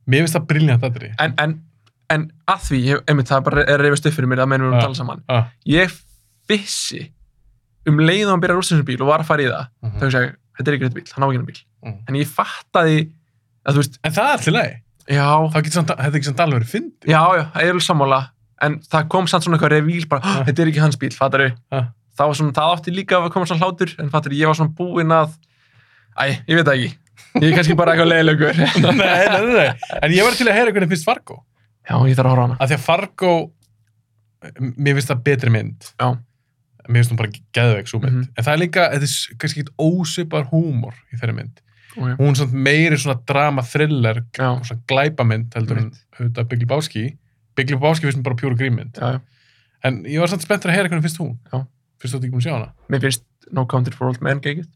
A: mér finnst það briljant aðri
B: en, en, en að því, ég, einmitt það bara er reyfist upp fyrir mér að mennum við um
A: Já.
B: tala saman
A: ah.
B: ég vissi um leið og hann byrja að rústa þessum bíl og var að fara í það
A: mm
B: þá hugsa ég, þetta er ekki rétt bíl, hann á ekki hann bíl
A: Mhm.
B: en ég fattaði að þú veist,
A: en það er alltaf leið
B: já,
A: þá getur samt, þetta getur samt alveg verið fyndið.
B: já, já, ég er alveg sammála en það kom samt svona eitthvað revíl bara, "Ah,
A: Ja.
B: þetta er ekki hans bíl, fattar við
A: Ja.
B: það var svona, það átti líka að koma svona hlátur en fattar við, ég var svona búinn að æ, ég veit það ekki, ég er kannski bara eitthvað leiðilegur
A: nei, nei, nei, nei. En ég var til að heyra hvernig finnst Fargo.
B: já, ég þarf að horfa á hana
A: Af því að Fargo, m- mér finnst það betri mynd.
B: Já.
A: Mér finnst hún bara geðveik svo mynd.
B: Mhm.
A: En það er líka, þetta er s- kannski eitt ósipar húmor í þeirri mynd.
B: okay.
A: Hún er samt meiri svona drama thriller,
B: já,
A: og svona glæpamynd heldur en auðvitað Byggli Báski. Byggli Báski finnst mér bara pjóru grímmynd.
B: já, já,
A: En ég var samt spenntur að heyra hvernig finnst hún.
B: Já.
A: Finnst þú þetta ekki búin að sjá hana?
B: mér finnst No Country for Old Men geggjuð.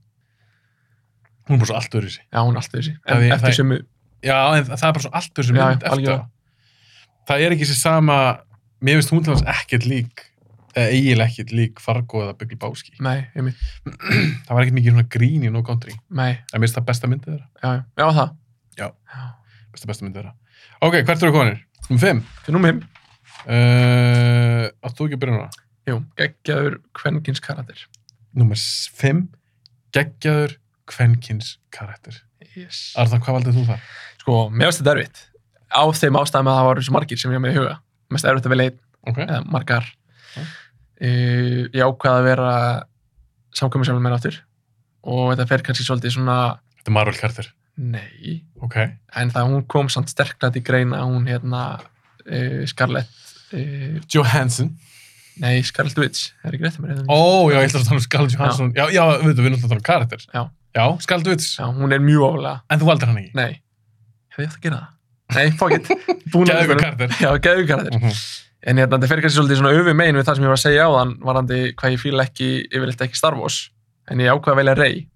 A: Hún er bara svo allt öðru
B: já, hún er alltaf þessi,
A: Það
B: en
A: er- það
B: eftir
A: er-
B: sömu
A: Já, en það er bara svo allt þessu
B: Já,
A: mynd
B: já,
A: eftir
B: algjörlega.
A: það. Það er ekki sér sama, mér finnst hún til þess ekkert lík, eða eiginlega ekkert lík Fargo eða Byggli Báski.
B: nei, einmitt,
A: Það var ekkert mikið svona grín í No Country.
B: nei,
A: Það finnst það besta myndið þeirra.
B: já, já, já, það
A: Besta besta myndið þeirra. Ok, hvert eru konir? Númer 5.
B: fyrir númum heim
A: Uh, Áttu ekki að byrja núna?
B: Jú, geggjaður kvenkins karatir.
A: Númer 5. Geggjaður kvenkins karakter.
B: Yes.
A: Arða, hvað valdið þú þar?
B: Sko, mér finnst þetta erfitt. Á þeim ástæðum að það voru svo margir sem ég á með í huga. Mest erfitt að velja einn
A: Ok.
B: eða margar.
A: Já.
B: Uh, ég ákvaði að vera samkvæmisjálfur mér aftur og þetta fer kannski svolítið svona
A: Þetta er Marvel karakter.
B: nei,
A: Ok.
B: en það hún kom samt sterklega til greina, hún hérna uh, Scarlett uh,
A: Johansson.
B: nei, Scarlett Witch, er ekki rétt að mér hérna?
A: Ó, já, ég ætla að tala um Scarlett Johansson. Já, já, við veitum, við erum alltaf að tala um karakter.
B: Já.
A: Já, Scarlett Witch.
B: Já, hún er mjög ofalega,
A: En þú aldar hann ekki?
B: nei, hefði ég átt að gera það? Nei, fuck it. Búin að-
A: Gæðugur kardir.
B: Já, geðvíkarðir.
A: Mhm.
B: en hérna, þetta fer kannski svolítið svona öfu megin við það sem ég var að segja á þann varandi hvað ég fíla ekki, yfirleitt ekki Star Wars en ég ákvað að velja Rey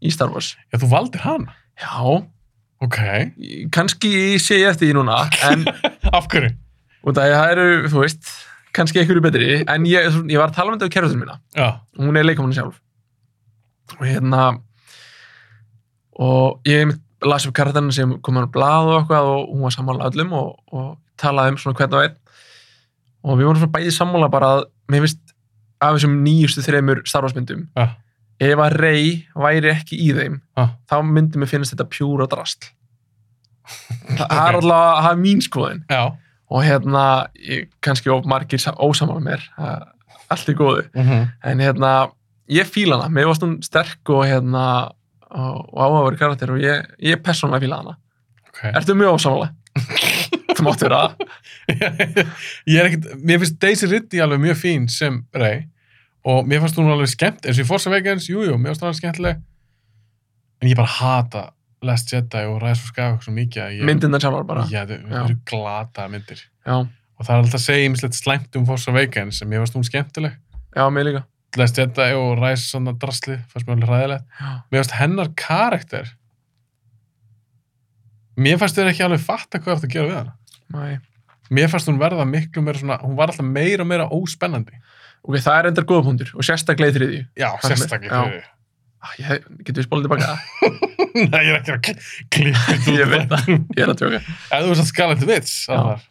B: í Star Wars
A: Já, þú valdir hana.
B: já,
A: Ok.
B: ég- kannski sé ég eftir því núna en
A: Af hverju?
B: út af því að það eru, þú veist kannski einhverju betri, en ég, ég var um talandi af kærastunum mína,
A: Já.
B: hún er leikamann sjálf og hérna og ég einmitt las upp karakterna sem kom hann á blað og eitthvað og hún var sammála öllum og, og talaði um svona hvern og einn og við vorum svona bæði sammála bara að mér finnst af þessum nýjustu þreymur starfarsmyndum
A: Já.
B: ef að rey væri ekki í þeim
A: Já.
B: þá myndi mér finnst þetta pjúra drastl það
A: Ok.
B: er allavega það er mín skoðin
A: Já.
B: og hérna ég, kannski of margir sam- ósammála mér það- allt í góðu
A: Mm -hmm.
B: en hérna, ég fíla hana mér varst hún sterk og hérna og, og áhugaverð karakter og ég, ég persónulega fíla hana.
A: Ok.
B: Ertu mjög ósamlega? Þú máttu vera það.
A: ég er ekkert, mér finnst Daisy Ridley alveg mjög fín sem Rey og mér fannst hún alveg skemmt, eins og í Force Awakens, jújú, jú, mér fannst hún alveg skemmtileg en ég bara hata Last Jedi og Rise of Skywalker svo mikið að ég,
B: Myndirnar sjálfar bara.
A: já, þau þau
B: Já.
A: eru glata myndir
B: Já,
A: og það er alltaf að segja ymslegt slæmt um Force Awakens en mér fannst hún skemmtileg
B: já, mig líka.
A: Last Jedi og Rise svona drasli fannst mér alveg ræðilegt
B: Já.
A: mér fannst hennar karakter mér fannst þau ekki alveg fatta hvað þetta að gera við hana
B: Nei.
A: mér fannst hún verða miklu meira svona, hún var alltaf meira og meira óspennandi
B: Ok, það er endar góða punktur og sérstaklega í þriðju.
A: Já,
B: Fannst mér.
A: sérstaklega
B: Já.
A: fyrir
B: Ah, ég, getur við spólað tilbaka?
A: Nei, ég er ekki að kl- klippa þetta
B: Ég veit
A: það.
B: ég er að tjóka.
A: Ef þú veist að skala þetta vits, annar,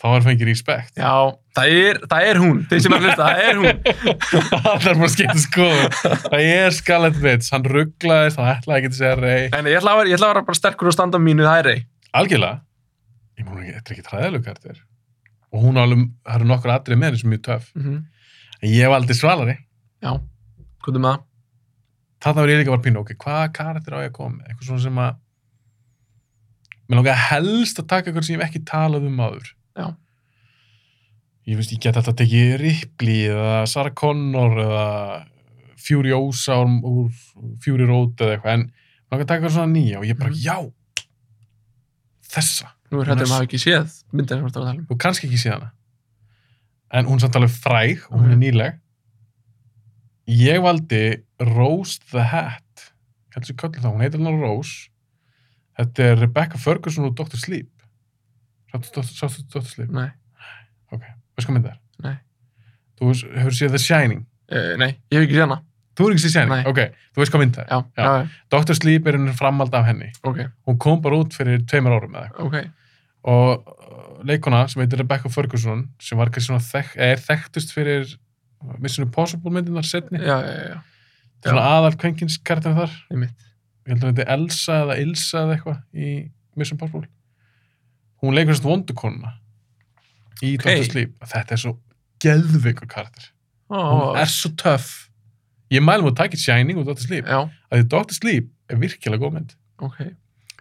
A: þá er fengið respekt.
B: Já, það er, það er hún. Þeir sem er að hlusta, það er hún.
A: það er bara skemmt skoðum. Það er skala þetta vits. Hann rugglaðist, hann ætlaði ekki að segja rey.
B: En ég ætla að vera, ég ætla að vera bara sterkur og standa á mínu, það er rey.
A: Algjörlega. Ég múin ekki, þetta er ekki træðilegu kartir. Og hún alveg, það eru nokkur atrið með henni sem er mjög töf.
B: Mm -hmm.
A: En ég valdi svalari.
B: Já, hvað er með það?
A: Þarna var ég líka bara pínu, ok, hvaða kartir á ég að koma? með? Eitthvað svona sem að... Mér langaði helst að taka eitthvað sem ég hef ekki talað um áður.
B: Já.
A: ég finnst ég get alltaf tekið Ripley eða Sarah Connor eða Furiosa úr, úr Fury Road eða eitthvað en maður kan taka eitthvað svona nýja og ég bara
B: Mhm.
A: já þessa
B: Nú er hættum að hafa ekki séð myndina sem við erum að tala um.
A: og kannski ekki síðan en hún er samt alveg fræg og hún er
B: Ok.
A: nýleg ég valdi Rose the Hat ég heldur sér kallið það, hún heitir hann Rose þetta er Rebecca Ferguson og Dr. Sleep sáttu sáttu Dr. Sleep
B: Nei,
A: ok, veist hvað mynd það er?
B: Nei.
A: þú hefur- hefur séð The Shining
B: uh, nei, ég hef ekki séð hana.
A: Þú er ekki sér sérning?
B: Nei.
A: Ok, þú veist hvað mynd það er.
B: Já,
A: Já.
B: já, já.
A: Dr. Sleep er henni framald af henni.
B: Ok,
A: Hún kom bara út fyrir tveimur árum eða eitthvað.
B: ok.
A: Og uh, leikona sem heitir Rebecca Ferguson, sem var kannski svona þek er þekktust fyrir Mission Impossible myndinar setni.
B: Já, já, já, já.
A: Svona aðal kvenkins kartin þar.
B: Einmitt.
A: Ég held að þetta er Elsa eða Ilsa eða eitthvað í Mission Impossible. Hún leikur svona vondukonuna í
B: Ok.
A: Dr. Sleep. Þetta er svo geðveikur kartir.
B: Ó,
A: Hún er svo töff. Ég mælum að takja Shining og Dr. Sleep.
B: Já,
A: Að því Dr. Sleep er virkilega góð mynd.
B: ok,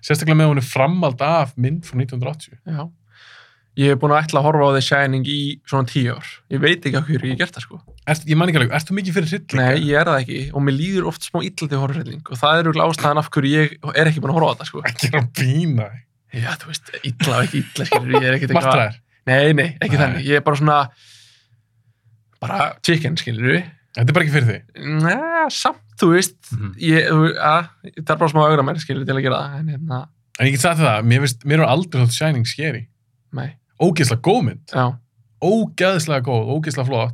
A: Sérstaklega með hún er framald af mynd frá 1980.
B: já. Ég hef búin að ætla að horfa á The Shining í svona tíu ár. Ég veit ekki af hverju ég hef gert það, sko.
A: Erst, ég man ekki alveg, ert þú mikið fyrir hryllinga?
B: Nei, ég er það ekki og mér líður oft smá illa til horfrelling og það er auðvitað ástæðan af hverju ég er ekki búin að horfa á þetta, sko.
A: Ekki er að býna.
B: Já, þú veist, illa og ekki illa, skilur, ég er ekkert eitthvað...
A: Martraðar.
B: Nei, nei, ekki
A: Nei.
B: þannig. Ég er bara svona... Bara chicken, skilur við.
A: Þetta er bara ekki fyrir þig.
B: Næ, samt, þú veist,
A: Mhm.
B: ég, þú, að, það er bara smá augra mér, skilur, til að gera það, en hérna,
A: En ég get sagt þér það, mér, veist, mér er aldrei þátt Shining skeri.
B: nei,
A: Ógeðslega góð mynd.
B: já,
A: Ógeðslega góð, ógeðslega flott.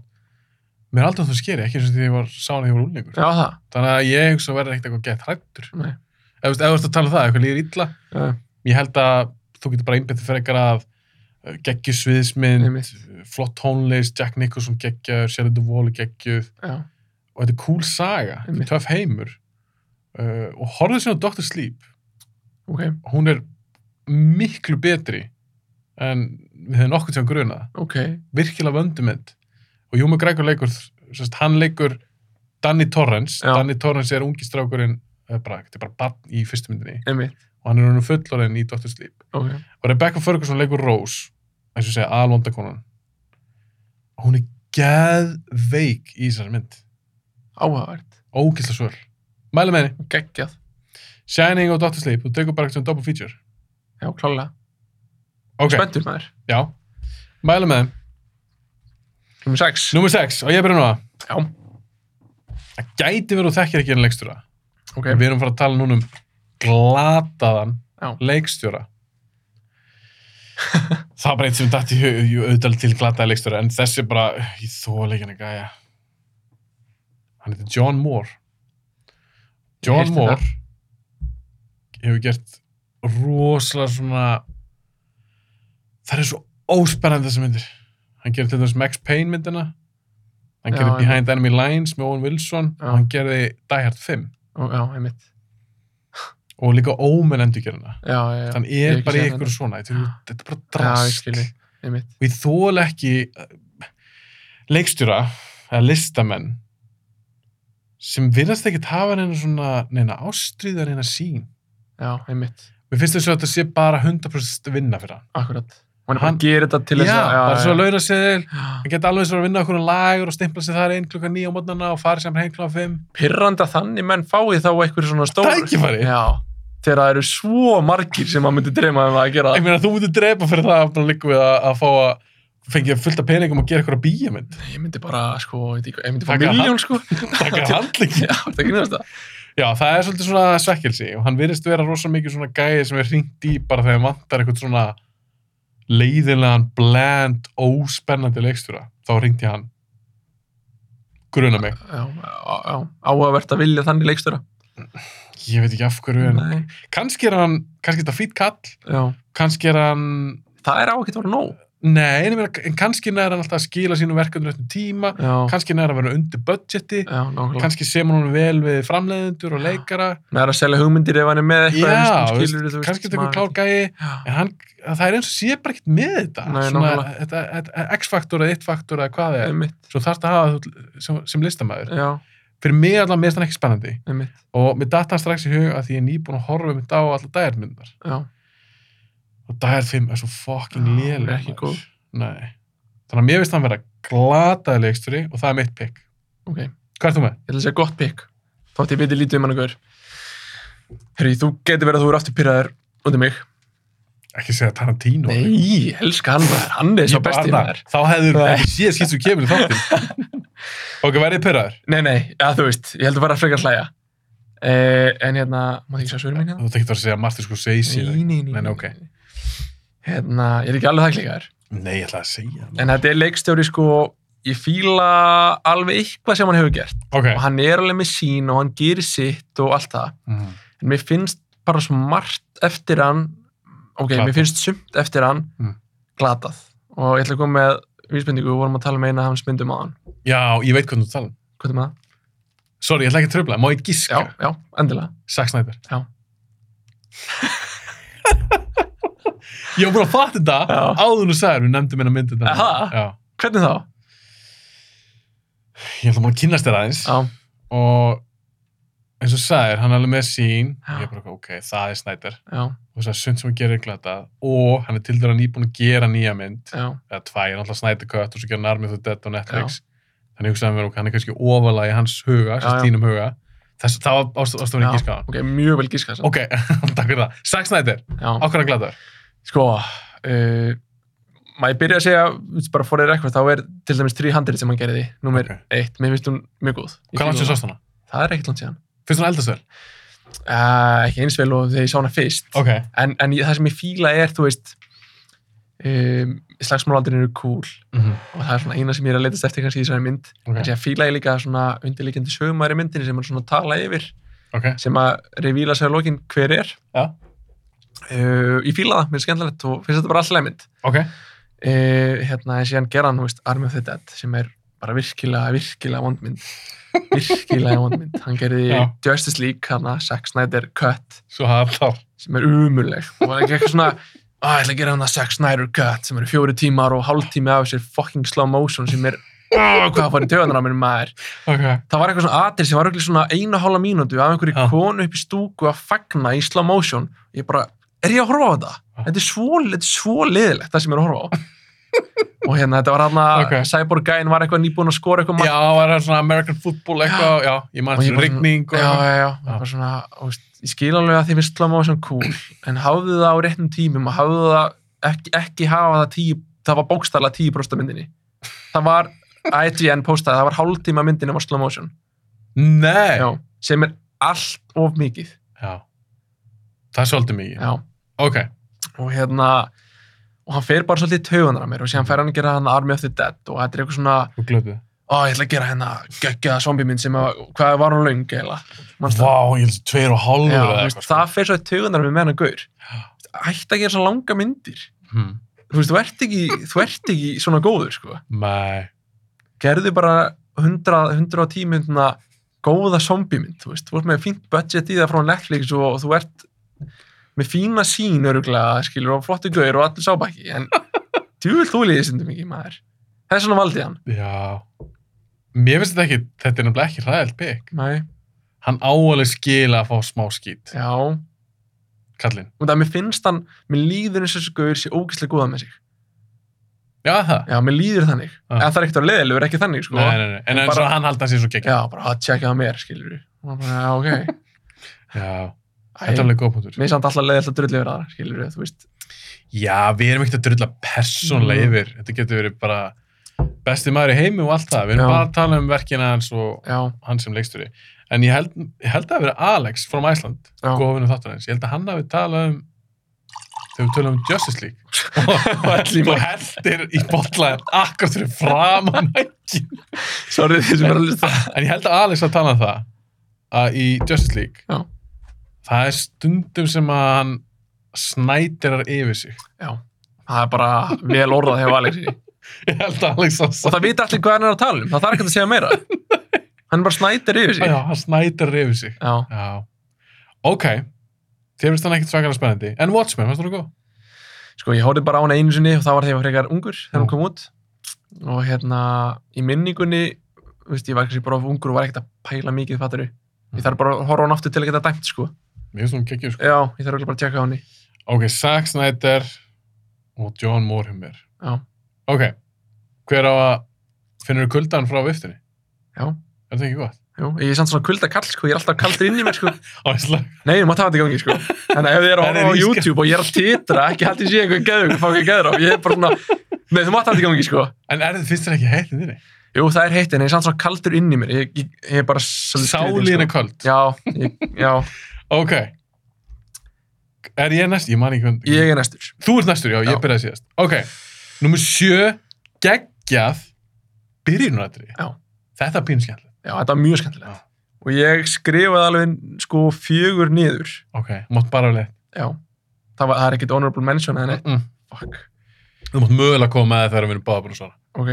A: Mér er aldrei þátt skeri, ekki eins og því ég var sána þegar ég var úlingur.
B: já, það,
A: Þannig að ég hugsa að verða ekkert eitthvað gett hrættur.
B: nei,
A: Ef þú veist- ef þú ert að tala um það, eitthvað líður illa,
B: já,
A: ég held að þú getur bara einbættið fyrir eitthvað að geggjusviðismynd,
B: Einmitt.
A: flott tónlist, Jack Nicholson geggjaður, Shelley Duvall er geggjuð,
B: já,
A: og þetta er cool saga, þetta
B: Einmitt.
A: er töff heimur uh, og horfðu sér á Dr. Sleep
B: ok,
A: hún er miklu betri en við hefum nokkuð sem grunað
B: ok,
A: virkilega vöndumind og Júmi Gregor leikur sérst, hann leikur Danny Torrance
B: Já.
A: Danny Torrance er ungi strákurinn eh, bara, þetta er bara barn í fyrstu myndinni
B: einmitt,
A: og hann er hann fullorinn í Dr. Sleep
B: ok,
A: og Rebecca Ferguson leikur Rose eins og segja alvondakonan hún er geðveik í þessari mynd
B: áhugavert,
A: ógisla svöl mæli með henni
B: geggjað,
A: Shining og Doctor Sleep, þú tekur bara eitthvað double feature.
B: já, klálega,
A: Ok,
B: spenntur maður,
A: já. Mælu með þeim.
B: Númer 6.
A: Númer 6, og ég byrja nú að
B: Já,
A: það gæti verið og þekkir ekki en leikstjóra
B: ok.
A: en við erum að fara að tala núna um glataðan
B: Já.
A: leikstjóra það er bara eitt sem dætti auðvitað til glataða leikstjóra en þessi er bara, ég þóla ekki hann ekki gæja hann heitir John Moore John
B: heyrti
A: Moore hefur gert rosalega svona það er svo óspennandi þessar myndir hann gerði til dæmis Max Payne myndina hann
B: Já,
A: gerði
B: einmitt.
A: Behind Enemy Lines með Owen Wilson
B: Já.
A: og hann gerði Die Hard 5
B: Ó, já, einmitt.
A: og líka Omen endur gerðina
B: Já, já, já.
A: hann
B: Ég hef
A: er
B: ekki
A: bara í
B: séð
A: ykkur
B: hana.
A: svona þetta er- þetta er bara
B: Já, ég
A: drast
B: skilji. Einmitt.
A: og ég þóla ekki eh, leikstjóra eða listamenn sem virðast ekkert hafa neina svona neina ástríða neina sín
B: Já, einmitt.
A: mér finnst þess að þetta sé bara 100% vinna fyrir hann
B: Akkurat. Og hann er bara
A: Hann-
B: að gera þetta til
A: já,
B: þess að...
A: bara svo að
B: já,
A: laura sig
B: já.
A: hann geti alveg svo að vinna okkur um lagur og stimpla sig þar inn klukkan 9 á mótnana og fara sem heim klukkan 5
B: Pirrandi að þannig menn fái þá eitthvað svona stór...
A: tækifæri
B: Já. Þegar það eru svo margir sem maður myndi dreyma um að gera
A: ég
B: það.
A: meina þú mútið drepa fyrir það að líka við að, að fá að fengja fullt af peningum og gera eitthvað bíjamynd
B: Ég myndi bara, sko, ég veit ekki hvað, ég myndi fá
A: Taka hann.
B: miljón, sko.
A: taka handleggi
B: Já, það grínast það.
A: já það er svolítið svona svekkelsi og hann virðist vera rosa mikið svona gæði sem er hringt í bara þegar vantar eitthvað svona leiðilegan, bland, óspennandi leikstjóra þá hringt ég hann gruna mig
B: Já, já, já. Áhugavert að vilja þannig leikstöra.
A: ég veit ekki af hverju en
B: Nei,
A: kannski er hann, kannski er þetta fýtt kall
B: já.
A: kannski er hann
B: Það er á ekkert að vera nóg.
A: Nei, en ég meina, en kannski næra hann alltaf að skila sínum verkefnum réttum tíma,
B: Já,
A: kannski næra að vera undir budgeti,
B: já, nákvæmlega.
A: kannski sem hún vel við framleiðendur og
B: Já.
A: leikara
B: Það er að selja hugmyndir ef hann er með eitthvað
A: Já,
B: þú
A: veist,
B: skilurðu, þú veist,
A: kannski þetta
B: maður
A: eitthvað klár gæi
B: Já,
A: en hann, það er eins og sé bara ekkert með þetta
B: Nei,
A: svona,
B: nákvæmlega.
A: þetta, þetta, x-faktor eða it-faktor eða hvað það er
B: einmitt,
A: svo þarfst að hafa þú, sem, sem listamæður
B: já,
A: fyrir mig allan mér er það ekki spennandi
B: einmitt,
A: og mér datt hann strax í hug að því ég er nýbúin að horfa mitt á allar dagjarmyndar
B: já,
A: og dagjarfim er svo fucking
B: Já,
A: léleg
B: Ah, ekki
A: maður.
B: góð.
A: Nei. þannig að mér finnst hann vera glataði leiksturi og það er mitt pick
B: ok. Ég
A: hvað er þú með?
B: ætla að segja gott pikk, þótt ég viti lítið um hann einhver. Herri, þú getur verið að þú eru aftur pyrraður undir mig.
A: ekki segja Tarantino
B: Nei, ég elska hann maður, hann er
A: Ég
B: svo
A: bara,
B: bestið
A: Arnar,
B: maður.
A: þá hefður
B: Nei.
A: ekki síðan skýrt sem kemur í þáttin ok, værið pyrraður
B: Nei, nei, já, þú veist, ég heldur bara að frekar hlæja. Eh, en hérna, má það ekki segja svörum mín
A: þú
B: hérna?
A: ert ekki að segja Martin Scorsese eða-
B: Nei, nei,
A: Nei, nei, ok.
B: Hérna, ég er ekki alveg það klíkaður.
A: nei, ég ætla að segja það.
B: En þetta er leikstjóri, sko, ég fíla alveg eitthvað sem hann hefur gert.
A: ok,
B: og hann er alveg með sín og hann gerir sitt og allt það
A: Mhm.
B: en mér finnst bara svo margt eftir hann ok,
A: Glatað.
B: mér finnst sumt eftir hann
A: Mm.
B: glatað og ég ætla að koma með vísbendingu, við vorum að tala með eina af hans myndum á hann
A: Já, ég veit hvernig þú tala um.
B: hvað er með það?
A: Sorry, ég ætla ekki að tröfla, má ég
B: Já,
A: gíska?
B: já, endilega
A: Zack Snyder.
B: Já.
A: ég var búin að fatta þetta
B: Já.
A: áður en þú sagðir, við nefndum minna myndið þetta.
B: Aha.
A: Já.
B: hvernig þá?
A: Ég ætla maður að kynast þér aðeins
B: Já,
A: og eins og þú sagðir, hann er alveg með sín.
B: Já.
A: Ég er bara, ok, það er Snyder.
B: já,
A: Og þess að sund sem hann gerir er glatað og hann er til dæra nýbúin að gera nýja mynd.
B: já,
A: Eða tvær, hann alltaf Snyder Cut og svo gera Narmið og Dead á Netflix. Þannig ég hugsaði mér, ok, hann er kannski ofalega í hans huga,
B: Já,
A: þess
B: já.
A: tínum huga. Þess, það var ástofan
B: já.
A: ekki skáðan.
B: ok, mjög vel gíska
A: Ok, takk fyrir það. Zack Snyder,
B: okay.
A: ákveðan gladar.
B: sko uh, maður byrja að segja bara for þér eitthvað, þá er til dæmis 300 sem hann gerði, nummer
A: Ok.
B: 1 mér finnst hún mjög góð Ég
A: Hvað langt
B: fíla
A: sér
B: hana.
A: sást hana?
B: það er ekkert langt síðan
A: Finnst hún eldast vel?
B: uh, ekki eins vel og þegar ég sá hana fyrst
A: Ok.
B: en, en ég- það sem ég fíla er, þú veist um, slagsmálaldurinn eru cool og það er svona eina sem ég er að leitast eftir kannski í þessari mynd
A: Ok.
B: en síðan fíla ég líka svona undirleikjandi sögumæri myndinni sem hann svona tala yfir
A: Ok.
B: sem að revíla sér að lokin hver er
A: Já.
B: uh, ég fíla það, mér er skemmtilegt og finnst þetta bara alltaf mynd
A: Ok.
B: uh, hérna en síðan gera hann, þú veist, Arm of the Dead sem er bara virkilega, virkilega vondmynd virkilega vondmynd hann gerði
A: Já.
B: Justice League, hana, Zack Snyder Cut
A: Svo hafa þá.
B: sem er umuleg og hann er ekki eitthvað svona að ég ætla að gera hann að Zack Snyder cut sem eru fjóri tímar og hálftími af sér fucking slow motion sem er oh, hvað farið töðanar á mér maður
A: Ok.
B: það var eitthvað svona atrið sem var auðvitað svona eina hálfa mínútu af einhverju
A: Já.
B: konu upp í stúku að fagna í slow motion ég bara, er ég að horfa á þetta? þetta er svo, þetta er svo liðilegt það sem ég er að horfa á og hérna þetta var hann að
A: Ok.
B: Cyborg gæinn var eitthvað nýbúin að skora eitthvað mark.
A: Já, var það svona American football eitthvað, já, ég man
B: Og ég
A: eftir
B: bara-
A: rigning og...
B: já, já, já, já. Bara svona, og, veist, ég skil alveg að þið finnst slow motion cool en hafðu það á réttum tímum og hafðu það ekki, ekki hafa það tíu það var bókstala tíu brósta myndinni það var IGN postaði, það var hálftíma myndin um slow motion,
A: Nei!
B: já, sem er allt of mikið,
A: Já. Það er svolítið mikið.
B: já,
A: Ok.
B: og hérna og hann fer bara svolítið í taugunar að mér og síðan fer hann að gera hann Army of the Dead og þetta er eitthvað svona,
A: Þú glötuð.
B: ó, ég ætla að gera hérna geggjaða zombie mynd sem að, hvað var hún löng eða,
A: Vá, ég held að tveir og hálfur
B: Já,
A: eða
B: þú
A: eitthvað,
B: veist,
A: sko.
B: það fer svo í taugunar með meðan gaur ætti að gera svo langa myndir
A: Hmm.
B: þú veist, þú ert ekki, þú ert ekki svona góður, sko.
A: Nei.
B: Gerðu bara 100, 110 myndina góða zombiemynd, þú veist. Þú ert með fínt budget í það frá Netflix og, og þú ert með fína sín öruglega, skilur, og flotti gauður og allir sábæki, en djúvill þú liðið sindum ekki, maður. Þess vegna valdi ég hann.
A: Já. Mér finnst þetta ekki, þetta er náttúrulega ekki hræðilt bygg.
B: Nei,
A: Hann áalega skila að fá smá skít,
B: já. Og
A: kallinn.
B: það, mér finnst hann, mér líður eins og þessu gauður sé ógeðslega góða með sig.
A: Já, það.
B: Já, mér líður þannig.
A: Ah.
B: En það er ekkert að leðilegur, ekki þannig, sko.
A: Nei, nei, nei. En
B: Og
A: eins
B: bara-
A: og hann haldi að sé svo geggja.
B: Já, bara að tjekka það mér, skilur. Og maður bara, já, ok.
A: Já.
B: Æ,
A: Þetta er alveg góð punktur.
B: Mér er samt alltaf leiðilegt að drulli yfir aðra, skilur þú veist.
A: Já, við erum ekkert að drulla persónlega
B: Mm.
A: yfir. Þetta getur verið bara besti maður í heimi og allt það. Við erum
B: Já.
A: bara að tala um verkina hans og
B: Já,
A: hann sem leiksturi. En ég held, ég held að það hafi verið Alex from Iceland,
B: Já.
A: góðvinum Sko, þáttarins. Ég held að hann hafi talað um, þegar við tölum um Justice League. og
B: öll í
A: og heldir í botlaðar akkurat fyrir framan ekki.
B: sorry því sem er að lista.
A: En ég held að Alex að tala um það að í Justice League,
B: Já.
A: það er stundum sem að hann snætirar yfir sig.
B: Já, það er bara vel orðað hefur Alexi.
A: Ég held að Alex að
B: Og það vita allir hvað hann er að tala um, það þarf ekki að segja meira. Hann bara snætir yfir sig.
A: Já, hann snætir yfir sig.
B: Já,
A: Já. Ok. Þér finnst hann ekkert svakalega spennandi. En Watchmen, finnst þú það góð?
B: sko ég hóði bara á hann einu sinni og það var þegar ég var frekar ungur þegar hann
A: Já.
B: kom út. Og hérna, í minningunni, þú veist, ég var kannski bara of ungur og var ekkert að pæla mikið fattaru. Ég þarf bara að horfa á hann aftur til að geta dæmt, sko.
A: Mér finnst hún geggjur sko.
B: Já, ég þarf örugglega bara að tjekka á henni.
A: Ok, Zack Snyder og John Morheimer.
B: Já.
A: Ok. Hver á að finnur kuldan frá viftinni?
B: Já.
A: Er það ekki gott?
B: Jú, ég er samt svona kulda kall, sko, ég er alltaf kaldur inn í mér, sko.
A: Áslag.
B: Nei, ég má taka þetta í gangi, sko. Þannig að ef þið eru að
A: Það er
B: horfa á
A: í skjá-
B: YouTube og ég er að titra, ekki haldið sé einhver geður, fá ekki geður á. Ég er bara svona, nei, þú mátt taka þetta í gangi, sko.
A: En er þið finnst þér ekki heitt í þinni?
B: Jú, það er heitt, en ég er samt svona kaldur inn í mér. Ég, ég, ég er bara svolítið sko. skrýtinn,
A: Sálín er köld.
B: Já, ég, já,
A: Ok. Er ég næst? Ég man ekki hvernig.
B: ég er næstur.
A: Þú ert næstur, já,
B: Já.
A: ég byrjaði síðast. Ok, nummer sjö, geggjað, byrjunaratri.
B: Já.
A: Þetta er pínu skemmtilegt.
B: Já, þetta var mjög skemmtilegt. Og ég skrifaði alveg, sko, fjögur niður.
A: Ok, mátt bara alveg.
B: Já, það, var, það er ekkit honorable mention, en
A: Mm.
B: fuck,
A: Þú mátt mögulega koma með það þegar við erum báða búin að svara.
B: ok.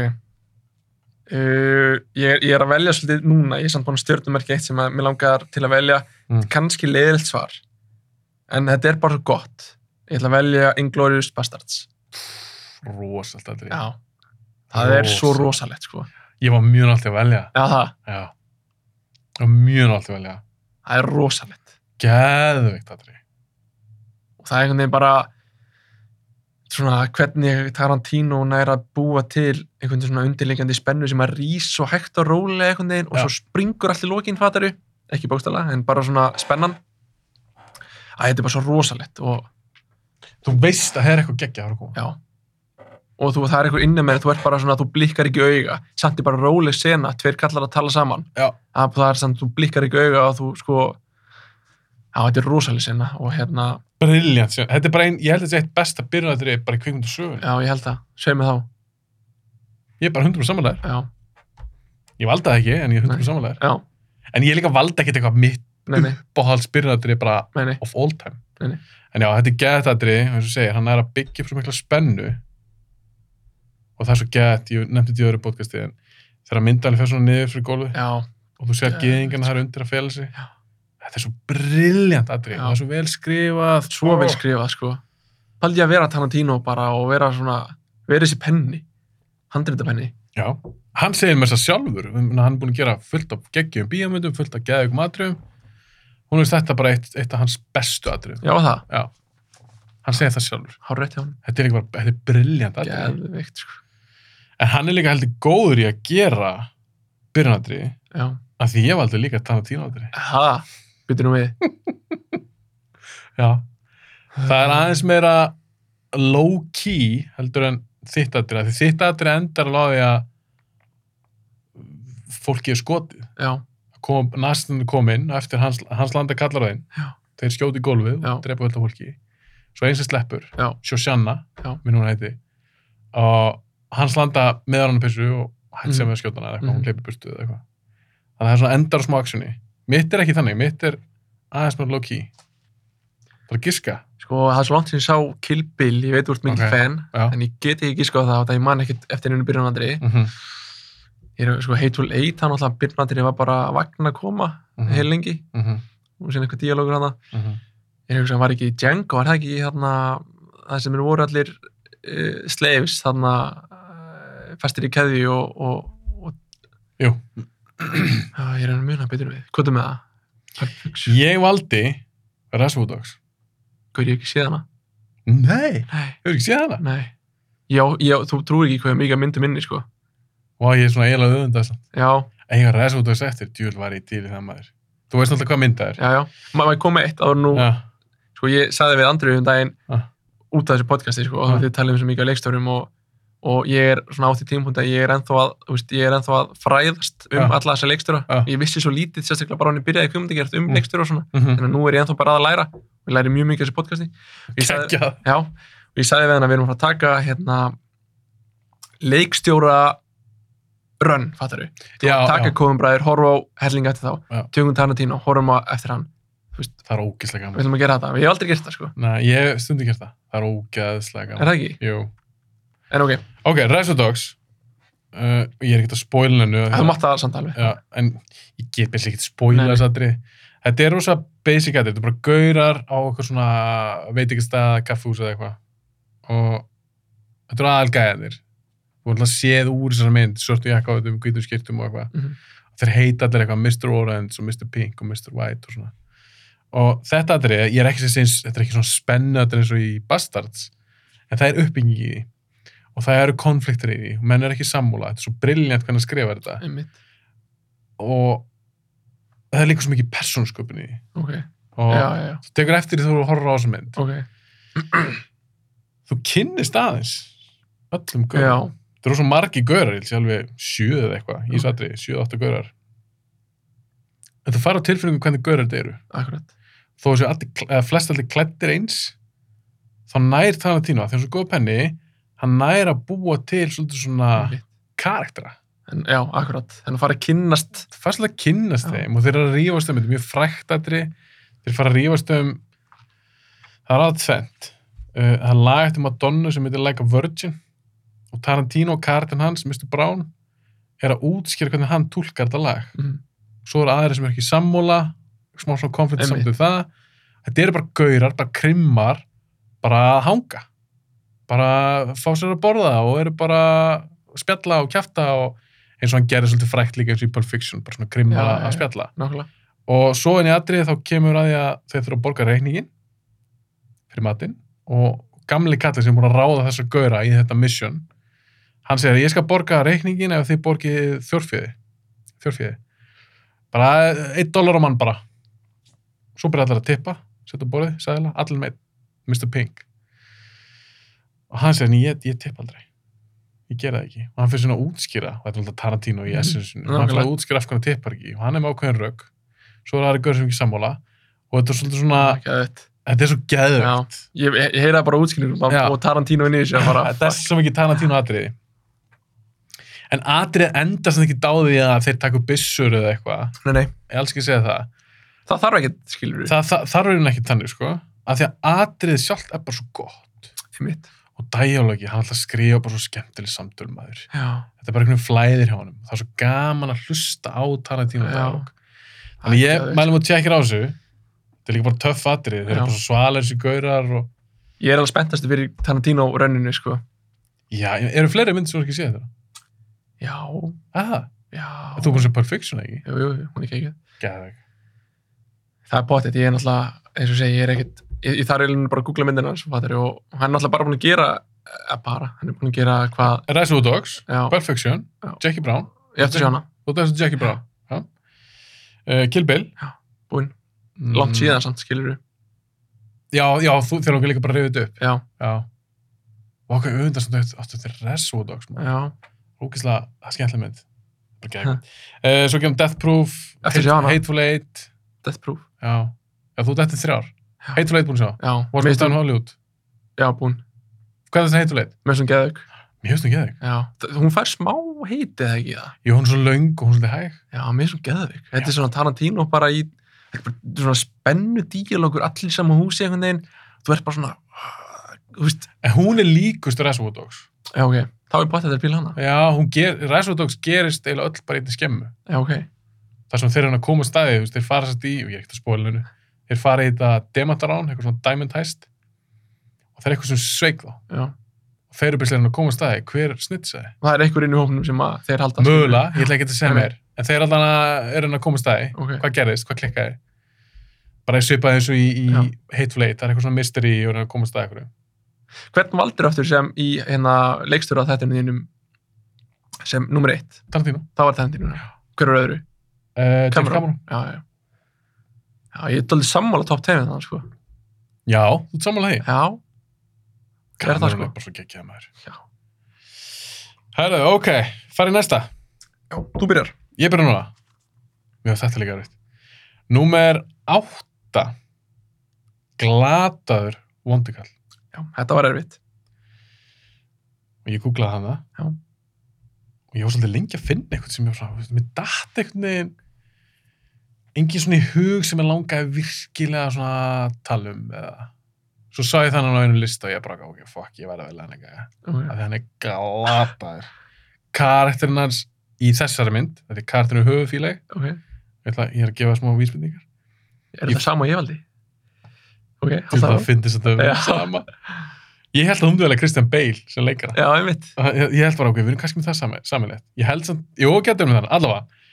B: Uh, ég, er- ég er að velja svolítið núna, ég er samt búin að stjórnumerki eitt sem að, mér langar til að velja
A: Mm.
B: kannski leiðilt svar en þetta er bara svo gott ég ætla að velja Inglourious Bastards
A: Rósalt aðri.
B: já, það er svo rosalegt sko. já,
A: Ég var mjög náttúrulega að velja.
B: það,
A: Já. Ég var mjög náttúrulega að velja.
B: það er rosalegt
A: Geðveikt aðri.
B: og það er einhvern veginn bara svona hvernig Tarantino næra að búa til einhvern veginn svona undirleikandi spennu sem að rís svo hægt og rólega einhvern veginn og
A: Já.
B: svo springur allir lokin fataru, ekki bókstala en bara svona spennan að þetta er bara svo rosalegt og
A: Þú veist að það er eitthvað geggjað að fara að koma.
B: Já. Og þú, það er einhver innan með þér, þú ert bara svona, þú blikkar ekki auga. Samt er bara róleg sena, tveir kallar að tala saman.
A: Já.
B: Að það er samt, þú blikkar ekki auga og þú sko, já, þetta er rosaleg sena og hérna,
A: Brilljant. sjón. Þetta er bara einn, ég held að þetta er eitt besta byrjunaratri bara í kvikmyndu sögun.
B: já, ég held það, segj mig þá,
A: Ég er bara 100% samanlegar.
B: já,
A: Ég valda það ekki, en ég er 100% samanlegar.
B: já,
A: En ég líka valda ekkert eitthvað mitt
B: nei, nei,
A: uppáhalds byrjunaratri bara
B: nei, nei,
A: of all time.
B: Nei, nei.
A: En já, þetta er geðatadri, eins og segir, hann er að byggja upp svo mikla spennu og það er svo geðat, ég nefndi þetta í öðru podcasti, en þegar myndalinn fer svona niður fyrir gólfi
B: já,
A: og þú sér
B: Geðveikt,
A: geðingan þar undir að fela sig,
B: Já.
A: þetta er svo brilljant atri,
B: Já.
A: það er svo vel skrifað,
B: svo vel skrifað, sko. Paldi að vera Tarantino bara og vera svona, vera þessi penni, handritapenni,
A: Já, hann segir mér þess að sjálfur, ég meina, hann er búin að gera fullt af geggjum bíómyndum, fullt af geðugum atriðum, hún veist þetta bara eitt, eitt af hans bestu atriðum,
B: já, það,
A: hann segir það sjálfur,
B: hár rétt hjá hann,
A: þetta er, líka bara- þetta er brilljant atrið.
B: geðvikt, sko,
A: En hann er líka heldur góður í að gera byrjunatri
B: já,
A: af því ég valdi líka um Tarantino-atri.
B: ha, byttu nú við,
A: Já. Það er aðeins meira low-key heldur en þitt atri. af Því þitt atri endar alveg á því að fólki er skotið
B: já,
A: kom, nasistinn kom inn á eftir hans, hans landa kallar á þeim
B: Já.
A: þeir skjóti í gólfið
B: Já.
A: og drepa öll af fólki svo eins sem sleppur,
B: já,
A: Shoshanna
B: Já.
A: minn hún heiti og hans landa meðar hann pissu og hætti sem
B: Mhm.
A: við að skjóta hana eða eitthvað,
B: Mhm.
A: hún hleypi burtu eða eitthvað þannig að það er svona endar á smá aksjunni mitt er ekki þannig, mitt er aðeins með low key það er að giska
B: sko það er svo langt sem ég sá Kill Bill, ég veit þú ert mikil
A: Ok,
B: fan
A: já.
B: en ég geti ekki sko það, það ég man ekkert eftir einu byrjunandri
A: mm -hmm.
B: ég er sko Hateful Eight, hann alltaf byrjunandri var bara að vagna að koma
A: Mhm.
B: heil lengi
A: Mm -hmm.
B: og síðan eitthvað díalógur hana
A: Mm -hmm.
B: ég hugsa hann var ekki í Django, var það ekki í þarna það sem eru voru allir uh, slaves þarna uh, fastir í keði og, og, og
A: Jú.
B: Já, ég er hann muna betur við, hvað er með það?
A: ég valdi Rasmudogs
B: Hvað er ég hef ekki séð hana?
A: nei,
B: Nei,
A: hefur ekki séð hana
B: nei Já, já, þú trúir ekki hvað ég er mikið að myndu minni, sko
A: og ég er svona eiginlega auðvendast
B: Já,
A: eiga Rasmudogs eftir, djúl var ég til í það maður þú veist náttúrulega hvað mynda er
B: já, já Ma- Maður kom með eitt áður en nú,
A: Já.
B: sko, ég saði við Andrið um daginn
A: Ah.
B: út af þessu podcasti, sko, og
A: Ah.
B: þið talið um svo mikið á leikstofnum og, og ég er svona átt í tímpundi að ég er ennþá að, þú veist, ég er ennþá að fræðast um
A: Ah.
B: alla þessa leikstofna.
A: Ah.
B: Ég vissi svo lítið, sérstaklega bara hann ég byrjaði kjómyndagjart um
A: Mm.
B: mm. leikstofna og svona,
A: Mhm.
B: þannig að nú er ég ennþá bara að læra. Ég læri mjög mikið af þessu podcasti. Og Ég sagði,
A: Geggjað.
B: já, og ég sagði við hann að við erum að fara að taka, hérna, leikstjóra run, fattar við.
A: Já,
B: Taka
A: já,
B: kofumbraðir, horfa á hellinga eftir
A: Já.
B: þá, tökum Tarantino, horfum á eftir hann.
A: það er ógeðslega
B: Við
A: gaman
B: ætlum að gera þetta. Ég hef aldrei gert þetta, sko.
A: Nei, ég hef stundum gert það það er ógeðslega
B: Er
A: gaman
B: það ekki?
A: Jú.
B: En ok,
A: ok, Rasmudogs uh, ég er ekkert að spoila hennu
B: þú mátt það samt alveg.
A: Já, en ég get byrja ekkert
B: Nei,
A: spoila
B: nei.
A: þess aðri. Þetta er rosa basic aðri, þetta er bara gaurar á eitthvað svona, veit ekki stað, kaffús eða eitthvað. Og þetta eru aðalgæðanir. Þú er alltaf séð úr þessari mynd, svörtu jakka á þetta um hvítum skýrtum og eitthvað.
B: Mhm.
A: Þeir heita allir eitthvað Mr. Orange og Mr. Pink og Mr. White og svona. Og þetta aðri, ég er ekki sem sinns, þetta er ekki svona spennu aðri eins og í Bastards, en það er uppbygging í því. Og það eru konfliktur í því, og menn er ekki sammúla, þetta er svo briljant hvernig að skrifa þetta
B: Einmitt.
A: og það er líka svo mikið persónsköpun í því.
B: Ok,
A: og
B: já, já, já.
A: þú tekur eftir því þú horfður á þessu mynd
B: Ok,
A: þú kynnist aðeins öllum
B: já,
A: gaurar, það eru svo margi gaurar ég held sé alveg sjö eða eitthvað í
B: Ok.
A: satri, sjö, átta gaurar en þú fara á tilfinningu hvernig gaurar þetta eru
B: akkurat.
A: þó þessu allir, kl- eða flest allir klættir eins þá nær þannig tína þegar svo góð penni, hann nær að búa til svolítið svona
B: Einmitt.
A: karaktera
B: En, já, akkurat. En að fara að kynnast.
A: þú fæst alltaf að kynnast
B: Já.
A: þeim og þeir eru að rífast um, þetta er mjög frækt aðri þeir fara að rífast um það er alveg tvent uh, það er lag eftir Madonna sem heitir Like a Virgin og Tarantino og kartin hans, Mr. Brown er að útskýra hvernig hann túlkar þetta lag
B: Mm.
A: svo eru aðri sem er ekki sammóla smá svona konflikt samt
B: Einmitt.
A: við það þetta eru bara gaurar, bara krimmar bara að hanga bara að fá sér að borða og eru bara að spjalla og kjafta og eins og hann gerir svolítið frækt líka eins og í Pulp Fiction, bara svona krimmar
B: Já,
A: að-
B: já,
A: að
B: já.
A: spjalla
B: Nákvæmlega.
A: og svo inn í atrið þá kemur að því að þeir þurfa að borga reikningin fyrir matinn og gamli kallið sem er búin að ráða þess að gauðra í þetta mission hann segir ég skal borga reikningin ef þið borgið þjórfiði þjórfiði bara einn dólar á mann bara svo byrja allar að tippa setja á borðið, sæðilega, allir með einn, Mr. Pink og hann segir ég, ég tippa aldrei ég gera það ekki og hann fyrir svona að útskýra og þetta er alltaf Tarantino í
B: Mhm.
A: essensinu og hann fyrir að
B: Nákvæmlega.
A: útskýra af hvernig hann tippar ekki og hann er með ákveðin rögg svo er aðri gaur sem ekki sammála og þetta er svolítið svona,
B: Geðveikt.
A: þetta er svo
B: Já.
A: geðvögt
B: Ég, ég ég heyra bara útskýringum
A: Já.
B: og Tarantino inn í þessu að bara...
A: þetta er svo mikið Tarantino atriði en atriði endast ekki dáði að þeir taka upp byssur eða eitthvað,
B: Nei, nei.
A: ég alls ekki að segja það
B: Það þarf ekki, skilur við.
A: það, það þarf einhvern ekki þannig sko af því að atriðið sjálft er bara svo gott
B: Það er mitt.
A: og dæjálogi, hann alltaf skrifa bara svo skemmtileg samtöl maður
B: Já.
A: þetta er bara einhvern veginn flæðir hjá honum það er svo gaman að hlusta á Tarantino
B: Já.
A: dialog þannig ég
B: Geðveikt.
A: mælum að tjekkir á þessu þetta er líka bara töff atrið þeir eru
B: Já.
A: bara svo svalir sér gaurar og
B: Ég er alveg spenntast fyrir Tarantino rönninu, sko.
A: já, eru fleiri myndir sem þú ekki séð þetta?
B: Já,
A: Aha,
B: já.
A: þú er búin sem Perfection ekki?
B: Jú, jú, jú, hún er kekið.
A: Gæðveg
B: Það er potið, ég er náttúrulega, eins og segi, ég er ekkert... Ég, ég þarf eiginlega bara að googla myndina hans, fattar og hann er náttúrulega bara búin að gera... Að bara, hann er búin að gera hvað...
A: Reservoir Dogs,
B: Já,
A: Perfection,
B: Já.
A: Jackie Brown
B: ég eftir sjá hana,
A: þú þessu Jackie Brown já. Uh, Kill Bill
B: búin. Langt
A: Mm.
B: síðan samt, skilur
A: Já, já, þú þér langar líka bara að reyða þetta upp.
B: Já,
A: Já. Og okkur auðvitað sem þetta, áttu þetta er Reservoir Dogs, maður.
B: já.
A: Ógislega, það er skemmtileg mynd. okay. uh, Svo kemur Death Proof
B: Eftir sjá hana.
A: Hateful Eight
B: Death Proof
A: Já, já þú dættir þrjár
B: Já.
A: Hateful Eight búin að sjá
B: já,
A: What's Mist
B: mér finnst
A: Down
B: hún-
A: Hollywood
B: já búin,
A: Hvað er þetta Hateful Eight?
B: með svona geðug
A: Mér finnst hún geðveik
B: já, Þ- hún fær smá heiti eða ekki það
A: Jú, hún er svo löng og hún er svolítið hæg
B: já, mér finnst hún geðug, þetta er svona Tarantino bara í þetta er bara svona spennu díalógur allir í sama húsi einhvern veginn þú ert bara svona "Ah," þú veist,
A: En hún er líkust Reservoir Dogs
B: já ok, þá er bátt þetta er bíl hana
A: Já, hún ger, Reservoir Dogs gerist eiginlega öll bara einnig skemmu
B: já ok,
A: þar sem þeir eru að koma á staði, þú veist, þeir fara sérst í, og ég er ekkert að spóla hennu, þeir fara í þetta demantarán, eitthvað svona diamond heist, og það er eitthvað sem sveik þá.
B: já
A: Og þeir eru byrjuslega að koma á staði, hver snitsaði?
B: það er einhver inn í hópnum sem að þeir halda
A: Mögulega, ég ætla ekki að segja
B: Nei, nei.
A: mér, en þeir allan að eru að koma á staði,
B: ok,
A: hvað gerðist, hvað klikkaði? Bara svipað eins og í, í
B: Já.
A: Hateful Eight, það er eitthvað svona mystery og reyna að koma á staði eitthvað.
B: hvern valdur aftur sem í hérna leikstöru að þetta þínum sem nummer eitt,
A: Tarantino.
B: þá var þetta þínum hver var öðru?
A: Uh, James
B: Cameron.
A: Cameron.
B: Já, já Já, ég er daldið sammála top 10 þannig sko
A: Já, þú ert sammála því.
B: Já, Er
A: Cameron
B: það sko?
A: er bara svo geggjað maður.
B: Já.
A: Herðu, ok, farið næsta.
B: já þú byrjar
A: Ég byrja núna. Já, þetta er líka erfitt. Númer átta. Glataður vondikall.
B: Já, þetta var erfitt
A: Og ég googlaði hann það.
B: Já.
A: Og ég var svolítið lengi að finna eitthvað sem ég var svona, þú veist, mér datt eitthvað neginn, engin svona í hug sem ég langaði virkilega svona að tala um eða. Svo sá ég þannig á einu lista og ég bara, ok, fuck, ég verði að velja hann eitthvað. Af
B: okay.
A: því hann er glataður. Karakterinn hans í þessari mynd, þetta er karakterinn höfufíleg,
B: ok
A: ég, ætla, ég er að gefa smá vísmyndingar.
B: Er
A: Ég-
B: þetta sama og ég valdi? Ok,
A: Þú
B: halda
A: það
B: það
A: finnst þetta að vera
B: Já.
A: sama. Ég held að hún duðalega Kristján Bale sem leikara.
B: Já, einmitt
A: Ég, ég held bara okkur, við erum kannski með það sami- samilegt. Ég held samt, jú, getur við þannig, allavega.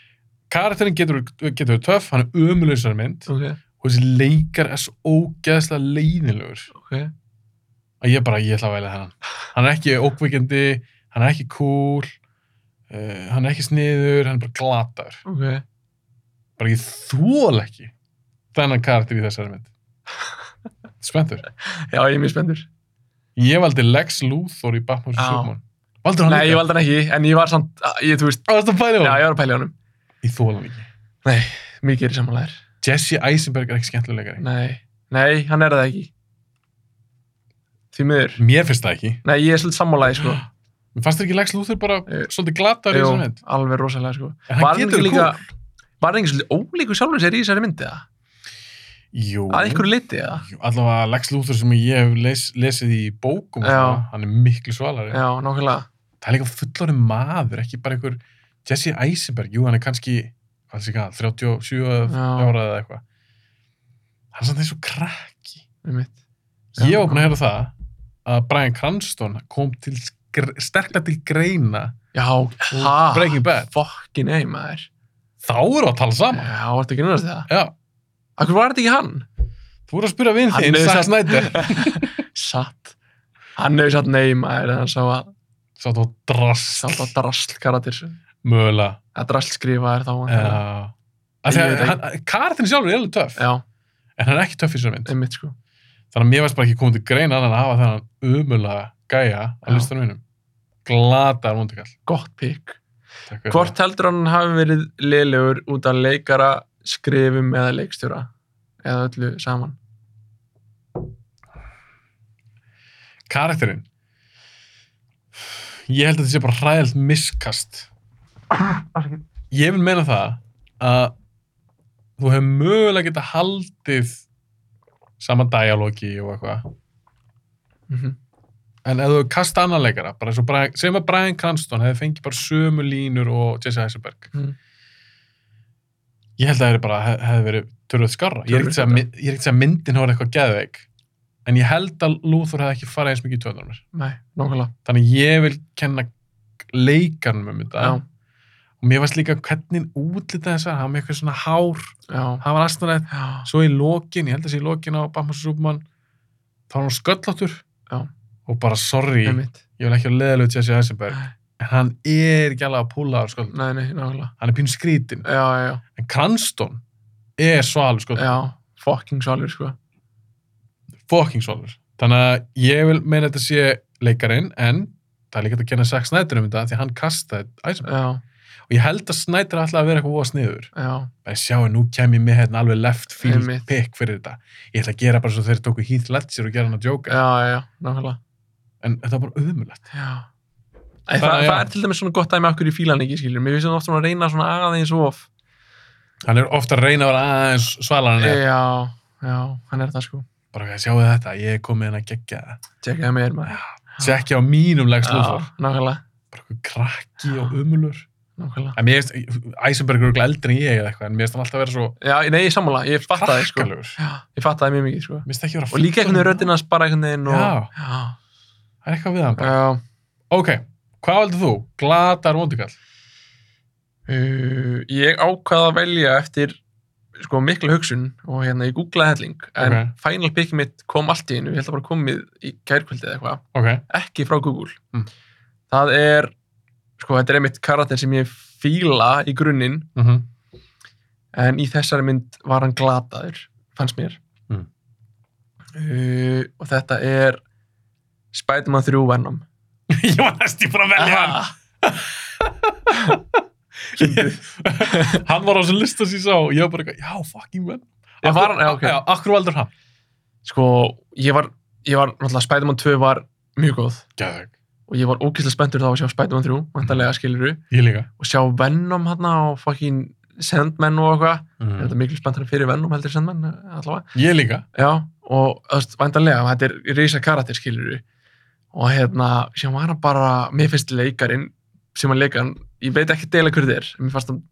A: Karakterinn getur, getur verið töff, hann er ömulegsar mynd
B: Ok,
A: og þessi leikar er svo ógeðslega leiðinlegur
B: ok
A: að ég bara, ég ætla að velja þennan. Hann er ekki ókvikindi, hann er ekki cool, uh, hann er ekki sniður, hann er bara glatar.
B: Ok,
A: Bara ég þól ekki þennan karakter í þessari mynd. Spenntur.
B: já, ég er mjög spendur
A: Ég valdi Lex Luthor í Batman vs.
B: Já.
A: Superman. Valdur hann
B: Nei, ég
A: líka?
B: valdi hann ekki, en ég var samt Ég, þú veist,
A: Ég valdi hann.
B: já,
A: Já,
B: ég
A: já.
B: var að pæla í honum
A: Ég þóla hann ekki.
B: Nei, mikið er í sammálaðir
A: Jesse Eisenberg er ekki skemmtilegari.
B: Nei, nei, hann er það ekki Því miður
A: Mér finnst það ekki.
B: Nei, ég er svolítið sammálaði, sko
A: Mér fannst þér ekki Lex Luthor bara
B: Jú.
A: svolítið glatar í
B: Jú,
A: þessu mynd.
B: alveg rosalega, sko
A: En
B: var
A: hann
B: hann
A: getur
B: ekki
A: líka...
B: líka- Var það einhvers ólíku sjálfur sér í þessari myndi það?
A: Jú.
B: Að einhverju liti það?
A: Jú, Allavega Lex Luthor sem ég hef les, lesið í bókum, og
B: Já.
A: svona, hann er miklu svalari.
B: Já, nákvæmlega.
A: Það er líka fullorinn maður, ekki bara einhver Jesse Eisenberg. Jú, hann er kannski, hvað sé hvað, 37 eða
B: Já.
A: ára eða eitthvað. Hann er samt eins og krakki.
B: einmitt.
A: Ég
B: Já.
A: var búin að heyra það að Brian Cranston kom til gr- sterklega til greina
B: Já,
A: úr
B: ha?
A: Breaking Bad.
B: Fucking ei, maður.
A: Þá erum við að tala saman.
B: Já, vartu ekki núnast það?
A: Já,
B: Akkur var þetta ekki hann?
A: þú voru að spyrja vinn
B: Hann
A: þinn,
B: er
A: Zack
B: satt-
A: Snyder.
B: Satt. Hann hefur satt nei, maður, en hann sá að
A: Sá þú
B: satt
A: drast,
B: að drasl karatir.
A: mögulega.
B: Að drasl skrifaðir þá.
A: Já.
B: væntanlega.
A: Af því
B: Ég veit
A: að
B: ekki.
A: hann- Karatinn sjálfur er alveg töff,
B: Já,
A: en hann er ekki töff í þessari mynd.
B: einmitt, sko.
A: Þannig að mér varst bara ekki komið til greina annan að hafa þennan umulega gæja á
B: Já.
A: listanum mínum. Glata er vondikall.
B: Gott pík. Hvort heldur hann hafi verið liðlegur út af leikara, skrifum eða leikstjóra? Eða öllu saman?
A: Karakterinn. Ég held að þetta sé bara hræðilt miskast. Ég vil meina það að þú hefur mögulega geta haldið sama dialogi og eitthvað.
B: Mm -hmm.
A: En ef þú hefur kastað annan leikara, bara eins og Brian, sem að Brian Cranston hefði fengið bara sömu línur og Jesse Eisenberg.
B: Mm.
A: Ég held að það hefði bara hef- hefði verið törðuð skarra. Ég er ekkert að segja
B: Töluvert
A: mynd- ég er ekkert að segja að myndin hefur eitthvað geðveik. En ég held að Luthor hefði ekki farið eins mikið í töndanum.
B: Nei, nákvæmlega.
A: Þannig ég vil kenna leikarnum um þetta.
B: Já,
A: Og mér varst líka hvernig útlitað þess að hann með eitthvað svona hár,
B: já,
A: hann var astanætt.
B: já.
A: Svo í lokin, ég held að sé í lokin á Batman vs. Superman, þá var hann sköllóttur.
B: Já.
A: Og bara sorry,
B: Einmitt.
A: ég vil ekki að leðalögu Jesse Eisenberg.
B: Nei.
A: En hann er ekki alveg að púla á sköllóttur.
B: Nei, nei, nákvæmlega.
A: Hann er pínu skrítin.
B: Já, já, já.
A: En Cranston er svalur sköllóttur.
B: Já, fucking svalur sko
A: Fucking svalur. Þannig að ég vil meina þetta sé leikarinn, en það er líka hægt að kenna Zack Snyder um þetta því að hann kastaði Eisenberg.
B: Já,
A: og ég held að Snyder ætlaði að vera eitthvað voða sniður
B: já,
A: bara sjáu, nú kem ég með hérna alveg left field
B: Einmitt.
A: pick fyrir þetta ég ætla að gera bara svo þeir tóku Heath Ledger og gera hann að
B: já,
A: jóka
B: já, já, nákvæmlega
A: en þetta var bara öðmulegt
B: já. Æ, það,
A: Bara,
B: það,
A: já.
B: er til dæmis svona gott dæmi okkur í fílan ekki, skilur, mér finnst það oft svona að reyna svona aðeins of
A: hann er ofta að reyna að vera aðeins svalan en er
B: já, já, hann er það sko
A: bara sjáu þetta, ég er komið hérna að gegja
B: tjekkaði mér maður
A: það tjekkja á mínum legst
B: já,
A: lúþór
B: nákvæmlega,
A: bara eitthvað krakki og ömulur
B: nákvæmlega
A: en mér finnst, Eisenberg er örugglega eldri en ég eða eitthvað en mér finnst hann alltaf að vera svo
B: já, nei, ég sammála, ég fatt það sko
A: krakkalegur
B: já, ég fatt það mjög mikið sko
A: Mér finnst ekki vera
B: og líka einhvern veginn röddinn hans bara einhvern veginn og,
A: Já.
B: já,
A: Það er eitthvað við hann bara.
B: já.
A: Ok, hvað heldur þú? Glatar vondikall?
B: Uh, ég ákvaða að velja eftir sko mikla hugsun og hérna ég googlaði helling en
A: Ok.
B: final pick mitt kom allt í einu, ég held að bara komið í kærkvöldi eða eitthvað,
A: Ok,
B: ekki frá Google
A: Mm.
B: það er sko þetta er einmitt karakter sem ég fíla í grunninn
A: mm -hmm.
B: en í þessari mynd var hann glataður fannst mér
A: Mm.
B: uh, og þetta er Spider-Man 3 Venom
A: ég var næstu bara að velja hann.
B: Ah,
A: hann var á þessu lista sem ég sá og ég var bara eitthvað, já, fucking well.
B: Já, var hann- já, ok.
A: Já, akkur valdur hann?
B: sko ég var, ég var náttúrulega Spider-Man 2 var mjög góð
A: Gæðveg.
B: og ég var ógeðslega spenntur þá að sjá Spider-Man 3, vantarlega skiluru
A: Ég líka.
B: og sjá Venom hann og fucking Sandman og eitthvað mm. þetta er miklu spenntur fyrir Venom heldur en Sandman eh, allavega,
A: Ég líka.
B: já og þú veist, vantarlega, þetta er reysa karakter skiluru og hérna sem var hann bara, mér finnst leikarin sem hann leikar, hann- ég veit ekki deila hver þið er, en mér fannst hann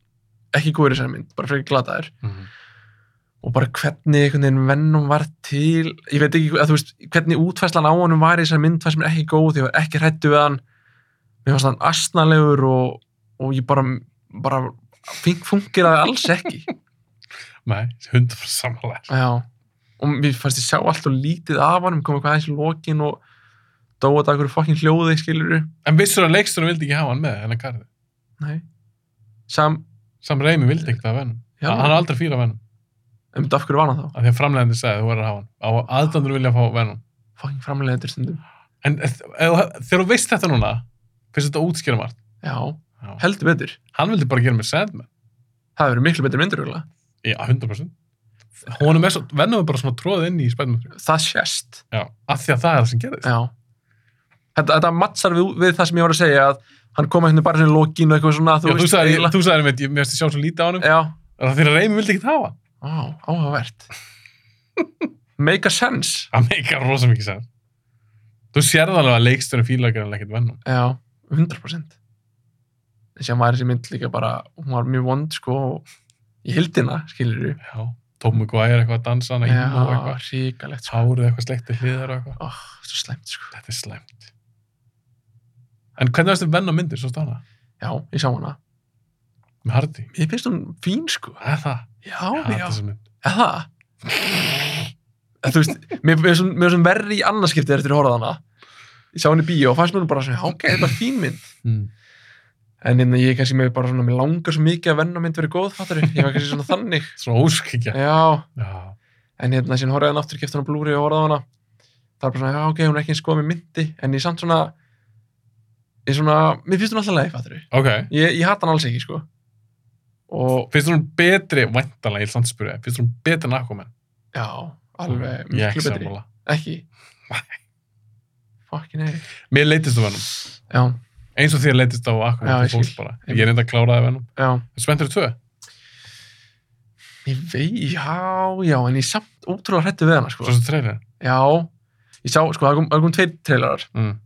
B: ekki góður í þessari mynd, bara frekar glataður og bara hvernig einhvern veginn Venom var til, ég veit ekki að þú veist, hvernig útfæslan á honum var í þessari mynd fannst mér ekki góð, ég var ekki hrættu við hann mér fannst hann astnalegur og, og ég bara, bara fink fungeraði alls ekki
A: Nei, hundar fyrir samanlega.
B: já, og mér fannst ég sjá allt og lítið af hann, kom eitthvað aðeins í lokin og dóa þetta einhverju fokkin hljóði skilur
A: En vissur að leikstunum vildi ekki hafa hann með, hennar garði.
B: nei, sam
A: Sam Raimi vildi ekkert að vennum.
B: já,
A: Hann er aldrei fýra vennum.
B: um þetta af hverju var hann þá,
A: Af því að framlegandi sagði þú verður að hafa hann. Á aðdandur vilja að fá vennum.
B: fokkin framleiðendur stundum
A: En eh, ef- þegar þú veist þetta núna, finnst þetta útskýra margt.
B: já,
A: Já.
B: heldur betur,
A: Hann vildi bara gera mér Sandman.
B: það hefur verið miklu betur myndur örugglega.
A: Já, 100% Hún er með svo, vennum við bara svona tróð inn í spænum
B: það sést
A: Já, af því að það er það sem gerðist
B: Já. Þetta, þetta mattsar við, við það sem ég var að segja að hann kom einhvern veginn bara svona í lokin og eitthvað svona
A: Þú, Já, þú sagði,
B: eiginlega-
A: þú sagði mér, ég mér finnst að sjá svo lítið á hann
B: Já,
A: Það er því að reymi vildi ekki hafa hann.
B: Vá, áhugavert. Make a sense.
A: Það meikar rosa mikið sér Þú sérð alveg að leikstunum fílagar en ekkert vennum
B: Já, 100%. Þessi að maður þessi mynd líka bara, hún var mjög vond sko og í hildina, skilur við.
A: Já, Tómi Guær eitthvað að dansa hana inn og eitthvað
B: ríkalegt sko.
A: Hárið eitthvað sleikti hliðar og eitthvað
B: Ó, svo slæmt sko.
A: Þetta er slæmt En hvernig varstu vennum myndir, svo stána?
B: Já, ég sá hana.
A: Með Hardy
B: Ég finnst hún fín sko.
A: Það er það Ég
B: Já,
A: hata
B: já.
A: þessa mynd.
B: Eða? Þú veist, mér mér er svona- mér er svona verri í annarskipti eftir að horfa á hana. Ég sá hann í bíó og fannst mér nú bara svona, já, ok, þetta er bara fín mynd.
A: Mm.
B: En hérna ég er kannski með bara svona, mér langar svo mikið að venna mynd verið góð, fattur ég, var kannski svona þannig.
A: Svo óskikja
B: Já,
A: Já,
B: en hérna síðan horfði hann aftur, kefti hann á Blu-ray og horfði á hana. Það er bara svona, já, ok, hún er ekki eins góð með myndi, en ég samt svona, ég svona, mér finnst hún alltaf leið, fattur ég.
A: ok
B: Ég hatt hann alls ekki, sko. Og,
A: finnst hún betri, væntanlega, ég er samt að spyrja finnst hún betri en Aquaman?
B: já, alveg,
A: Mm, Ég er
B: miklu
A: ekki
B: betri.
A: sammála.
B: Ekki? Fucking ei.
A: mér leitist um á Venom,
B: Já,
A: eins og þér leitist á
B: Já,
A: Aquaman
B: ég
A: til fólks
B: skil.
A: bara, ég er reynda að klára það Venom
B: já.
A: spenntur þú tvö?
B: Ég vei, já, já, en ég er samt ótrúlega hrættu við hana, sko.
A: svo sem treyri
B: Já, ég sá, sko, það kom, það kom tveir trailerar.
A: mm.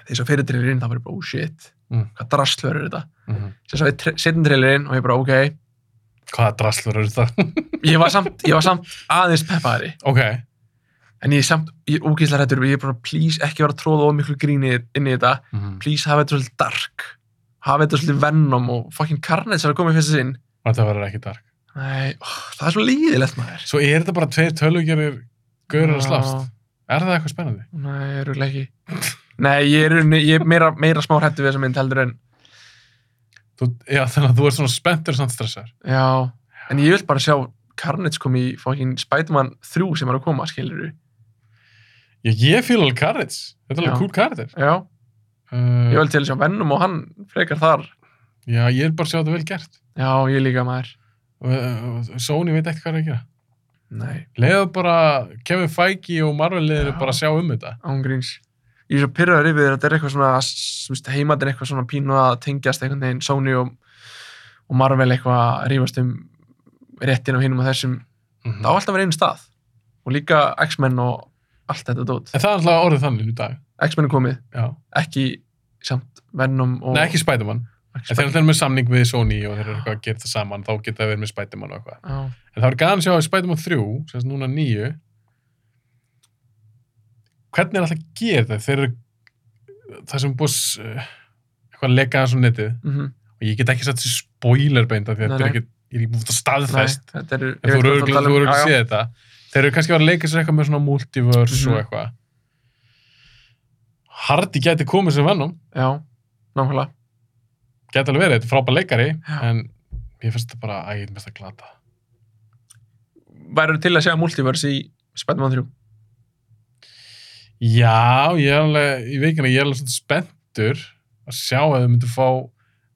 B: Þegar ég sá fyrir trailerinn, það var ég bara, oh shit,
A: Mm.
B: hvað drasl verður þetta?
A: mm -hmm.
B: Sér sá ég tre setjum trailerinn og ég bara, ok,
A: hvaða draslur eru það?
B: ég var samt, ég var samt aðeins peppaðari.
A: ok,
B: En ég er samt, ég er ógeðslega hrættur, ég er bara, please, ekki vera að tróða of miklu gríni inn í þetta.
A: mm.
B: Please, hafa þetta svolítið dark. Hafa þetta svolítið venom og fucking carnage sem er komið fyrsta sinn.
A: þetta verður ekki dark
B: Nei, ó, það er svo líðilegt maður.
A: svo er þetta bara tveir tölvugerir gaurar að
B: Já.
A: slást, er það eitthvað spennandi?
B: Nei, ég eru ekki Nei, ég er, í rauninni- ég er meira, meira smá hrættu við þessa mynd heldur en
A: Þú, já, þannig að þú ert svona spenntur samt stressar
B: Já, en ég vil bara sjá Carnage kom í fókin Spider-Man 3 sem er að koma, skilur
A: ég, ég fíla alveg Carriage, þetta er alveg
B: Já.
A: cool karakter
B: Já, ég
A: uh,
B: vil til að sjá Venom og hann frekar þar
A: Já, ég er bara að sjá þetta vel gert.
B: Já, ég líka maður.
A: Uh, Sony veit ekkert hvað er að gera.
B: Nei,
A: Leðu bara Kevin Feige og Marvel leður
B: Já.
A: bara að sjá um þetta.
B: ángríns. Ég er svo pyrraður yfir þér að þetta er eitthvað svona, s- þú veist, heimatinn eitthvað svona pínu að tengjast einhvern veginn Sony og, og Marvel eitthvað að rífast um réttin og hinum og þessum.
A: Mhm.
B: Það á alltaf að vera einu stað. Og líka X-Men og allt þetta dót.
A: En það er alltaf orðið þannig í dag.
B: X-Men er komið,
A: Já.
B: ekki samt Venom og...
A: Nei, ekki Spider-Man.
B: ekki
A: En þeir eru með samning við Sony og þeir eru eitthvað að gera það saman, þá geta þeir verið með Spider-Man og eitthvað.
B: Já,
A: En það var gaman að sjá að Spider-Man 3, sem er núna 9 hvernig er alltaf að gera þetta? Þeir eru það sem er búið að s- eh, eitthvað að leka aðeins á netið
B: mhm.
A: og ég get ekki satt þessi spoiler beinta því að
B: Nei,
A: þetta er
B: nei.
A: ekki, ég er ekki búin að
B: Nei,
A: staðfest
B: þetta er...
A: en þú eru
B: um.
A: örgulega, þú eru ekki séð þetta þeir eru kannski að vera að leika sér eitthvað með svona multiverse
B: Mhm.
A: og eitthvað Hardy gæti komið sem vennum
B: Já, nákvæmlega.
A: gæti alveg verið, þetta er frábæð leikari
B: Já.
A: en ég finnst þetta bara, æ, ég er mest að glata
B: væru til að sjá multiverse í Spider-Man 3
A: Já, ég er alveg, í veikina, ég er alveg svolítið spenntur að sjá að þau myndu fá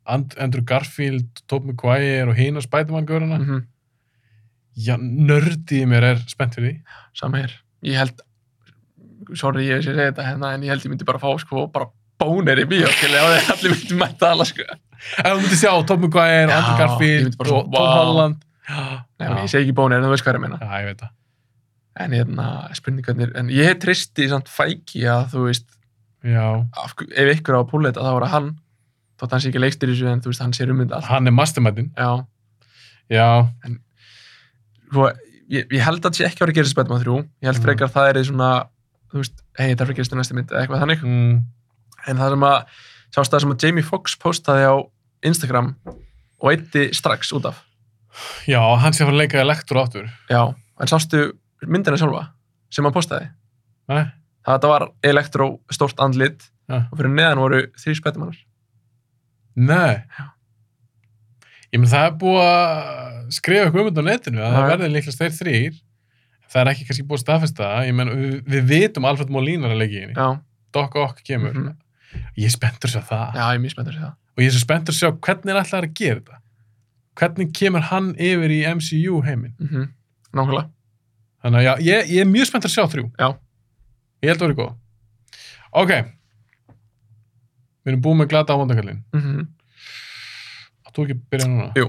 A: And Andrew Garfield, Tobey Maguire og hina Spider-Man-göruna.
B: mm
A: Mm. Já, nördið í mér er spennt fyrir því.
B: sama hér, ég held sorry ég sé að segja þetta hérna en ég held ég myndi bara fá sko bara bónir í bíó skilja og þeir allir myndi mæta alla sko
A: Ef þú myndir sjá Tobey Maguire,
B: Já,
A: Andrew
B: ég
A: Garfield
B: myndi
A: og
B: bara svona,
A: Tom
B: vá.
A: Holland.
B: Nei,
A: Já.
B: ég segi ekki bónir en þú veist hvað ég meina
A: Já, ég veit það.
B: en hérna spurningarnir en ég hef tristi samt fæki að þú veist
A: Já,
B: af, ef ykkur á að púleita þá var það hann þótt hann sé ekki leikstir í þessu en þú veist hann sé ummynd allt
A: hann er mastermindin.
B: já
A: Já,
B: sko, ég, ég held að það sé ekki að vera að gera þessi Spiderman 3 ég held
A: Mhm.
B: frekar það er svona þú veist hei þetta er að fara að gerast í næstu mynd eða eitthvað þannig
A: mm,
B: en það sem að sást það sem að Jamie Foxx postaði á Instagram og eitti strax út af
A: já hann sé að fara að leika elektro áttur.
B: já, en sástu myndina sjálfa sem hann postaði
A: Nei,
B: það var elektró stórt andlit
A: Ja.
B: og fyrir neðan voru þrý spætumannar
A: nei. Ég menn það er búið að skrifa eitthvað um þetta á netinu að það
B: Já.
A: verði líklega þeir þrýr. Það er ekki kannski búið að staðfesta það. Ég menn við, við vitum Alfred Molina er að leggja í henni.
B: já,
A: Dokk okk kemur.
B: Mhm.
A: Ég er spenntur að sjá það.
B: já, ég er mjög spenntur fyrir það
A: Og ég er svo spenntur að sjá hvernig er alltaf að gera þetta. Hvernig kemur hann yfir í MCU heiminn.
B: mm -hmm. nákvæmlega,
A: Þannig að já, ég, ég er mjög spenntur að sjá þrjú.
B: Já.
A: Ég held að vera góð. Ok. Við erum búið með glata á vandakallin.
B: mm
A: Þú ekki að byrja núna.
B: Jú.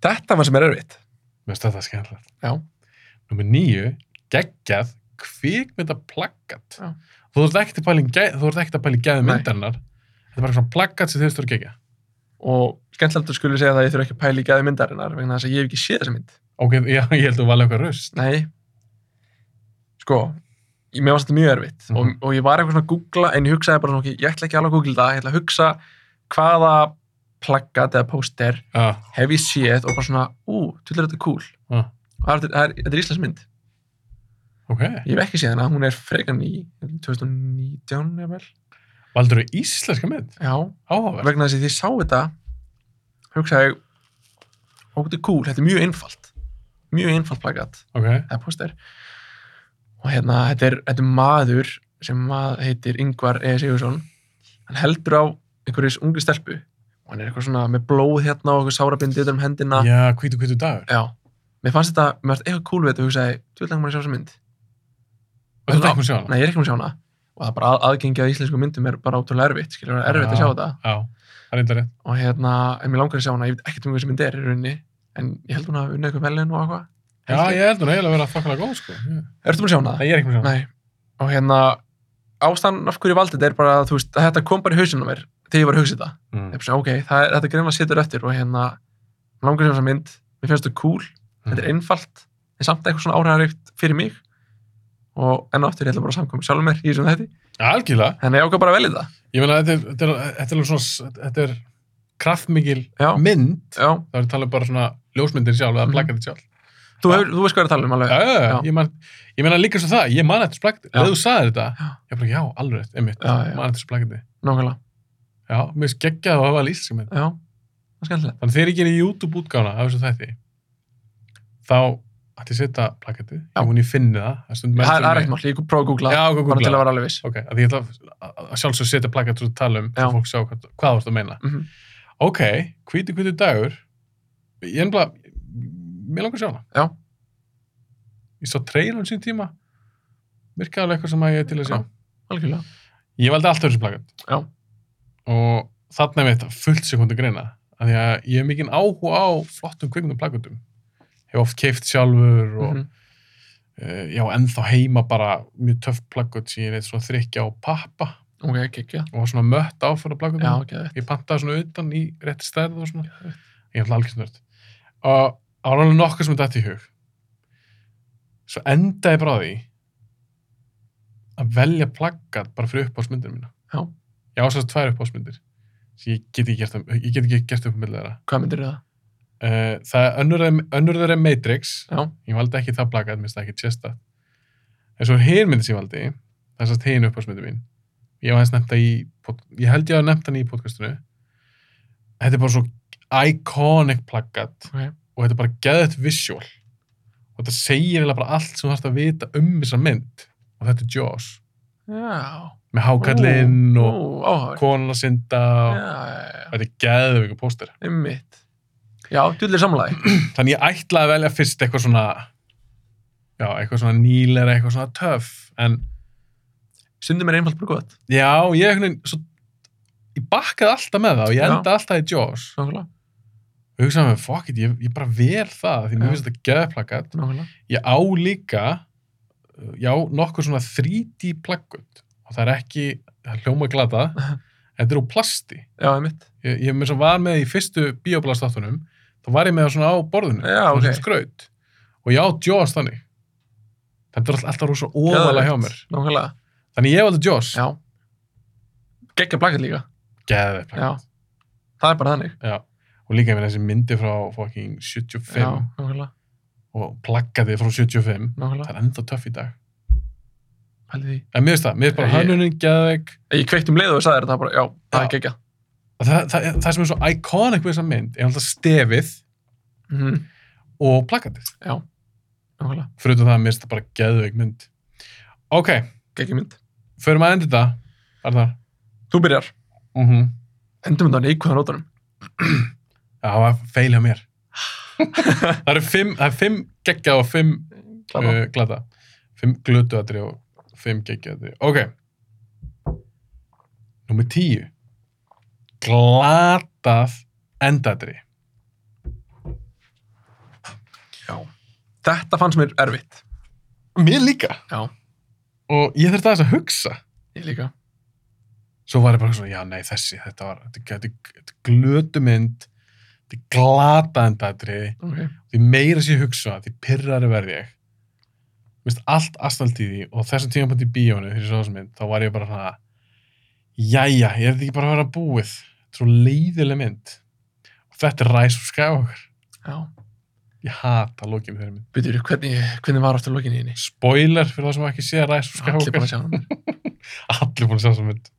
B: þetta var sem er erfitt
A: Mér finnst þetta skemmtilegt.
B: Já.
A: Númer níu, geggjað, kvikmynda plakkat.
B: Já.
A: Þú ert ekkert að pæla í gæ- þú ert ekkert að pæla í gæði
B: Nei.
A: myndarinnar. Þetta er bara svona plakkat sem þeir stóru gegja.
B: og skemmtilegt að skuli segja það að ég þurfi ekki að pæla í gæði myndarinnar vegna þess að ég hef ekki séð þessa mynd
A: Ok, já, ég held að þú valið eitthvað röst.
B: Nei, sko, ég, mér varst þetta mjög erfitt
A: Mhm.
B: og, og ég var eitthvað svona að googla en ég hugsaði bara svona, ok, ég ætla ekki alveg að googla það, ég ætla að hugsa hvaða plaggat eða póster
A: Já.
B: hef ég séð og bara svona, ú, tvillir þetta cool.
A: Já.
B: Og það er, það er, þetta er Íslandsmynd.
A: Ok.
B: Ég hef ekki séð hana, hún er frekan í 2019 eða vel.
A: Valdur þú íslenska mynd?
B: Já,
A: Áhugavert.
B: vegna þess að því ég sá þetta, hugsaði, ég, ó, þetta er cool, þetta er mjög einfalt. Mjög einfalt plaggat.
A: Ok.
B: eða póster og hérna, þetta er, þetta er maður sem mað, heitir Ingvar E. Sigursson hann heldur á einhverjus ungri stelpu og hann er eitthvað svona með blóð hérna og eitthvað sárabindi utan um hendina
A: Já, hvítu hvítu dagur.
B: Já. mér fannst þetta, mér fannst eitthvað cool við þetta og hugsaði, þú vil langar maður að sjá þessa mynd
A: Og þú ert ekki með sjá hana?
B: nei, ég er ekki maður að sjá hana og það er bara að, aðgengi að íslensku myndum er bara ótrúlega erfitt skilur, það er erfitt að sjá þetta
A: Já, það er eitthvað rétt.
B: og hérna, en mér langar að sjá hana, ég veit ekkert um hvað þessi mynd er í rauninni en ég held hún að unna eitthvað velin og eitthvað
A: Já, ég held hún eiginlega að vera þokkalega góð, sko. Já.
B: Ertu búin að sjá hana?
A: Nei, ég er ekki með sjá hana.
B: Nei, og hérna ástæðan af hverju ég valdi þetta er bara að þú veist að þetta kom bara í hausinn á mér þegar ég var að hugsa þetta
A: Mm.
B: ég bara, ok, það er, þetta greinlega situr eftir og hérna, mig langar sem þessa mynd mér finnst þetta cool,
A: Mm.
B: þetta er einfalt en samt eitthvað svona áhræðaríkt fyrir mig og enn og aftur ég ætla bara að samkvæm sjálfur mér í þessum þetta,
A: Algjörlega.
B: þannig að ég ákvað bara að velja þetta
A: Ég meina, þetta er- þetta er- þetta er alveg svona, þetta er kraftmikil
B: já,
A: mynd
B: já,
A: það er talað bara svona ljósmyndir sjálf eða
B: Mhm.
A: plakatið sjálf
B: þú,
A: Já.
B: hefur, þú veist hvað ég er að tala um alveg
A: já,
B: já,
A: já, já. Ég, man, ég meina líka svo það, ég man eftir þessu plakatið
B: Já.
A: leðu þú sagði þetta,
B: Já.
A: ég bara já, alveg rétt, einmitt,
B: Já, já.
A: man eftir þessu plakatið
B: nákvæmlega,
A: já, mér finnst geggjað að hafa að lýsa sem minn
B: já, það er skemmtilegt
A: þannig þegar ég gerir YouTube útgána af þessu þætti þá ætti ég setja plakatið
B: Já.
A: ég hún ég finni það, það er stundum
B: það er-
A: eftir
B: það
A: mig.
B: er ekkert mál, ég prófa að googla
A: já, ok,
B: bara til að
A: googla.
B: vera alveg viss
A: ok, að því ég ætla að- að sjálfsög setja plakatið og tala um,
B: Já.
A: svo fólk sjá hvað, hvað þú ert að meina
B: Mhm.
A: ok, ok, hvíti hvíti dagur ég er bara mér langar að sjá hana
B: Já.
A: ég sá trailerun sín tíma virkaði alveg eitthvað sem að ég er til að sjá
B: Já. algjörlega.
A: ég valdi allt öðru sem plakat
B: Já.
A: og þarna er mitt fullt sekundi greina af því að ég hef mikinn áhuga á flottum kvikmyndum plakatum hef oft keift sjálfur og
B: Mhm.
A: uh, já, ennþá heima bara mjög töff plakot sem ég neitt svona þrykja á pappa
B: Ok, kekja.
A: og var svona mött áfæra plakotum
B: Já, geðveikt.
A: ég pantaði svona utan í rétti stærð og svona ég er alltaf algjörsnörd og það var alveg nokkuð sem þetta í hug svo endaði ég bara á því að velja plakkat bara fyrir uppáhalsmyndir mína
B: Já.
A: ég ásast tvær uppáhalsmyndir sem ég get ekki gert, um- ég get ekki gert upp um millir þeirra
B: Hvað myndir það?
A: uh, það er önnur, er- önnur þeirra er Matrix
B: Já.
A: ég valdi ekki það plakat, minnst það ekki tjesta en svo er hin myndi sem ég valdi það er sérst hin uppáðsmyndi mín ég, var aðeins nefnt það í, pod- ég held ég að nefnt hann í podcastinu þetta er bara svo iconic plakat
B: Ok.
A: og þetta er bara geðett visual og þetta segir eiginlega bara allt sem þú þarfst að vita um þessa mynd og þetta er Jaws
B: Já.
A: með hákallinn
B: Ó,
A: og
B: ó, áhugavert.
A: konan að synda
B: Já,
A: og
B: já, já.
A: þetta er geðveiku póster
B: Einmitt. Já, djúðlega samlæg.
A: þannig ég ætlaði að velja fyrst eitthvað svona já, eitthvað svona nýlera, eitthvað svona töff en
B: Stundum er einfalt bara gott.
A: Já, ég einhvern veginn svo, ég bakkaði alltaf með það og ég
B: Já.
A: enda alltaf í Jaws
B: Nákvæmlega.
A: og hugsaði með, fuck it, ég, ég bara vel það því mér
B: Já.
A: finnst þetta geðplakat
B: Nákvæmlega.
A: ég á líka uh, já, nokkur svona 3D plakut og það er ekki það er hljóma glata, þetta er úr plasti
B: Já, einmitt.
A: ég, ég mér sem var með í fyrstu bioblastáttunum þá var ég með það svona á borðinu
B: Já,
A: svona
B: ok.
A: sem skraut og ég á Jaws þannig þetta er all- alltaf rosa óvalega hjá mér
B: Nákvæmlega.
A: þannig ég valdi Jaws,
B: Já. Gekkja plakkat líka.
A: geðplakat
B: Já. Það er bara þannig.
A: Já, og líka með þessi myndi frá fucking 75
B: Já, nákvæmlega.
A: og plakkaði frá 75 það
B: Nákvæmlega.
A: er ennþá töff í dag
B: Pæli því.
A: en mér finnst það, mér finnst bara
B: Ég-
A: hönnunin geðveik
B: Ég kveikt um leið og sagði þetta bara, já, það
A: Já.
B: er gekkja.
A: það, það, það, það sem er svo iconic við þessa mynd er alltaf stefið
B: Mhm.
A: og plakkatið
B: Já. Nákvæmlega.
A: fyrir utan það að mér finnst það bara geðveik mynd ok,
B: Gekkja mynd.
A: förum að enda þetta Arnar
B: Þú byrjar.
A: mm -hmm.
B: Endum þetta á neikvæða nótunum.
A: það var feil hjá mér það eru fimm, það er fimm geggjað og fimm
B: Klappa.
A: uh, glata fimm glutuatri og fimm geggjaðri ok nummer tíu glatað endadri
B: Já. Þetta fannst mér erfitt.
A: mér líka
B: Já.
A: og ég þurfti aðeins að hugsa
B: Ég líka.
A: svo var ég bara svona, já nei þessi þetta var, þetta er- þetta er glötumynd þetta er glatað endadri
B: Ok.
A: því meira sem ég hugsa, því pyrrari verð ég Vist, allt astalt í því og þessum tíma í bíónu þegar ég svo þessum mynd, þá var ég bara svona jæja, ég er þetta ekki bara að vera búið Þetta er svo leiðileg mynd og þetta er ræs og skæða okkur
B: Já.
A: ég hata lókið með þeirri mynd
B: Býtur, hvernig, hvernig var aftur lokinni henni?
A: spoiler fyrir það sem ekki sé ræs og skæða
B: Allir
A: okkur
B: bara sjá hann.
A: allir búin að sjá þessum mynd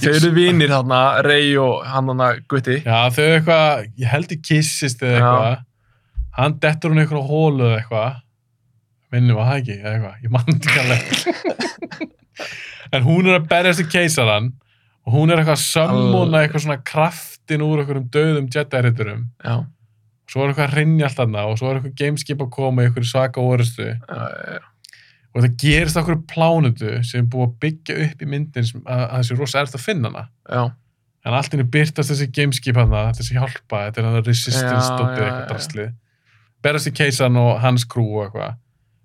B: Þau eru vinir þarna, Rey og hann þarna Gutti.
A: já, þau eitthvað, ég held ég kissist eða
B: Já.
A: eitthvað hann dettur hún eitthvað hólu eða eitthvað minnum að það ekki, eða eitthvað, ég mann þetta ekki alveg en hún er að berjast í keisaran og hún er eitthvað að sammúna
B: Alveg.
A: eitthvað svona kraftin úr einhverjum döðum jedi-riturum
B: Já.
A: svo er eitthvað að rinja allt annað og svo er eitthvað gameskip að koma í einhverju svaka orustu
B: Já, já, já.
A: og það gerist á einhverju plánutu sem er búið að byggja upp í myndin sem, að, að þessi rosa erst að finna hana
B: Já.
A: en allt henni byrtast þessi gameskip hann þessi hjálpa, þetta er hann að resistance
B: Já,
A: dotið
B: já,
A: eitthvað
B: já.
A: drasli berast í keisan og hans krú og eitthvað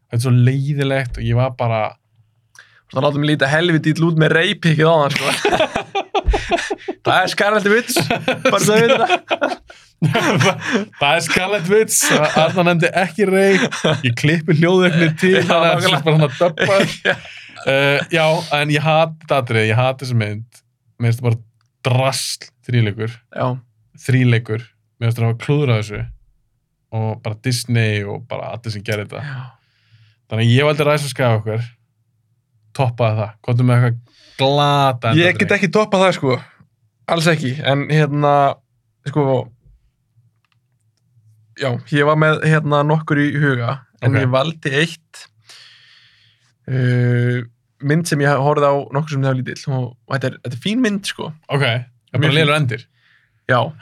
A: þetta er svo leiðilegt og ég var bara
B: Svona látum við líta helviti ítl út með reypikið á hann, sko. það er skarlætti vits. Bara þau veit það.
A: það er skallet vits Arna nefndi ekki reik ég klippi hljóðveikni til
B: Já,
A: þannig að það
B: nákvæmlega.
A: er bara hann að döppa uh, já, en ég hati þetta atrið, ég hati þessi mynd mér finnst þetta bara drasl þríleikur
B: Já.
A: þríleikur, mér finnst þetta að hafa klúðrað þessu og bara Disney og bara allir sem gerir þetta
B: Já.
A: Þannig að ég valdi ræs og skæða okkur Toppaði það, komdu með eitthvað glata
B: Ég get ekki toppað það, sko. Alls ekki. En hérna, sko, já, ég var með hérna nokkur í huga. En
A: Ok.
B: ég valdi eitt uh, mynd sem ég horfði á nokkur sem það var lítill. Og þetta er, þetta er fín mynd, sko.
A: Ok, það er bara
B: Mjög
A: lélur endir
B: já og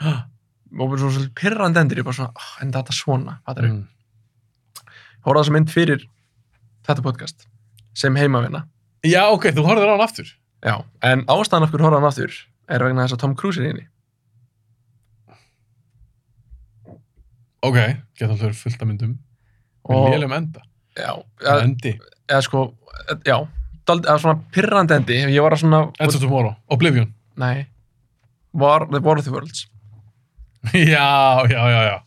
B: bara svo svolítið pirrandi endur ég bara svona, oh, en þetta svona, fattar ég
A: Mm.
B: hóraði þessa mynd fyrir þetta podcast sem heimavina
A: Já, ok, þú horfður á hann aftur.
B: já, en ástæðan af hverju hóraði hann aftur er vegna þess að Tom Cruise er í henni
A: Ok, geta alltaf verið fullt af myndum. Við
B: Og-
A: lélum enda.
B: já,
A: Ja.
B: eða,
A: Endi.
B: eða sko já, dald, eða svona pirrandi endi ég var að svona,
A: Ends of Tomorrow. Oblivion.
B: nei War, The War of the Worlds
A: já, já, já, já.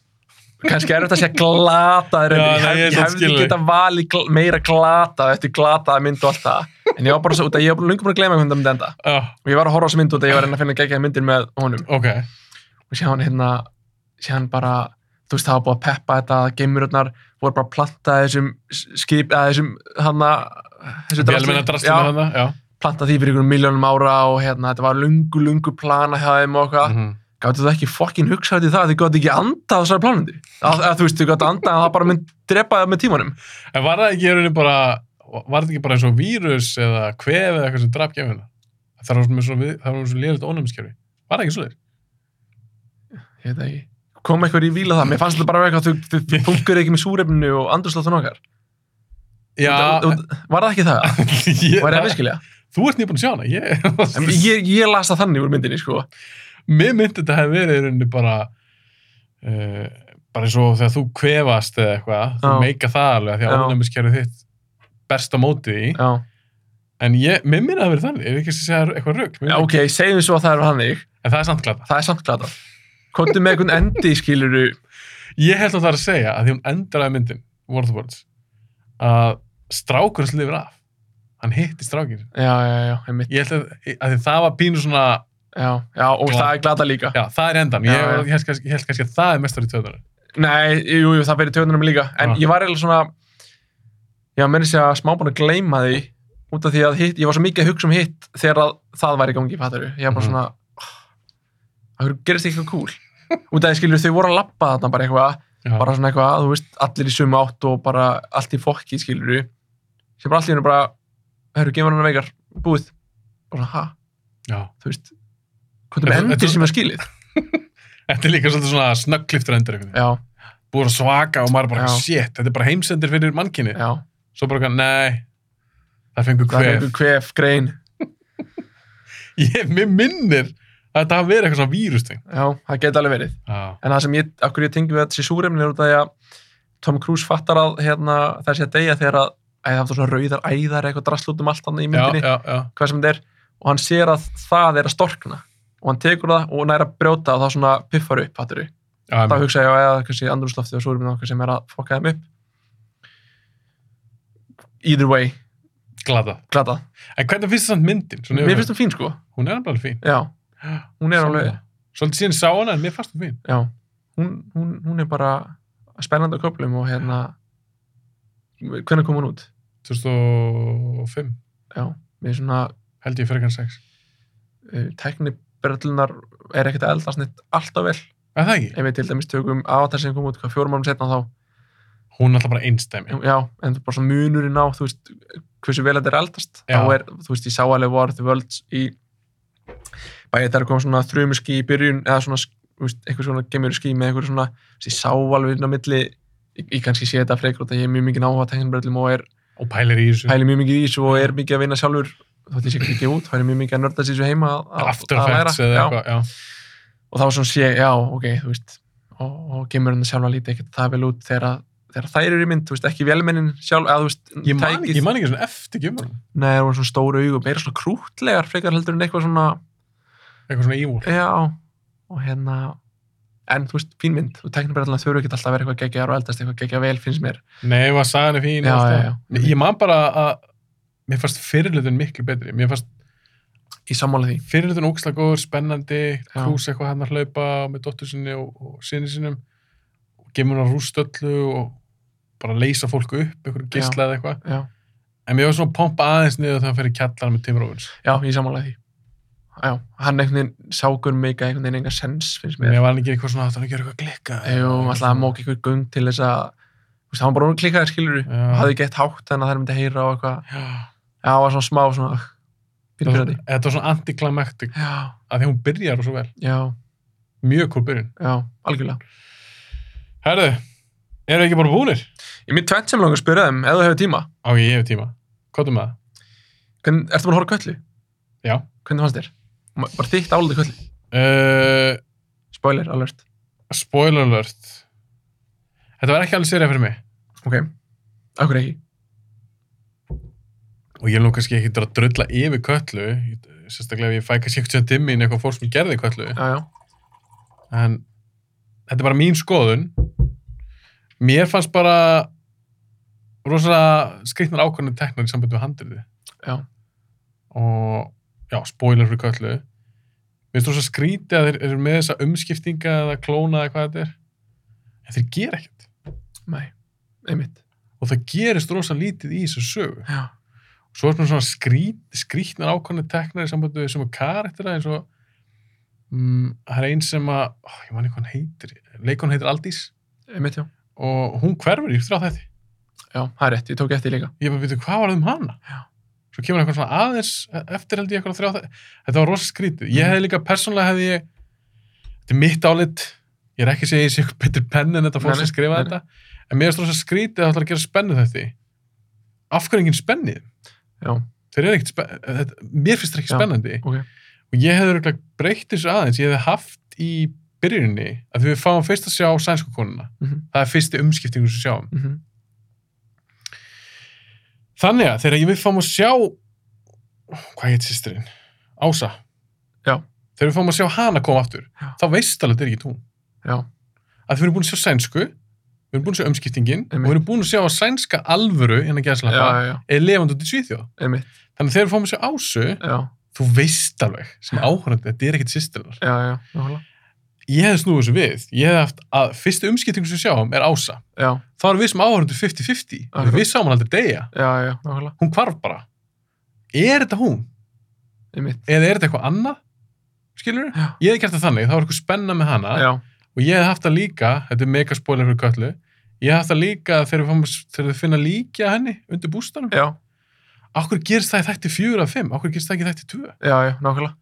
B: kannski er þetta að segja glataður
A: Já,
B: en
A: nei, ég
B: ég hef- ég
A: samt
B: hefði
A: skil þig.
B: geta valið gl meira glatað eftir glataða mynd og allt það en ég var bara svo út að ég var lungur búin að gleyma hvernig það myndi enda
A: Uh,
B: og ég var að horfa á þessu mynd út að ég var að reyna að finna geggjað myndir með honum
A: ok.
B: og sé hann hérna sé hann bara, þú veist það var búið að peppa þetta geimururnar voru bara að planta þessum skip, eða þessum hann þessu
A: Vélmenna drastum með
B: já,
A: hana. Já.
B: planta því fyrir einhverjum miljónum ára og hérna, þetta var lungu, lungu plana hjá þeim og eitthvað,
A: Mhm.
B: gáttu þú ekki fokkin hugsað til það að þið gáttu ekki andað á þessari planundi að, að þú veist, þið gáttu andað að það bara mynd drepa það með tímanum
A: En var það ekki í rauninni bara, var það ekki bara eins og vírus eða kvef eða eitthvað sem draf gefina? Það var svona, svo, það var svona lélitt ónæmiskerfi. Var það ekki svolítið?
B: ég veit það ekki, kom eitthvað í víla það mér fannst þetta bara eitthvað, þú, þú, þú punkur ekki með súrefninu og andurslóttun okkar
A: Já,
B: Þú- þú- var það ekki það?
A: ég,
B: Var það viðskilja?
A: þú ert nýbúin að sjá hana.
B: En
A: Ég,
B: Ég, ég las það þannig úr myndinni, sko.
A: mér myndi þetta hefði verið í rauninni bara, uh, bara eins og þegar þú kvefast eða eitthvað, þú
B: Já.
A: meika það alveg því að
B: Já.
A: ónæmiskerfi þitt berst á móti því.
B: Já.
A: En ég, mér minna það verið þannig, ef ég ekki að segja eitthvað rögg.
B: Já, ok, segjum svo að það er hannig.
A: En það er samt glata.
B: Það er samt glatað. Kóttu með einhvern endi, skiluru.
A: Ég held að það er að segja að því hún endraði myndin, War of the Worlds, að strákur hans lifir af. Hann hitti strákir.
B: Já, já, já, einmitt.
A: Ég held að, að því það var pínu svona,
B: Já, já, og
A: Glatað.
B: það er glatað líka.
A: já, það er endan. Ég,
B: Já, já.
A: ég, held, kannski, ég held kannski að það er mestar í töðunum.
B: Nei, jú, jú, það verið töðunum líka. En
A: Já.
B: ég var eiginlega svona, já, menn sé að smá búin að gleyma því út af því að hitt, ég var svo mikið að hugsa um hitt þegar að það væri í gangi, fattaru. Ég var bara
A: Mhm.
B: svona, það mm. gerist ekki eitthvað cool. Út af því, skilur, þau voru að lappa þarna bara eitthvað
A: Já,
B: bara svona eitthvað, þú veist, allir í sumu átt og bara allt í fokki, skilur við sem bara allir henni bara herru, gefur hann veikar, búið og svona, ha,
A: já.
B: þú veist
A: En-
B: hvernig með
A: en þú-
B: endir sem er skilið
A: Þetta er líka svolítið svona snöggliftur endur einhvern veginn.
B: já,
A: Búið að svaka og maður bara,
B: Já.
A: shit, þetta er bara heimsendir fyrir mannkinni.
B: já,
A: Svo bara, eitthvað, nei, það fengur
B: það er
A: kvef.
B: einhver kvef, grein
A: Ég, mér minnir að þetta hafi verið eitthvað svona vírusting.
B: já, það geti alveg verið
A: Já,
B: en það sem ég, akkur ég tengi við þessi súrefni er út af því að Tom Cruise fattar að hérna, þessi að deyja þegar að æ, það er svona rauðar æðar eitthvað drasl út um allt annað
A: já,
B: í myndinni
A: já, já.
B: hvað sem þetta er og hann sér að það er að storkna og hann tekur það og næra brjóta og það svona piffar upp, fattur
A: já
B: þá
A: einmitt.
B: hugsa ég á eða kannski andrúrslofti og súruminn okkar sem er að fokka þeim upp either way,
A: Glata.
B: glata
A: En hvernig finnst það samt myndin? Svona
B: mér
A: yfir-
B: finnst hún fín sko,
A: Hún er alveg alveg fín.
B: já hún er alveg,
A: Svolítið síðan sá hana en mér fannst hún fín.
B: já hún, hún, hún er bara spennandi á köplum og hérna hvernig kom hún út?
A: 2005
B: já, með svona
A: held ég frekar en 6.
B: uh, teknibrellunar er ekkert að eldast neitt alltaf vel,
A: Er það ekki?
B: ef við til dæmis tökum avatar sem kom út, hvað fjórum árum setna þá
A: Hún er alltaf bara einstæmi.
B: já, en bara svona munurinn á þú veist, hversu vel þetta er eldast
A: Já.
B: þá er, þú veist, ég sá alveg var þú völd í bæði þegar kom svona þrjumuski í byrjun eða svona, þú veist, einhver svona gemur skí með einhver svona, þú veist, ég sá alveg inn á milli ég, ég kannski sé þetta frekar út að ég er mjög mikið áhuga teknibröllum og er
A: Og pælir í þessu.
B: hæli mjög mikið í þessu og er mikið að vinna sjálfur þótt ég sé ekki út, þá er ég mjög mikið að nörda sér þessu heima að- að
A: After
B: að
A: Effects
B: læra.
A: eða
B: Já
A: eitthvað. Já.
B: og þá svona sé, ég, já, ok, þú veist og, og gemur hann sjálf að líti ekkert það vel út þegar, að- þegar þær eru í mynd, þú veist, ekki velmennin sjálf, eða þú veist,
A: Ég man, ekki, ég man ekki svona eftir gjömmunum.
B: Nei, það voru svona stóru augum, meira svona krútlegar frekar heldur en eitthvað svona,
A: Eitthvað svona ívúl.
B: já, og hérna en þú veist, fín mynd, þú teknir bara alltaf þau eru ekki alltaf að vera eitthvað geggjar og eldast eitthvað geggjar vel, finnst mér,
A: Nei, var sagan er fín.
B: Já,
A: allt það.
B: já, já.
A: Nei, Ég man bara að mér fannst fyrirlutin miklu betri. Mér fannst
B: í sammála því
A: fyrirlutin ógislega góður, spennandi,
B: Já.
A: krús eitthvað hann að hlaupa með dóttur sinni og, og sinni sinum. Gemur hann rúst öllu og bara leysa fólku upp, eitthvað
B: Já.
A: gisla eða eitthvað.
B: já,
A: En mér var svona að pompa aðeins niður þegar hann fer í kjallar með Tim Robbins.
B: já, í sammála því já, hann einhvern veginn sákur mig að einhvern veginn engan sens, finnst mér
A: Mér var hann ekki eitthvað svona að hann gera eitthvað glikka.
B: Jú, alltaf að móka ykkur gung til þess að þú veist, hann var bara hún klikkaði skilur
A: Já.
B: og hafði gett hátt þannig að þær myndi heyra og eitthvað
A: Já.
B: já, það var svona smá
A: Þetta
B: svona
A: var
B: pyrrpyrrandi
A: svona- þetta var svona antiklimaktik
B: já,
A: að því hún byrjar og svo vel.
B: já,
A: mjög cool byrjun.
B: já, algjörlega
A: Herðu, eru ekki bara búnir?
B: ég mér tvennt sem langar að spyrja þeim, ef þú hefur tíma
A: Á, ég hef tíma. Hvað er með það?
B: Hvern, ertu búin að horfa á köllu?
A: Já.
B: hvernig fannst þér? Ma- bara þitt álið köllu,
A: Uh,
B: spoiler alert
A: spoiler alert. Þetta var ekki alveg sérið fyrir mig.
B: ok, okkur ekki
A: Og ég er nú kannski ekki að drulla yfir köllu, ég- sérstaklega ef ég fæ kannski eitthvað dimmi inn eitthvað fólk sem gerði köllu.
B: já, já,
A: en þetta er bara mín skoðun mér fannst bara rosalega skrittnar ákvörðinu teknar í sambandi við handriði
B: Já.
A: og já, spoiler fyrir köllu mér finnst rosalega skrítið að þeir eru með þessa umskiptinga eða klóna eða hvað þetta er en þeir gera ekkert
B: nei, einmitt
A: og það gerist rosalega lítið í þessu sögu
B: já,
A: svo er svona svona skrít, skrítnar ákvæmni teknar í sambandi við sem að karaktera eins og mm, það er einn sem að, ó, ég man ekki hvað hann heitir leikon heitir Aldís
B: einmitt já
A: og hún hverfur í þrjá þetta
B: já, það er rétt, ég tók eftir því líka
A: ég bara veitu hvað var það um hana
B: Já.
A: svo kemur eitthvað svona aðeins eftir held ég eitthvað þrjá þetta þetta var rosa skrítið, ég
B: Mhm.
A: hefði líka persónlega hefði ég þetta er mitt álit ég er ekki að segja ég sé eitthvað betur penn en þetta
B: Nei,
A: fólk
B: nei,
A: sem skrifa
B: nei, nei.
A: þetta en mér er rosa skrítið að það ætlar að gera spennu þetta af hverju enginn spennið
B: já,
A: þeir eru ekkert spen... þetta... mér finnst það ekki
B: Já.
A: spennandi
B: ok,
A: og ég hefði örugglega breytt þessu aðeins ég hefði haft í byrjuninni að við fáum fyrst að sjá sænsku konuna
B: mhm,
A: það er fyrsti umskiptingur sem við sjáum
B: mhm
A: Þannig að þegar við fáum að sjá hvað heit sýstirinn? Ása.
B: Já.
A: Þegar við fáum að sjá hana koma aftur,
B: Já.
A: þá veist alveg að þetta er ekki hún.
B: já,
A: Að við erum búin að sjá sænsku, við erum búin að sjá umskiptingin og
B: Einmitt.
A: við erum búin að sjá að sænska alvöru innan
B: já,
A: gæðslappa
B: já, já,
A: er levandi út í Svíþjóð.
B: einmitt
A: Þannig að þegar við fáum að sjá Ásu,
B: já,
A: þú veist alveg sem áhörandi, þetta er ekkit sýstirinnar.
B: já, já, nákvæmlega.
A: Ég hefði snúið þessu við. Ég hefði haft að fyrstu umskiptingu sem við sjáum er Ása.
B: já,
A: Þá erum við sem áhörandi 50-50.
B: Akkurat.
A: Við sáum hann aldrei deyja.
B: já, já, nákvæmlega,
A: Hún hvarf bara. Er þetta hún?
B: einmitt
A: eða er þetta eitthvað annað skilur
B: Já.
A: ég hefði gert það þannig, það var eitthvað spenna með hana
B: já,
A: og ég hefði haft það líka, þetta er mega spoiler fyrir köllu ég hefði haft það líka þegar við, fáum, þegar við finna líkja henni undir bústanum
B: já,
A: okkur gerist það í þætti 4 af 5 okkur gerist það ekki í þætti 2
B: já, já, nákvæmlega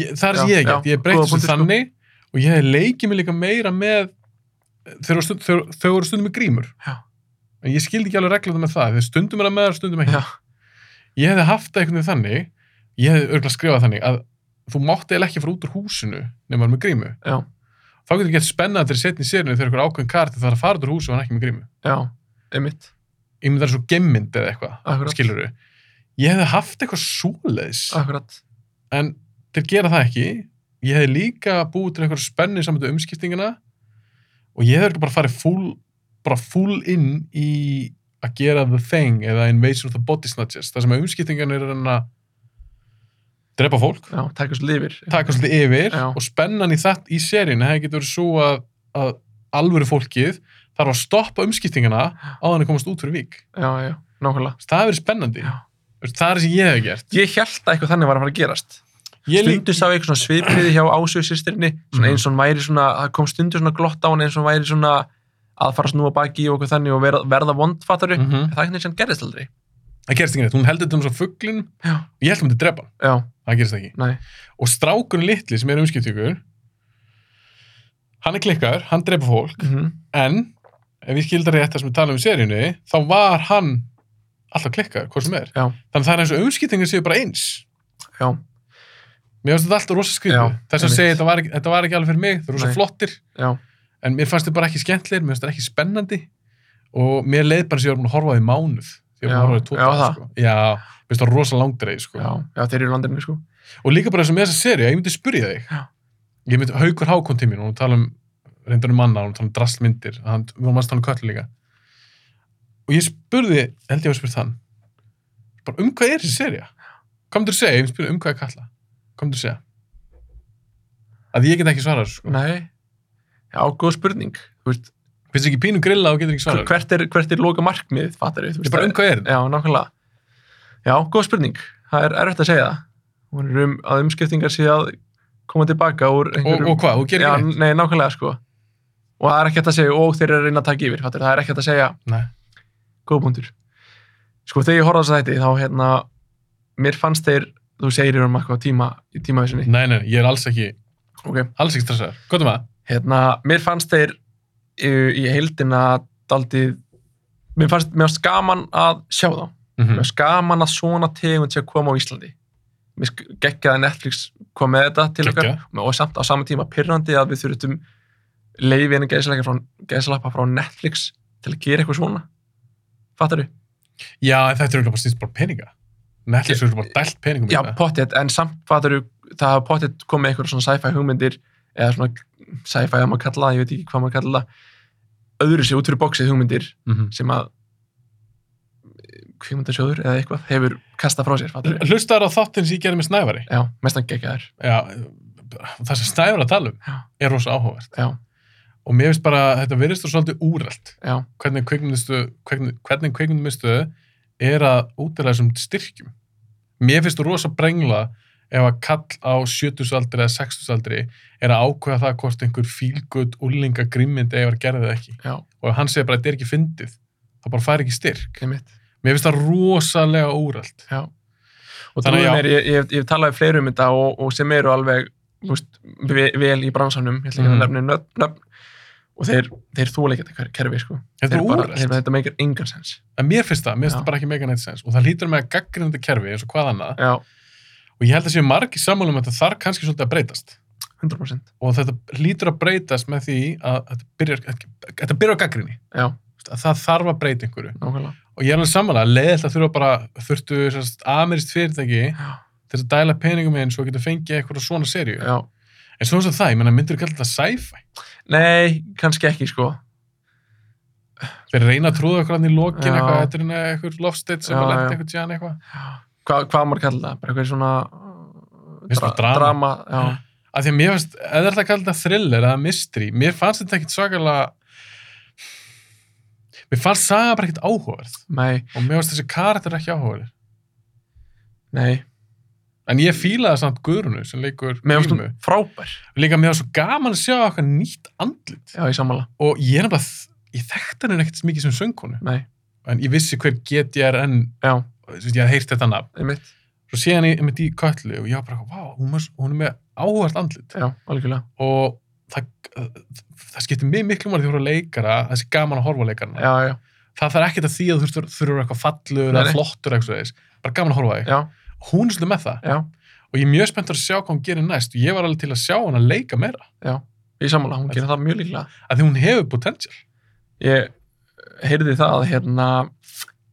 A: ég, það er
B: Já,
A: sem ég hef
B: já,
A: gert, ég hef breykt
B: góða
A: þessu
B: punktur, sko.
A: þannig og ég hefði leikið mig líka meira með þau eru stund, þau, þau eru stundum með grímur
B: Já.
A: en ég skildi ekki alveg reglum með það þegar stundum er að með það stundum ekki
B: já,
A: ég hefði haft það einhvern veginn þannig ég hefði örgulega skrifað þannig að þú mátti eða ekki fara út úr húsinu nema hann með grímu
B: já,
A: þá getur gett spennandi í setni sérinu þegar einhver ákveðin karti þarf að fara út úr húsinu og hann ekki með grímu
B: já, einmitt
A: ég myndi það er svo gemmynd eða eitthvað
B: Akkurat.
A: skilur ég hefði haft eitthvað svoleiðis
B: akkurat,
A: en til gera það ekki ég hefði líka búið til einhver spennu saman til umskiptingina og ég hefði örugglega bara farið full bara full inn í að gera the thing eða invasion of the body snatchers þar sem að umskiptingan er að reyna að drepa fólk
B: já, takast lifir
A: taka svolítið yfir
B: Já.
A: og spennan í þetta í seríinu hefði getur verið svo að, að alvöru fólkið þarf að stoppa umskiptingana á þannig að komast út fyrir vík
B: já, já, nákvæmlega
A: Þess, það hefur verið spennandi
B: Já.
A: Þess, það er það sem ég hef gert
B: ég held að eitthvað þannig var að fara að gerast
A: ég lík,
B: stundu sá ég eitthvað svona svipriði hjá Ásöðu sýstirinni
A: Mhm.
B: svona eins og hún væri svona, það kom stundu svona glott á hann eins og hún væri svona að fara að snúa baki og eitthvað þannig og verða, verða vondfattari mm.
A: mm -hmm.
B: það er eitthvað sem gerðist aldrei
A: það gerist ekki neitt, hún heldur þetta um svo fugglin
B: já,
A: og ég held að hún myndi drepa hann,
B: já,
A: það gerist ekki
B: nei,
A: og strákurinn litli sem er umskiptingur hann er klikkar, hann drepa fólk
B: mm
A: en ef ég skildar rétt það sem við tala um í seríunni þá var hann alltaf klikkar, hvað sem er
B: Já.
A: þannig að það er eins og umskiptingar séu bara eins
B: já,
A: Mér finnst þetta alltaf rosa skrítið.
B: Já,
A: Þess að
B: einmitt.
A: segja, þetta var, ekki- þetta var ekki alveg fyrir mig, það er rosa
B: Nei.
A: flottir,
B: já,
A: en mér fannst þetta bara ekki skemmtlegir, mér fannst þetta ekki spennandi og mér leið bara sem ég var búin að horfa á því mánuð. Ég var búin að horfa á því
B: Já, já,
A: tóta,
B: það.
A: sko. Já, mér finnst það rosa langdreið, sko.
B: já, já, þeir eru í landinu sko
A: Og líka bara eins og með þessa serið, ég myndi spyrja þig.
B: Já.
A: Ég myndi, Haukur Hákon til mín, og hún tala um reyndan um manna, hún tala um drastmyndir, hann, við varum að tala um köllu líka. Og ég spurði, held ég að spurði þann, bara um hvað er þessi serið? Hvað myndir segja? Ég myndi spyrja um hvað er kalla? Hvað myndir segja? Að ég get ekki svarað, þessu, sko.
B: nei, já, góð spurning Þú veist,
A: Finnst þér ekki pínu grilla og getur ekki svarað?
B: hvert er, hvert er loka markmið fattari, þú
A: Ég bara um hvað er þetta?
B: já, nákvæmlega já, góð spurning, það er erfitt að segja það hún er um að umskiptingar sé að koma tilbaka úr
A: Og, og hvað? Og gerir
B: Já,
A: ekki neitt?
B: nei, nákvæmlega sko og það er ekki hægt að segja, og þeir eru að reyna að taka yfir fattur. það er ekki hægt að segja,
A: Nei.
B: góð punktur sko, þegar ég horfði á þess að þetta þá hérna, mér fannst þeir þú segir um eitthvað á tíma, í tímavísunni
A: Nei, nei, ég er alls ekki
B: ok,
A: alls ekki stressaður, um hvað er maður?
B: hérna, mér fannst þeir uh, í heildina daldið mér fannst, mér fannst gaman að sjá þá
A: Mm
B: mér fannst gaman að svona tegund sé að koma á Íslandi mér sk- geggjaði að Netflix kom með þetta til okkar og samt á sama tíma pyrrandi að við þurftum leiði henni gæðslappa frá Netflix til að gera eitthvað svona fattar þú?
A: Já, en þetta eru bara stýst bara peninga Netflix eru bara dælt peningum í
B: Já,
A: þetta.
B: pottet, en samt fattar þú það hafa pottet komið eitthvað svona sci-fi hugmyndir eða svona sci-fi að maður kalla það, ég veit ekki hvað maður kalla það öðru sér út fyrir bóksið hugmyndir
A: Mhm.
B: sem að kvíkmyndasjóður eða eitthvað hefur kastað frá sér, fattar
A: L- Hlustaður á þáttinn sem ég gerði með Snævari
B: Já, mestan geggjaðar,
A: Já, það sem Snævar er að tala um
B: Já.
A: er rosa áhugavert
B: já,
A: og mér finnst bara, þetta virðist þú svolítið úrælt
B: já,
A: hvernig kveikmyndumistu hvernig kveikmyndumistu er að útilega þessum styrkjum mér finnst þú rosa brengla ef að kall á 70 aldri eða 60 aldri er að ákveða það hvort einhver fílgut, úlinga, grimmynd eða gerðið ekki
B: já,
A: og ef hann segir bara að þetta er ekki fyndið þá bara fær ekki styrk
B: kemitt,
A: mér finnst það rosalega úrælt
B: já og
A: Þannig
B: þannig
A: já.
B: að ég, ég, hef- ég hef talaði fleiri um þetta og, og sem eru alveg þú veist, ve- vel í bransanum ég ætla ekki
A: Mhm.
B: að nefna nöfn, nöfn og þeir, þeir þúlega ekki þetta kerfi sko.
A: þetta
B: þeir
A: er
B: bara, þeir,
A: úrælt,
B: þetta meikir engan sens
A: en mér finnst það, mér finnst
B: Já.
A: það bara ekki mega neitt sens og það hlýtur með að gaggrina þetta kerfi eins og hvað annað
B: já,
A: og ég held að séu margir sammálum að það þarf kannski svolítið að breytast
B: 100%
A: og þetta hlýtur að breytast með því að þetta byrjar, þetta byrjar á gaggrinni
B: já,
A: að það þarf að breyta einhverju
B: nákvæmlega
A: og ég er alveg samanlega, leiðilt að þurfa bara þurftu sérst, amirist fyrirtæki
B: já,
A: til að dæla peningum inn svo að geta fengið eitthvað svona serju,
B: já.
A: en svona sem það, ég menna myndur kalla þetta sci-fi,
B: nei, kannski ekki sko
A: þeir reyna að trúða okkur hann í lokin
B: Já.
A: eitthvað, þetta er hérna eitthvað loftsteitt sem
B: Já,
A: að lenda
B: já.
A: eitthvað tján eitthvað
B: Hva, hvað maður kallar það, bara eitthvað svona
A: Veist þú, drama?
B: drama já,
A: að því að mér finnst, eða er það kallað þetta thriller eða mystery, mér fannst þetta ekkit svakalega mér fannst saga bara ekkit áhugaverð
B: nei,
A: og mér fannst þessi karakter ekki áhugaverð
B: nei
A: en ég fílaði samt Guðrunu sem leikur
B: mér finnst
A: Grímu.
B: hún frábær
A: líka mér var svo gaman að sjá eitthvað nýtt andlit
B: já, ég sammála,
A: og ég er nefnilega þ- ég þekkti hann ekkert mikið sem söngkonu
B: nei,
A: en ég vissi hver GTRN
B: já,
A: þú veist, ég hafði heyrt þetta nafn
B: einmitt
A: svo sé hann í, einmitt í köllu og ég var bara wow, hún, er, s- hún er með áhugast andlit
B: já, algjörlega,
A: og það, það skiptir mig miklu máli því að voru leikara að það sé gaman að horfa á leikarana
B: já, já,
A: það þarf ekkert að því að þú þurftur þurfur eitthvað fallur
B: Nei,
A: eða
B: nei.
A: flottur eitthvað svoleiðis. bara gaman að horfa á þig
B: já,
A: hún er svolítið með það
B: já,
A: og ég er mjög spennt að sjá hvað hún gerir næst og ég var alveg til að sjá hann að leika meira
B: ég sammála, hún gerir það mjög líklega
A: að því hún hefur potential
B: ég eh, heyrði það að hérna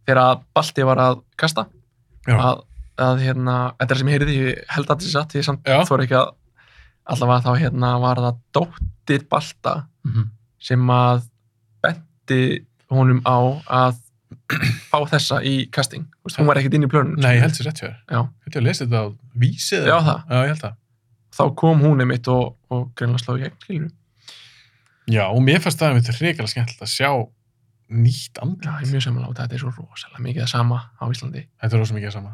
B: þegar að Balti var að kasta
A: Já.
B: að, að hérna, þetta er sem ég heyrði ég held að þetta satt, ég samt
A: Já.
B: þóra ekki að allavega þá hérna var það dóttir Balta
A: mhm.
B: sem að benti honum á að fá þessa í casting, Þú veist, hún var ekkert inn í plönun
A: Nei, ég held sér rétt hjá þér.
B: Já.
A: Ég held ég að lesa þetta á vísið.
B: Já, það.
A: Já, ég held það.
B: þá kom hún einmitt og, og greinlega sló í gegn skilur,
A: Já, og mér fannst það einmitt reykjala skemmtilegt að sjá nýtt andla.
B: já, ég er mjög sammála og þetta er svo rosalega mikið það sama á Íslandi
A: Þetta er rosa mikið sama.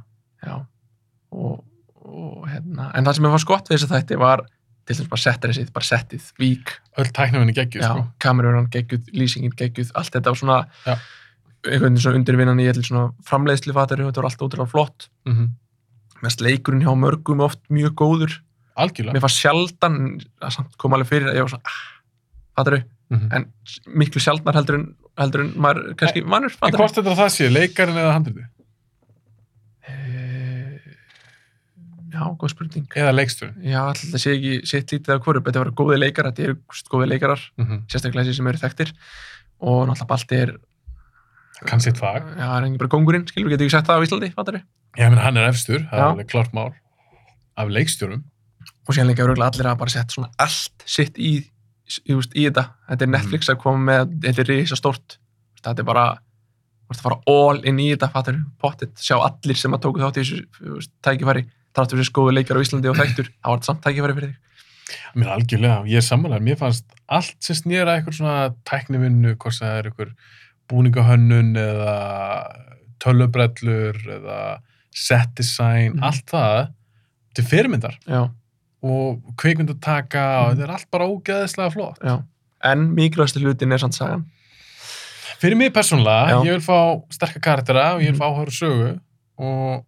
B: já og, og hérna, en það sem ég fannst gott við þessu þætti var til dæmis bara settar þessi, bara settið, vík
A: Öll tæknafinni geggjur,
B: já,
A: sko.
B: kamerunan geggjuð, lýsingin geggjuð allt þetta var svona
A: Já.
B: einhvern veginn svona undirvinnan í allir svona framleiðslu fatari, þetta var allt ótrúlega flott
A: Mm
B: mest leikurinn hjá mörgum oft mjög góður
A: Algjörlega.
B: mér fannst sjaldan, að samt kom alveg fyrir að ég var svona, ah, fatari
A: Mm
B: en s- miklu sjaldnar heldur en, heldur en maður, kannski mannur,
A: En
B: fatari
A: hvort þetta það sé, leikarinn eða handriði?
B: Eh, já, góð spurning
A: Eða leiksturinn?
B: Já, alltaf það sé ekki sitt lítið af hverju, þetta voru góði leikarar, þetta eru þú veist, góði leikarar,
A: Mm -hmm.
B: sérstaklega þessi sem eru þekktir og náttúrulega Balti er,
A: Kann sitt fag.
B: já, er engin bara kongurinn, skilur, við getum ekki sett það á Íslandi, fattar við?
A: Ég meina, hann er efstur, það er
B: Já.
A: alveg klart mál. Af leikstjórum.
B: Og síðan líka öruglega allir að bara sett svona allt sitt í, í, veist, í þetta, þetta er Netflix að koma með, þetta er risa stórt, þetta er bara, þú veist, að fara all inn í þetta, fattar við, pottet, sjá allir sem að tóku þátt í þessu þú veist, tækifæri, þáttur þessu góði leikar á Íslandi og þekktur, þá var þetta samt tækifæri fyrir þig.
A: Ég meina, algjörlega, ég er sammálaður. Mér fannst allt sem snýra eitthvað svona tæknivinnu, hvort sem það er eitthvað búningahönnun eða tölubrellur eða set design,
B: Mhm.
A: allt það til fyrirmyndar
B: Já,
A: og kvikmyndataka og þetta
B: Mhm.
A: er allt bara ógeðislega flott.
B: já. En mikilvægstu hlutin er samt sagan.
A: Fyrir mig persónulega,
B: Já. Mhm.
A: ég vil fá sterka karaktera og ég vil fá áhöru sögu og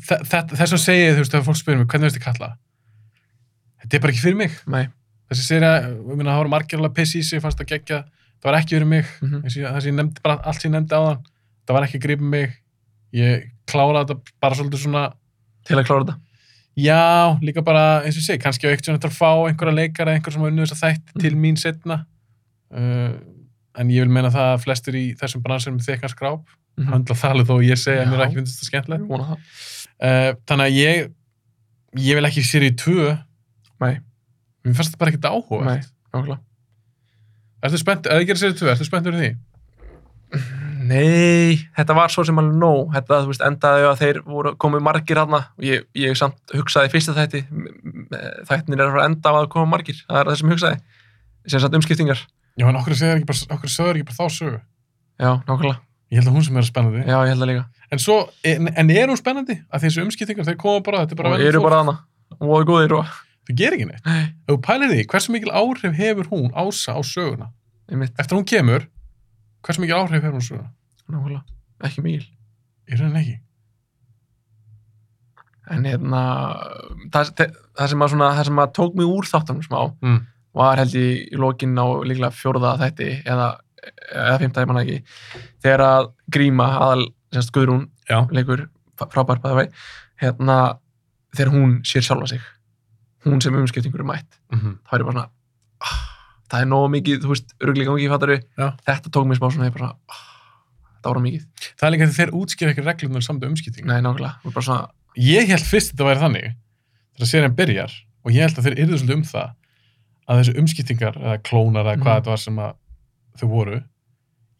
A: þe- þetta- þess að segja, þú veist, þegar fólk spyrir mig, hvernig veist þið kalla? þetta er bara ekki fyrir mig
B: Nei.
A: þessi serið, ég meina, það voru margir alveg piss í sig, fannst það geggja, það var ekki fyrir mig
B: Mhm.
A: þessi, þessi ég nefndi bara allt sem ég nefndi á þann það var ekki að gripa mig ég kláraði þetta bara svolítið svona
B: til að klára þetta
A: já, líka bara, eins og ég segi, kannski á eitt sem þetta að fá einhverja leikara, einhver sem hafa unnið þess að þætt
B: Mm.
A: til mín setna uh, en ég vil meina það að flestir í þessum bransin með þekkan skráp,
B: Mhm.
A: höndla þalið þó að ég segi að mér
B: Já. Mm.
A: ekki finnst þetta skemmtilegt
B: Ég vona það.
A: uh, þannig að ég ég vil ekki sér í tvö
B: Nei.
A: mér fannst þetta bara ekkert áhuga
B: Nei, nákvæmlega.
A: ertu spennt, eða ég gerir sér í tvö, ertu spennt fyrir því
B: Nei, þetta var svo sem alveg nóg þetta þú veist, endaði á að þeir voru komið margir hana og ég, ég samt hugsaði í fyrsta þætti m- m- þættinir er að fara að enda á að koma margir það er það sem ég hugsaði sem sagt umskiptingar
A: já, en okkur segir ekki bara, okkur sögur ekki bara þá sögu
B: Já, nákvæmlega,
A: ég held að hún sem er spennandi
B: já ég held það líka
A: en, svo, en, en er hún spennandi að þessu umskiptingar, þeir koma bara, þetta er bara
B: og
A: venjulegt
B: eru
A: fólk.
B: bara hana og góðir og
A: það gerir ekki neitt
B: Nei.
A: ef þú pælir því, hversu mikil áhrif hefur hún ása á söguna
B: einmitt,
A: eftir að hún kemur, hversu mikil áhrif hefur hún á söguna
B: nákvæmlega, ekki mikil
A: í rauninni ekki
B: en hérna það, það, það, sem að svona, það sem að tók mig úr þáttunum smá
A: mm.
B: var held ég í lokin á líklega fjórða þætti eða, eða fimmta, ég manna ekki þegar að gríma aðal semst Guðrún
A: já,
B: leikur f- frábær bæða vei hérna þegar hún sér sjálfa sig hún sem umskiptingur er mætt
A: Mhm.
B: það er ég bara svona ah, það er nógu mikið, þú veist, öruglega mikið fattari
A: Já.
B: þetta tók mér smá svona, ég bara svona ah, þetta voru mikið,
A: það er líka þegar þeir útskýra ekki reglunar samt um umskiptingar
B: nei nákvæmlega og bara svona,
A: ég held fyrst þetta væri þannig þegar serien byrjar og ég held að þeir yrðu svolítið um það að þessu umskiptingar eða klónar eða hvað
B: Mhm.
A: þetta var sem að þau voru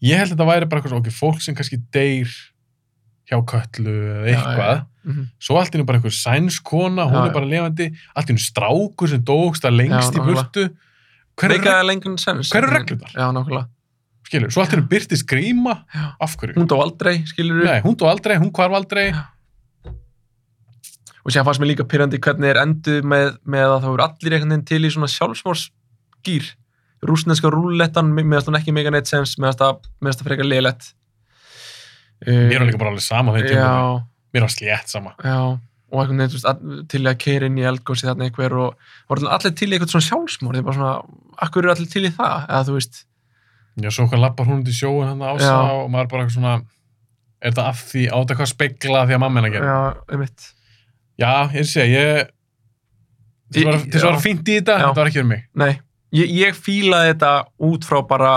A: ég held að þetta væri bara eitthvað svona, ok, fólk sem kannski deyr hjá köllu eða
B: Já,
A: eitthvað
B: já, mhm,
A: svo allt í hennu bara einhver sænskona hún
B: Já,
A: er bara levandi, allt í hennu strákur sem dógst að lengst
B: Já,
A: í burtu hver er,
B: meika
A: reg-
B: lengur sens
A: hver er reglunar?
B: já, nákvæmlega,
A: skilur, svo allt í hennu byrtist gríma
B: Já.
A: af hverju?
B: hún dó aldrei, skilur
A: Nei, hún dó aldrei, hún hvarf aldrei
B: Já. og sér fannst mér líka pyrrandi hvernig er enduð með, með að það voru allir einhvern veginn til í svona sjálfsmórsgýr rúsneska rúllettan, meðast hún ekki mega neitt sens, meðast það, með það frekar leilett
A: mér var líka bara um alveg sama á þeim tíma
B: já,
A: mér var slétt sama
B: já, og einhvern veginn þú veist, all- til að keira inn í eldgósi þarna einhver og voru allir til í eitthvað svona sjálfsmór það er bara svona, akkur eru allir til í það eða þú veist,
A: Já, svo hvað lappar hún út í sjóun hann ása
B: Já.
A: og maður bara eitthvað svona er þetta af því át eitthvað að spegla því að mamma hennar gerir?
B: já, einmitt
A: Já, ég sé, ég
B: Í-
A: þess var, þess var
B: já.
A: fínt í þetta,
B: Já.
A: þetta var ekki fyrir mig
B: Nei, ég, ég fílaði þetta út frá bara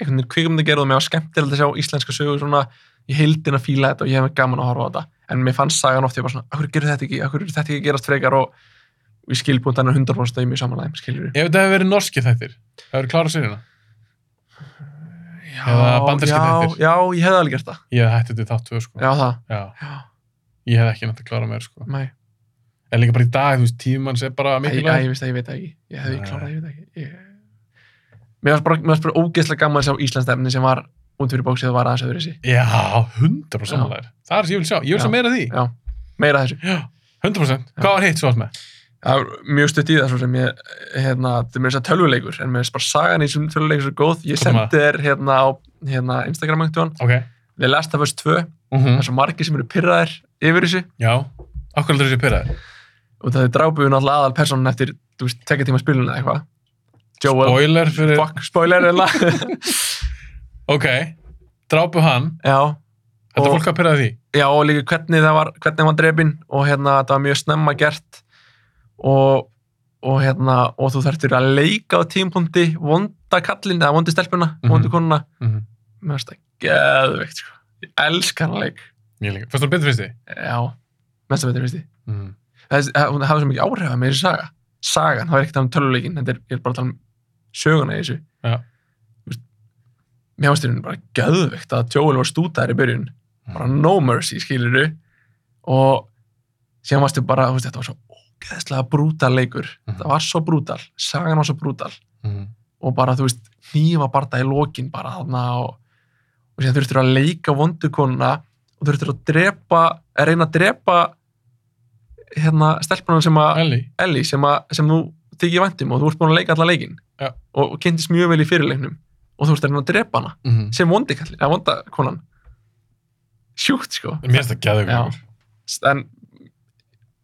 B: einhvern veginn kvikmyndagerð og mér var skemmtilegt að sjá íslenska sögur svona í heildina fíla þetta og ég hef gaman að horfa á þetta en mér fannst sagan oft, ég var svona, akkur gerur þetta ekki akkur er þetta ekki að gerast frekar og og ég skilbúnt hann er 100% dæmi í samanlægum, skilur
A: Ef þetta hefur verið norski þættir, það hefur klárað sérina
B: Já,
A: Eða bandarískir
B: já,
A: þættir.
B: já, ég hefði alveg gert það
A: Ég hef hætti þetta þáttu, sko
B: Já, það,
A: Já.
B: já,
A: Ég hef ekki nátt að klára mér, sko
B: mæ
A: En líka bara í dag, þú veist, tímann sé bara
B: Æ, æ,
A: mikilvæg
B: ég veist það, ég veit það ekki Ég hefði
A: Nei.
B: klárað, ég veit það ekki ég... Mér varst bara, mér varst bara ógeðslega gaman að sjá íslenskt efni sem var út fyrir bóksið og var aðeins öðru
A: Já, 100% samanlægir Það er sem ég vil sjá, ég vil
B: Já.
A: sjá meira af því
B: Já, meira af þessu
A: 100% Hvað var hitt svo allt með?
B: það er mjög stutt í það svo sem ég hérna, það er mér þess að tölvuleikur en mér er bara sagan í þessum tölvuleikur svo góð ég
A: Hvað er
B: sendi þér hérna á hérna, Instagram aktuðan,
A: Ok
B: The Last of Us 2 það
A: mm
B: er svo margir sem eru pyrraðir yfir þessu
A: Já, okkur heldur þessi pyrraðir
B: og það er drábuðun alltaf aðal personan eftir þú veist, tekja tíma spiluna eða eitthvað Joel,
A: Spoiler fyrir
B: fuck, spoiler eða
A: Ok, drápu hann
B: já,
A: Þetta
B: Og-
A: fólk að pyrra því
B: já og líka hvernig það var hvernig hann var drefin og hérna það var mjög snemma gert og og hérna, og þú þarftur að leika á tímpunkti vonda kallin eða vondi stelpuna,
A: Mhm.
B: vondu konuna
A: mm -hmm.
B: mér finnst það geðveikt sko. ég elska hann leik
A: Ég líka, fannst þú betur fyrst því?
B: já, mest að betur finnst því
A: Mm.
B: Þessi- það- hún hafði svo mikið áhrif að mér þessi saga sagan, það var ekkert að tala um töluleikin þetta er, ég er bara að tala um söguna í þessu
A: Já.
B: Þú veist, mér finnst þetta bara geðveikt að Joel var stútaðir í byrjun
A: Mhm.
B: bara no mercy skilur du og síðan varstu bara, þú veist, þetta var svo ógeðslega brútal leikur
A: Mhm.
B: það var svo brútal, sagan var svo brútal
A: Mm.
B: og bara, þú veist, hnífa barða í lokin bara þarna og, og síðan þurftur að leika vondukonuna og þurftur að drepa, að reyna að drepa hérna, stelpunum sem að,
A: Elli,
B: Ellie, sem að, sem þú þykir væntum og þú ert búin að leika alla leikin
A: Já.
B: og, og kynntist mjög vel í fyrirleiknum og þú ert að reyna að drepa hana
A: mm.
B: sem vondikallin, eða vondakonan sjúkt, sko
A: mér finnst það gæðu
B: en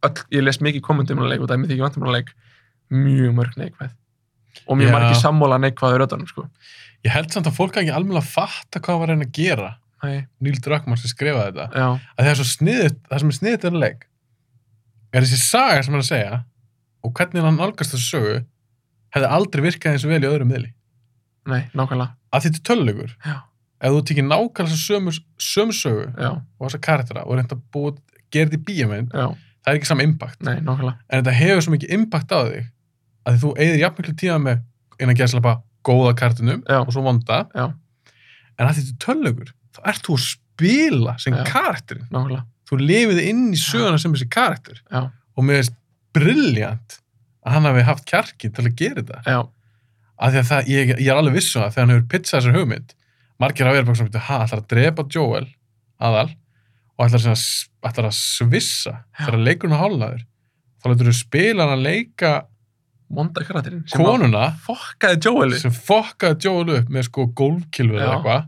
B: öll, ég les mikið kommentum um hana leik og það er mér þykir væntum um hana leik mjög mörg neikvæð og mjög
A: Já.
B: margir sammála neikvæður öðanum sko.
A: Ég held samt að fólk hafi ekki alveg að fatta hvað hann var að reyna að gera
B: Nei,
A: Neil Druckmann sem skrifaði þetta
B: já,
A: að það er svo sniðut, það sem er sniðut þennan leik er þessi saga sem hann er að segja og hvernig hann nálgast þessu sögu hefði aldrei virkað eins og vel í öðrum miðli
B: nei, nákvæmlega
A: að þetta er tölulegur
B: Já.
A: ef þú tekir nákvæmlega þessa sömu, sömu sögu
B: já,
A: og þessa karaktera og reynda að búa gera þetta í bíjaminn,
B: já,
A: það er ekki saman impact
B: nei, nákvæmlega
A: en þetta hefur svo mikið impact á þig að þú eigðir jafnmiklu tíma með innan gæðslapa góða kartinum
B: Já.
A: og svo vonda
B: Já.
A: en að þetta er tölulegur þá ert þú að spila sem
B: Já.
A: karakterinn
B: nákvæmlega,
A: þú lifið inn í söguna sem þessi karakter
B: Já.
A: og mér veist brilljant að hann hafi haft kjarki til að gera þetta
B: já,
A: af því að það, ég, ég er alveg viss um það þegar hann hefur pizzað þessar hugmynd margir hafa verið bara svona, hann ætlar að drepa Joel aðal og ætlar, sem að, s- ætlar að svissa þegar leikurinn er hálnaður þá letur þú spila hann að leika
B: monda karakterinn sem að
A: konuna
B: fokkaði Joeli
A: sem fokkaði Joel upp með sko gólfkilvið eða
B: Já.
A: eitthvað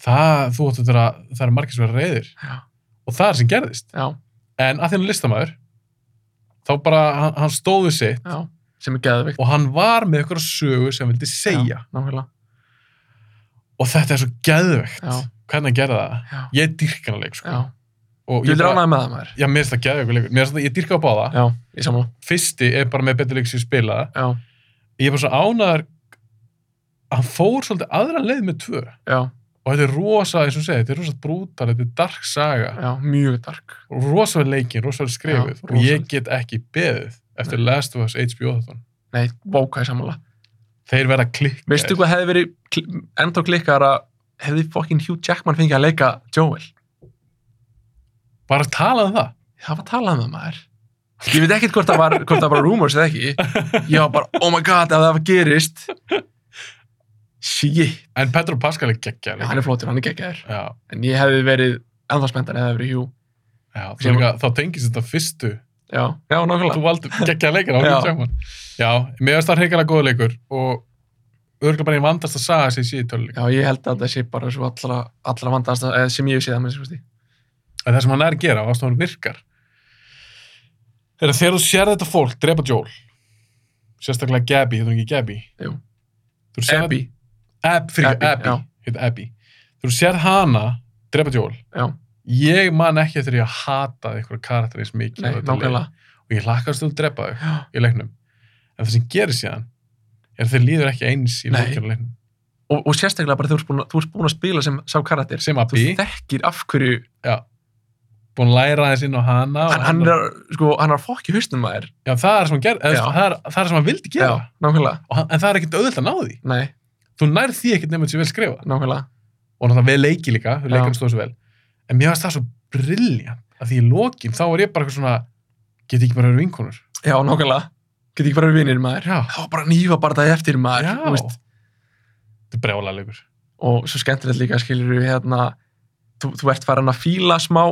A: það, þú átt þetta að það er margir sem er reyðir
B: já,
A: og það er sem gerðist
B: já,
A: en að því hann er listamæður þá bara, hann, hann stóði sitt
B: já, sem er geðvikt
A: og hann var með eitthvað sögu sem hann vildi segja
B: nákvæmlega,
A: og þetta er svo geðvegt
B: Já.
A: hvernig hann gerði það
B: já,
A: ég dýrk hann að leik sko.
B: já
A: og
B: Þú
A: ég,
B: er ánægð með það maður
A: já, mér finnst það geðveikur leikur mér finnst það, ég dýrka á báða
B: Já, ég samla
A: fyrsti er bara með betur leik sem ég spilaði
B: Já,
A: ég er bara svo ánæður hann fór svolítið aðra leið með tvö
B: já,
A: og þetta er rosa, eins og segja, þetta er rosa brútal þetta er dark saga
B: já, mjög dark
A: og rosa vel leikin, rosa vel skrifið
B: Já,
A: og ég
B: rosalegt.
A: get ekki beðið eftir
B: Nei.
A: Last of Us HBO þáttan
B: Nei, vókaði samla
A: þeir verða klikkaðir
B: Veistu hvað hefði verið kl ennþá klikkar að hefði fokkin Hugh Jackman fengið að leika Joel
A: bara talað um það
B: Það var talað um það maður Ég veit ekkert hvort það var, hvort það var rumors eða ekki Ég var bara, oh my god, ef það gerist Shit
A: en Petro Pascal er geggja
B: Já, hann er flótur, hann er geggjaður
A: já,
B: En ég hefði verið ennþá spenntan eða verið Hugh
A: já,
B: Sem-
A: líka, þá tengist þetta fyrstu
B: Já, já, nákvæmlega
A: þú valdi geggja leikir á
B: Já.
A: Hugh Jackman já, mér finnst það hreikalega góð leikur og örgulega bara ég vandast að saga sér síðan töluleik
B: Já, ég held að það sé bara svo allra, allra vandast að, sem ég hef séð að minnst, veist ég.
A: en það sem hann er að gera og það sem hann virkar er að þegar þú sér þetta fólk drepa Joel sérstaklega Gabby, heitir hún ekki Gabby
B: Jú.
A: þú sér
B: Abby,
A: Ab, fyrir,
B: Abby,
A: Abby,
B: já.
A: Abby, Abby. þú sér hana drepa Joel
B: já,
A: ég man ekki eftir því að hata einhverja karakter eins mikið
B: nei,
A: og þetta leik.
B: nákvæmlega.
A: og ég hlakast til að drepa þau
B: Já,
A: í leiknum en það sem gerir síðan er að þeir líður ekki eins í
B: Nei.
A: leikjum leiknum
B: og, og sérstaklega bara þú ert búin að, þú ert búin að spila sem sá karakter
A: sem
B: þú
A: Abbi,
B: þekkir af hverju
A: búin að læra aðeins inn á hana og
B: hann, hann er að, sko, hann er að fokki haustum að þér
A: já, það er sem hann gerði,
B: Já.
A: það, er- það er sem hann vildi gera
B: nákvæmlega,
A: og hann, en það er ekkert auðvitað að ná því
B: nei,
A: þú nærð því ekkert nefnum þessi vel skrifa
B: nákvæmlega
A: og náttúrulega vel leiki líka, þú
B: Já.
A: leikar stóð svo vel en mér varst það svo brilljant að því í lokin þá var ég bara eitthvað svona get ég ekki bara verið vinkonur
B: já, nákvæmlega, get ekki bara verið vinir maður
A: já,
B: þá bara nýfa bara það eftir maður
A: já.
B: þú veist.
A: þetta er brjálega leikur
B: og svo skemmtilegt líka skilur við hérna þú, þú ert farin að fíla smá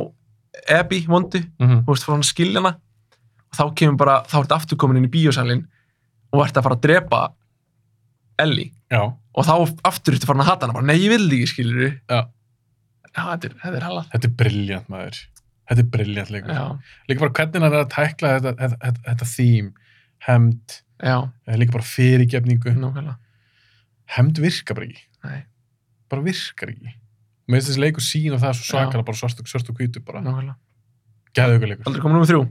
B: Abby vondu,
A: Mhm.
B: þú veist, farin að skilja hana og þá kemur bara, þá ert aftur komin inn í bíósalinn og ert að fara að drepa Ellie
A: já,
B: og þá aftur ertu farin að hata hana bara, nei, ég vil ekki, skilur við
A: Já.
B: þetta er, þetta er halað
A: þetta er brilljant maður þetta er brilljant leikur
B: já,
A: líka bara hvernig hann er að tækla þetta, þetta, þetta, þetta þým, hemd
B: já,
A: eh, líka bara fyrirgefningu
B: nákvæmlega
A: hemd virkar bara ekki,
B: Nei.
A: bara virkar ekki mér finnst þessi leikur sín og það er svo svakala bara svart og, svart og hvítu bara,
B: nákvæmlega,
A: gæðu ykkur leikur
B: aldrei komið nummið þrjú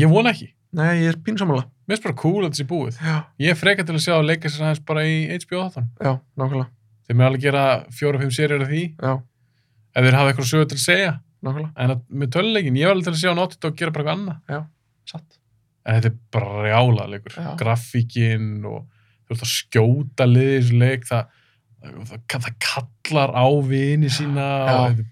A: ég vona ekki,
B: nei, ég er pínsamála
A: mér finnst bara cool að þetta sé búið
B: já,
A: ég er freka til að sjá að leika sér aðeins bara í HBO 18
B: já, nákvæmlega,
A: þeir mér alveg gera fjóra-fimm serjur af því
B: já,
A: ef þeir hafa eitthvað sögur til að segja
B: nákvæmlega
A: en að, með töluleikin, ég var alveg til að sjá náttit og gera bara eitthvað annað
B: satt,
A: en þetta er brjála leikur
B: Já.
A: grafíkin og þú veist að skjóta liðið í þessu leik það, það, það kallar á vini sína
B: Já.
A: og þetta,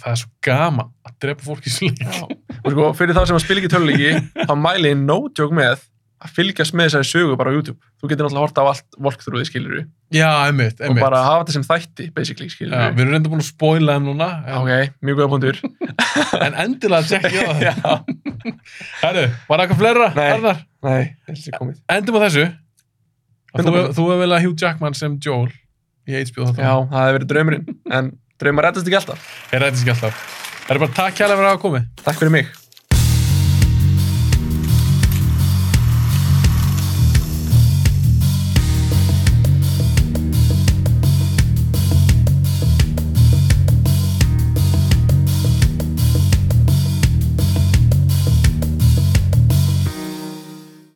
A: það er svo gaman að drepa fólk í þessu leik
B: já og sko, fyrir þá sem að spila ekki töluleiki þá mæli ég no joke með að fylgjast með þessari sögu bara á YouTube þú getur náttúrulega horta á allt walkthroughi, skilur við
A: já, einmitt,
B: og
A: einmitt
B: bara hafa þetta sem þætti, basically,
A: já,
B: skilur
A: við erum reynda búin að spoila þeim núna en,
B: ok, mjög góða punktur
A: en endilega tjekki á það
B: já,
A: herru, var eitthvað fleira?
B: Nei.
A: Arnar,
B: nei, þetta er komið
A: endum á þessu Að þú,
B: 100%.
A: þú hefur vel að Hugh Jackman sem Joel í HBO
B: já,
A: þáttan,
B: það hefur verið draumurinn en draumar reddast ekki alltaf
A: ég rættist ekki alltaf það er bara takk hjá að vera að hafa komið
B: Takk fyrir mig